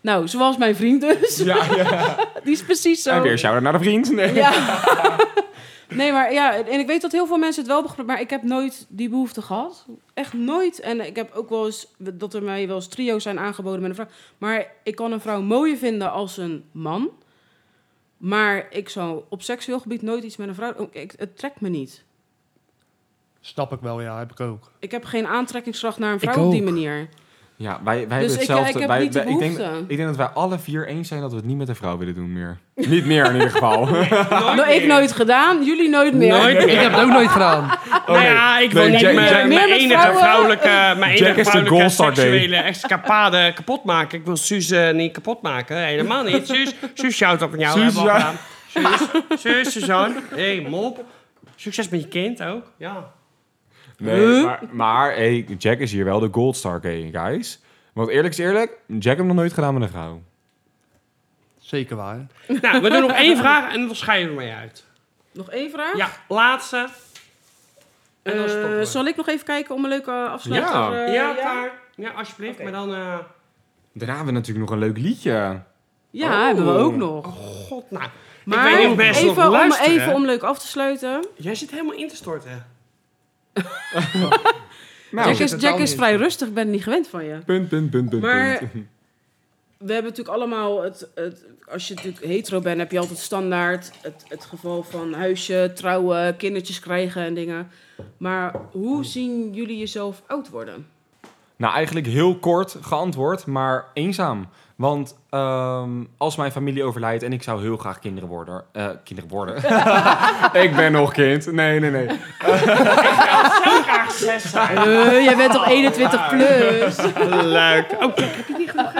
S1: Nou, zoals mijn vriend dus.
S3: Ja, ja.
S1: Die is precies zo.
S3: En weer shout-out naar de vriend. Nee.
S1: Ja. nee, maar ja, en ik weet dat heel veel mensen het wel begrijpen, maar ik heb nooit die behoefte gehad. Echt nooit. En ik heb ook wel eens, dat er mij wel eens trio's zijn aangeboden met een vrouw. Maar ik kan een vrouw mooier vinden als een man. Maar ik zou op seksueel gebied nooit iets met een vrouw... ook- ik- Het trekt me niet.
S4: Snap ik wel, ja, heb ik ook.
S1: Ik heb geen aantrekkingskracht naar een
S4: Ik
S1: vrouw op die
S4: ook.
S1: manier.
S3: Ja, wij, wij
S1: Dus
S3: hebben
S1: ik-
S3: hetzelfde.
S1: ik heb
S3: wij,
S1: niet de
S3: wij- ik, denk,
S1: behoefte.
S3: ik denk dat wij alle vier eens zijn dat we het niet met een vrouw willen doen meer. Niet meer in ieder geval.
S1: Nou, ik nooit gedaan, jullie nooit meer.
S2: Nooit
S4: Ik
S2: meer.
S4: heb het ook nooit gedaan.
S2: Nou ja, ik wil
S3: Oh, Nee,
S2: niet
S3: Jack-
S2: mijn,
S3: Jack-
S2: mijn
S1: Meer met
S2: enige
S1: vrouwen.
S2: vrouwelijke, mijn
S3: Jack
S2: enige
S3: is de
S2: vrouwelijke
S3: Goldstar Day.
S2: seksuele escapade kapot maken. Ik wil Suus eh, niet kapot maken. Helemaal niet. Suus, Suus shout op jou.
S3: Suus,
S2: hebben we al
S3: ja.
S2: gedaan. Suus, Suus, Suzanne. hey, mop. Succes met je kind ook. Ja.
S3: Nee, maar, maar hey, Jack is hier wel de goldstar gay, guys. Want eerlijk is eerlijk, Jack heeft nog nooit gedaan met een vrouw.
S4: Zeker waar.
S2: Nou, we doen nog één vraag en dan scheiden we ermee uit.
S1: Nog één vraag?
S2: Ja, laatste. En dan
S1: Eh,
S2: stoppen we.
S1: zal ik nog even kijken om een leuke afsluiter?
S3: Ja.
S1: eh,
S2: ja, daar. Ja, alsjeblieft. Maar dan... eh,
S3: Daarna hebben we natuurlijk nog een leuk liedje.
S1: Ja, hebben we
S3: Oh.
S1: ook nog.
S2: God, nou.
S1: Maar
S2: ik weet niet of mensen nog
S1: even, om,
S2: luisteren.
S1: even om leuk af te sluiten.
S2: Jij zit helemaal in te storten.
S3: Nou,
S1: Jack is,
S4: het
S1: Jack
S4: wel
S1: is
S4: niet.
S1: vrij rustig, ik ben niet gewend van je.
S3: punt, punt, punt, punt,
S1: Maar-
S3: punt.
S1: We hebben natuurlijk allemaal, het, het, als je natuurlijk hetero bent, heb je altijd standaard het, het geval van huisje, trouwen, kindertjes krijgen en dingen. Maar hoe zien jullie jezelf oud worden?
S3: Nou, eigenlijk heel kort geantwoord, maar eenzaam. Want ehm, als mijn familie overlijdt en ik zou heel graag kinderen worden. eh, kinderen worden. ik ben nog kind. Nee, nee, nee.
S2: Zo graag zes zijn.
S1: Eh, jij bent toch 21 plus?
S3: Leuk.
S1: Oh,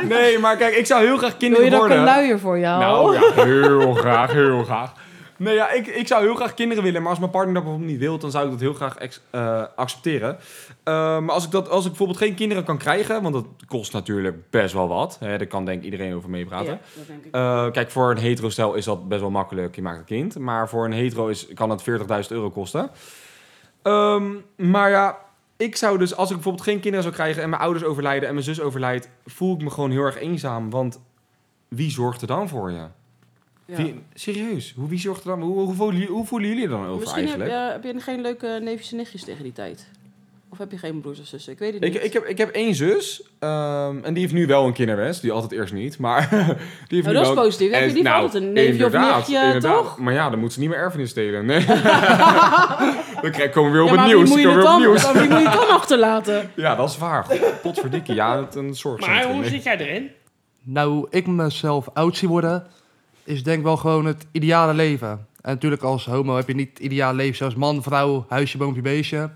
S3: Nee, maar kijk, ik zou heel graag
S1: Wil je
S3: kinderen
S1: dan ook
S3: worden.
S1: een luier voor jou?
S3: Nou ja, heel graag, heel graag. Nee, ja, ik, ik zou heel graag kinderen willen, maar als mijn partner dat bijvoorbeeld niet wil, dan zou ik dat heel graag ex- eh, accepteren. Eh, maar als ik, dat, als ik bijvoorbeeld geen kinderen kan krijgen, want dat kost natuurlijk best wel wat, hè, daar kan denk ik iedereen over meepraten.
S1: Ja, dat denk ik.
S3: Eh, kijk, voor een hetero stel is dat best wel makkelijk. Je maakt een kind. Maar voor een hetero is, kan het 40.000 euro kosten. Ehm, maar ja, ik zou dus, als ik bijvoorbeeld geen kinderen zou krijgen en mijn ouders overlijden en mijn zus overlijdt, voel ik me gewoon heel erg eenzaam. Want wie zorgt er dan voor je?
S1: Ja.
S3: Wie- serieus, hoe, wie zorgt er dan? Hoe, hoe, voelen, hoe voelen jullie er dan over
S1: Misschien heb,
S3: eigenlijk?
S1: eh, heb je geen leuke neefjes en nichtjes tegen die tijd. Of heb je geen broers of zussen? Ik weet het niet. Nou,
S3: Ik, ik, heb, ik heb één zus ehm, en die heeft nu wel een kinderwens. Die altijd eerst niet, maar die heeft nu
S1: nou,
S3: wel
S1: dat is
S3: een-
S1: positief. Heb je
S3: En-
S1: die
S3: nou,
S1: altijd een neefje of
S3: inderdaad,
S1: nichtje,
S3: inderdaad.
S1: toch?
S3: Maar ja, dan moet ze niet meer erfenis delen. Nee. dan krijg- komen we weer op
S1: Ja, maar
S3: het
S1: wie
S3: nieuws.
S1: moet je
S3: Komen
S1: het
S3: weer op het
S1: dan,
S3: nieuws.
S1: wie moet je het dan achterlaten?
S3: Ja, dat is waar. Potverdikkie. Ja, het een
S2: Maar
S3: zorgcentrum.
S2: hoe
S3: nee.
S2: zit jij erin?
S4: Nou, hoe ik mezelf oud zie worden, is denk ik wel gewoon het ideale leven. En natuurlijk als homo heb je niet het ideale leven zoals man, vrouw, huisje, boompje, beestje.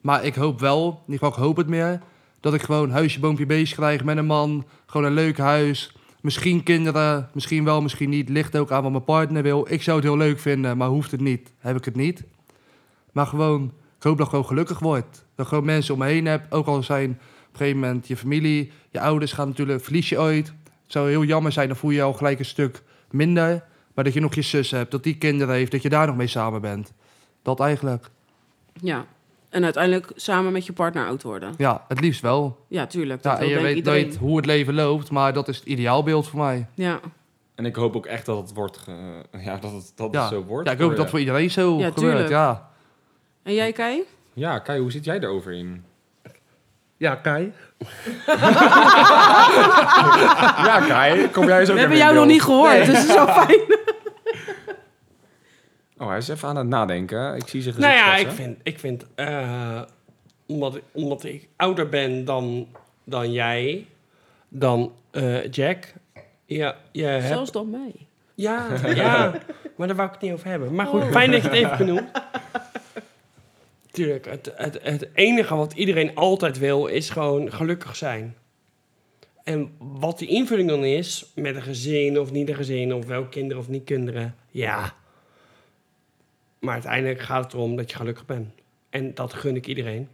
S4: Maar ik hoop wel, in ieder geval ik hoop het meer, dat ik gewoon huisje, boompje, beestje krijg met een man. Gewoon een leuk huis, misschien kinderen, misschien wel, misschien niet. Ligt ook aan wat mijn partner wil. Ik zou het heel leuk vinden, maar hoeft het niet, heb ik het niet. Maar gewoon, ik hoop dat ik gewoon gelukkig word. Dat ik gewoon mensen om me heen heb, ook al zijn op een gegeven moment je familie, je ouders gaan natuurlijk, verlies je ooit. Het zou heel jammer zijn, dan voel je je al gelijk een stuk minder. Maar dat je nog je zus hebt, dat die kinderen heeft, dat je daar nog mee samen bent. Dat eigenlijk.
S1: Ja. En uiteindelijk samen met je partner oud worden.
S4: Ja, het liefst wel.
S1: Ja, tuurlijk. Dat
S4: Ja,
S1: wil
S4: en je
S1: denk
S4: weet
S1: ik iedereen.
S4: nooit hoe het leven loopt, maar dat is het ideaalbeeld voor mij.
S1: Ja,
S3: En ik hoop ook echt dat het, wordt ge- ja, dat het, dat het
S4: Ja.
S3: zo wordt.
S4: Ja, ik hoop
S3: Oh,
S4: dat voor iedereen zo
S1: Ja, tuurlijk.
S4: gebeurt. Ja.
S1: En jij, Kai?
S3: Ja, Kai, hoe zit jij daarover in?
S4: ja, Kai.
S3: ja, Kai, kom jij zo
S1: We hebben jou nog niet gehoord, dus het is wel fijn.
S3: Oh, hij is even aan het nadenken. Ik zie zijn
S2: Nou
S3: gezicht
S2: ja, ik
S3: schetsen.
S2: vind, ik vind eh, omdat, ik- omdat ik ouder ben dan, dan jij, dan eh, Jack. Ja, je hebt,
S1: Zelfs dan mij.
S2: ja, ja, maar daar wou ik het niet over hebben. Maar goed, fijn dat je het even benoemt. Tuurlijk, het, het, het enige wat iedereen altijd wil is gewoon gelukkig zijn. En wat die invulling dan is, met een gezin of niet een gezin, of wel kinderen of niet kinderen, ja. Maar uiteindelijk gaat het erom dat je gelukkig bent. En dat gun ik iedereen.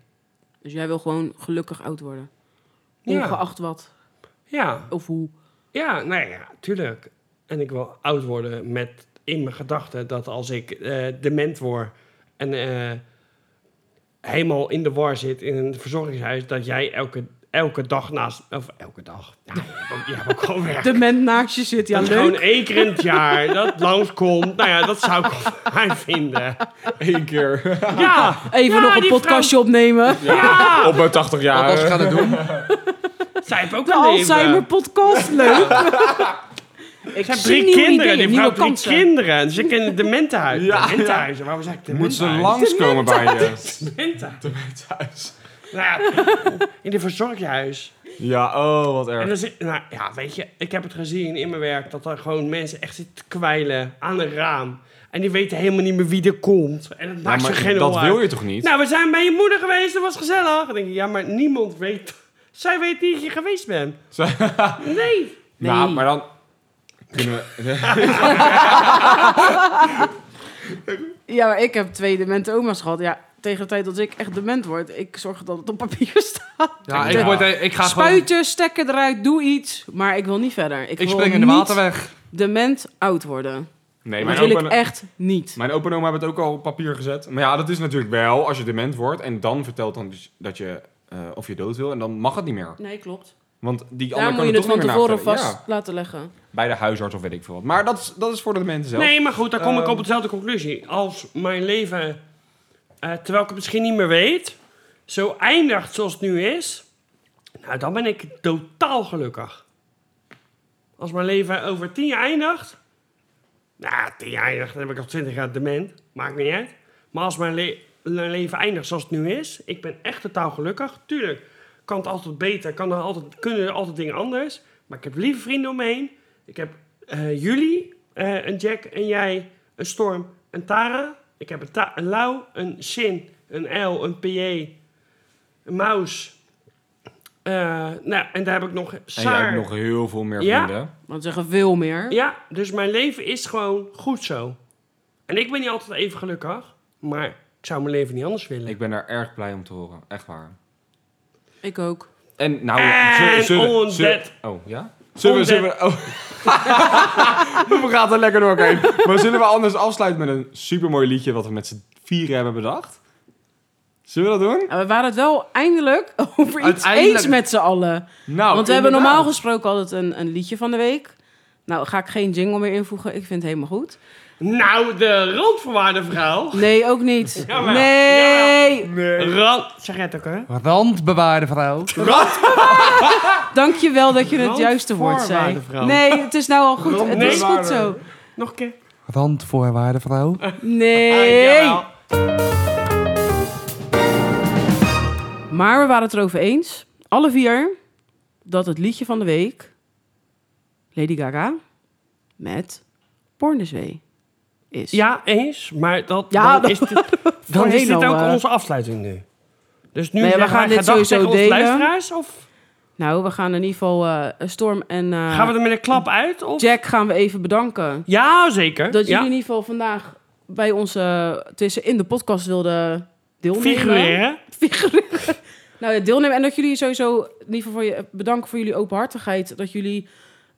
S1: Dus jij wil gewoon gelukkig oud worden.
S2: Ja.
S1: Ongeacht wat
S2: Ja,
S1: of hoe.
S2: ja, nou ja, tuurlijk. En ik wil oud worden met in mijn gedachten dat als ik eh, dement word en eh, helemaal in de war zit in een verzorgingshuis, dat jij elke, elke dag naast. Of elke dag. Ja, je hebt ook- je hebt ook gewoon werk.
S1: De ment naast je zit, ja
S2: dat is
S1: leuk.
S2: gewoon één keer in het jaar dat langskomt. Nou ja, dat zou ik wel fijn vinden.
S3: Eén keer
S2: Ja,
S1: Even
S2: ja,
S1: nog een
S2: die
S1: podcastje opnemen.
S2: vrouw- Ja,
S3: op mijn 80
S4: Wat
S3: jaar.
S4: als ik ga dat doen?
S2: zij heeft ook
S1: De
S2: een leven.
S1: Alzheimer podcast, leuk. Ik
S2: Ze
S1: heb
S2: heeft drie kinderen, die vrouw heeft drie kinderen. En ze kennen dementenhuizen.
S3: Ja, ja.
S2: dementenhuizen, waarom zeg ik
S3: Moet ze
S2: dementenhuizen?
S3: langskomen bij je?
S2: Dementenhuizen.
S3: Thuis.
S2: Nou ja, in een verzorghuis.
S3: Ja, oh, wat
S2: En
S3: erg.
S2: dan zit, nou ja, weet je, ik heb het gezien in mijn werk dat er gewoon mensen echt zitten te kwijlen aan een raam. En die weten helemaal niet meer wie er komt. En dat
S3: Ja,
S2: maakt ze
S3: maar
S2: geen
S3: dat
S2: hol
S3: wil
S2: uit.
S3: je toch niet?
S2: Nou, we zijn bij je moeder geweest, dat was gezellig. Dan denk ik, ja, maar niemand weet. Zij weet niet dat je geweest bent. Nee.
S3: Nou,
S1: Nee.
S3: maar dan kunnen we...
S1: Ja, maar ik heb twee demente oma's gehad. Ja, tegen de tijd dat ik echt dement word, ik zorg dat het op papier staat.
S4: Ja, ik,
S3: Ja.
S4: word, ik ga gewoon...
S1: Spuiten, stekken eruit, doe iets. Maar ik wil niet verder. Ik,
S4: Ik
S1: wil
S4: spring in de
S1: niet
S4: waterweg.
S1: dement oud worden.
S3: Nee,
S1: dat
S3: mijn
S1: wil ik
S3: opa,
S1: echt niet.
S3: mijn opa en oma hebben het ook al op papier gezet. Maar ja, dat is natuurlijk wel als je dement wordt en dan vertelt dan dus dat je eh, of je dood wil en dan mag het niet meer.
S1: Nee, klopt.
S3: Want die
S1: Daar
S3: andere
S1: moet
S3: kan
S1: je het
S3: toch
S1: van
S3: niet meer
S1: tevoren
S3: navertellen.
S1: vast laten leggen.
S3: Ja, bij de huisarts of weet ik veel wat. Maar dat is, dat is voor de mensen zelf.
S2: Nee, maar goed, dan kom ik
S3: Ehm.
S2: op dezelfde conclusie. Als mijn leven, eh, terwijl ik het misschien niet meer weet, zo eindigt zoals het nu is, nou, dan ben ik totaal gelukkig. Als mijn leven over tien jaar eindigt, nou, tien jaar eindigt, dan heb ik al twintig jaar dement, maakt niet uit. Maar als mijn, le- mijn leven eindigt zoals het nu is, ik ben echt totaal gelukkig. Tuurlijk Kan het altijd beter. Kan er altijd, kunnen er altijd dingen anders. Maar ik heb lieve vrienden om me heen. Ik heb eh, jullie, eh, een Jack en jij, een Storm, een Tara. Ik heb een, Ta- een Lau, een Sin, een L, een PJ, een Maus. Eh, nou, en daar heb ik nog
S3: En jij
S2: Saar.
S3: hebt nog heel veel meer
S2: Ja.
S3: vrienden.
S1: Want zeggen veel meer.
S2: Ja, dus mijn leven is gewoon goed zo. En ik ben niet altijd even gelukkig, maar ik zou mijn leven niet anders willen.
S3: Ik ben daar erg blij om te horen. Echt waar.
S1: Ik ook.
S3: En nou...
S2: En
S3: zullen- zullen-
S2: Undead.
S3: Oh, ja? Zullen we... Zullen we, oh. we gaan er lekker doorheen. Maar zullen we anders afsluiten met een supermooi liedje... wat we met z'n vieren hebben bedacht? Zullen we dat doen?
S1: En we waren het wel eindelijk over iets
S4: Uiteindelijk.
S1: eens met z'n allen.
S2: Oh,
S3: Nou,
S1: Want we hebben
S3: inderdaad.
S1: normaal gesproken altijd een, een liedje van de week. Nou, ga ik geen jingle meer invoegen. Ik vind het helemaal goed.
S2: Nou, de randvoorwaarde vrouw.
S1: Nee, ook niet.
S2: Jawel.
S1: Nee.
S2: Rand... Zeg jij het ook, hè?
S4: Randbewaarde vrouw.
S1: Dankjewel dat je het juiste woord zei.
S2: Randvoorwaardenvrouw.
S1: Nee, het is nou al goed. Het is goed zo.
S2: Nog een keer.
S4: Randvoorwaarde vrouw.
S1: Nee.
S2: Ah, jawel.
S1: Maar we waren het erover eens, alle vier, dat het liedje van de week Lady Gaga met Porneswee is.
S2: Ja, eens, maar dat,
S1: Ja,
S2: dan
S1: dat
S2: is dit, dan
S1: voorheen
S2: is dit
S1: al,
S2: ook
S1: eh.
S2: onze afsluiting nu. Dus nu
S1: Nee, we
S2: zeggen
S1: gaan
S2: wij
S1: dit
S2: gedag
S1: sowieso
S2: tegen onze
S1: delen.
S2: luisteraars? Of
S1: Nou, we gaan in ieder geval eh, Storm en eh,
S2: gaan we er met een klap uit? Of?
S1: Jack gaan we even bedanken.
S2: Ja, zeker.
S1: Dat
S2: ja.
S1: jullie in ieder geval vandaag bij ons eh, tussen in de podcast wilden deelnemen.
S2: Figureren.
S1: Figureren. nou ja, deelnemen. En dat jullie sowieso in ieder geval voor je, bedanken voor jullie openhartigheid. Dat jullie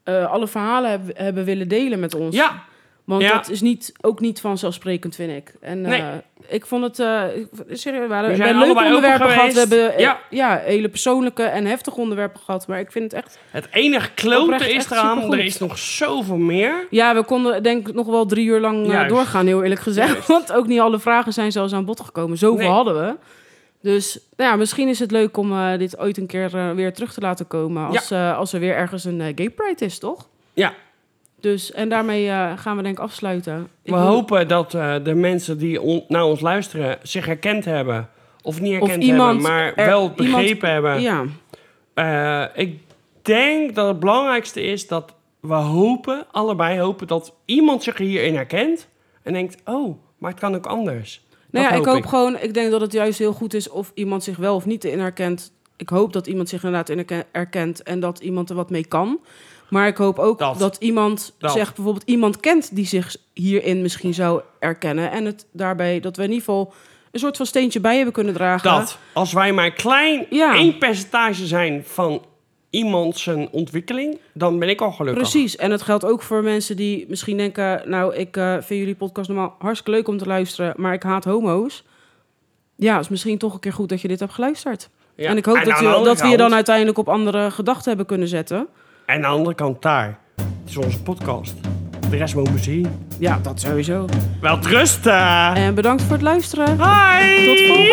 S1: eh, alle verhalen heb- hebben willen delen met ons.
S2: Ja,
S1: Want
S2: Ja.
S1: dat is niet, ook niet vanzelfsprekend, vind ik. En eh,
S2: Nee.
S1: ik vond het... eh, ik vond- serieus, we waren-
S2: We
S1: we
S2: zijn
S1: hebben leuke
S2: allebei
S1: onderwerpen
S2: open
S1: gehad. We
S2: geweest.
S1: hebben eh,
S2: Ja.
S1: ja. hele persoonlijke en heftige onderwerpen gehad. Maar ik vind het echt...
S2: Het enige klote
S1: Oprecht
S2: is
S1: echt
S2: eraan,
S1: supergoed.
S2: er is nog zoveel meer.
S1: Ja, we konden denk ik nog wel drie uur lang eh,
S2: Juist.
S1: doorgaan, heel eerlijk gezegd.
S2: Juist.
S1: Want ook niet alle vragen zijn zelfs aan bod gekomen. Zoveel
S2: Nee.
S1: hadden we. Dus nou ja, misschien is het leuk om eh, dit ooit een keer eh, weer terug te laten komen. Als, eh, als er weer ergens een eh, gay pride is, toch?
S2: Ja.
S1: Dus, en daarmee eh, gaan we denk ik afsluiten. Ik
S2: We
S1: wil-
S2: hopen dat eh, de mensen die on- naar ons luisteren zich herkend hebben. Of niet herkend
S1: iemand
S2: hebben, maar
S1: er-
S2: wel
S1: iemand-
S2: begrepen hebben.
S1: Ja.
S2: Eh, ik denk dat het belangrijkste is dat we hopen, allebei hopen, dat iemand zich hierin herkent. En denkt, oh, maar het kan ook anders.
S1: Nou ja,
S2: Dat
S1: ik hoop gewoon, ik denk dat het juist heel goed is of iemand zich wel of niet in herkent. Ik hoop dat iemand zich inderdaad in herken- herkent en dat iemand er wat mee kan. Maar ik hoop ook
S2: Dat.
S1: dat, iemand
S2: Dat.
S1: zegt, bijvoorbeeld iemand kent die zich hierin misschien zou herkennen. En het daarbij dat we in ieder geval een soort van steentje bij hebben kunnen dragen.
S2: Dat, als wij maar een klein,
S1: Ja.
S2: één percentage zijn van iemand zijn ontwikkeling, dan ben ik al gelukkig.
S1: Precies, en dat geldt ook voor mensen die misschien denken... nou, ik eh, vind jullie podcast normaal hartstikke leuk om te luisteren... maar ik haat homo's. Ja, is misschien toch een keer goed dat je dit hebt geluisterd.
S2: Ja.
S1: En ik hoop
S2: En
S1: dat,
S2: aan
S1: je,
S2: de andere
S1: dat we je dan
S2: kant-
S1: uiteindelijk op andere gedachten hebben kunnen zetten.
S2: En aan de andere kant daar. Het is onze podcast. De rest mogen we zien.
S1: Ja, dat sowieso.
S2: Wel trusten!
S1: En bedankt voor het luisteren.
S2: Hi!
S1: Tot volgende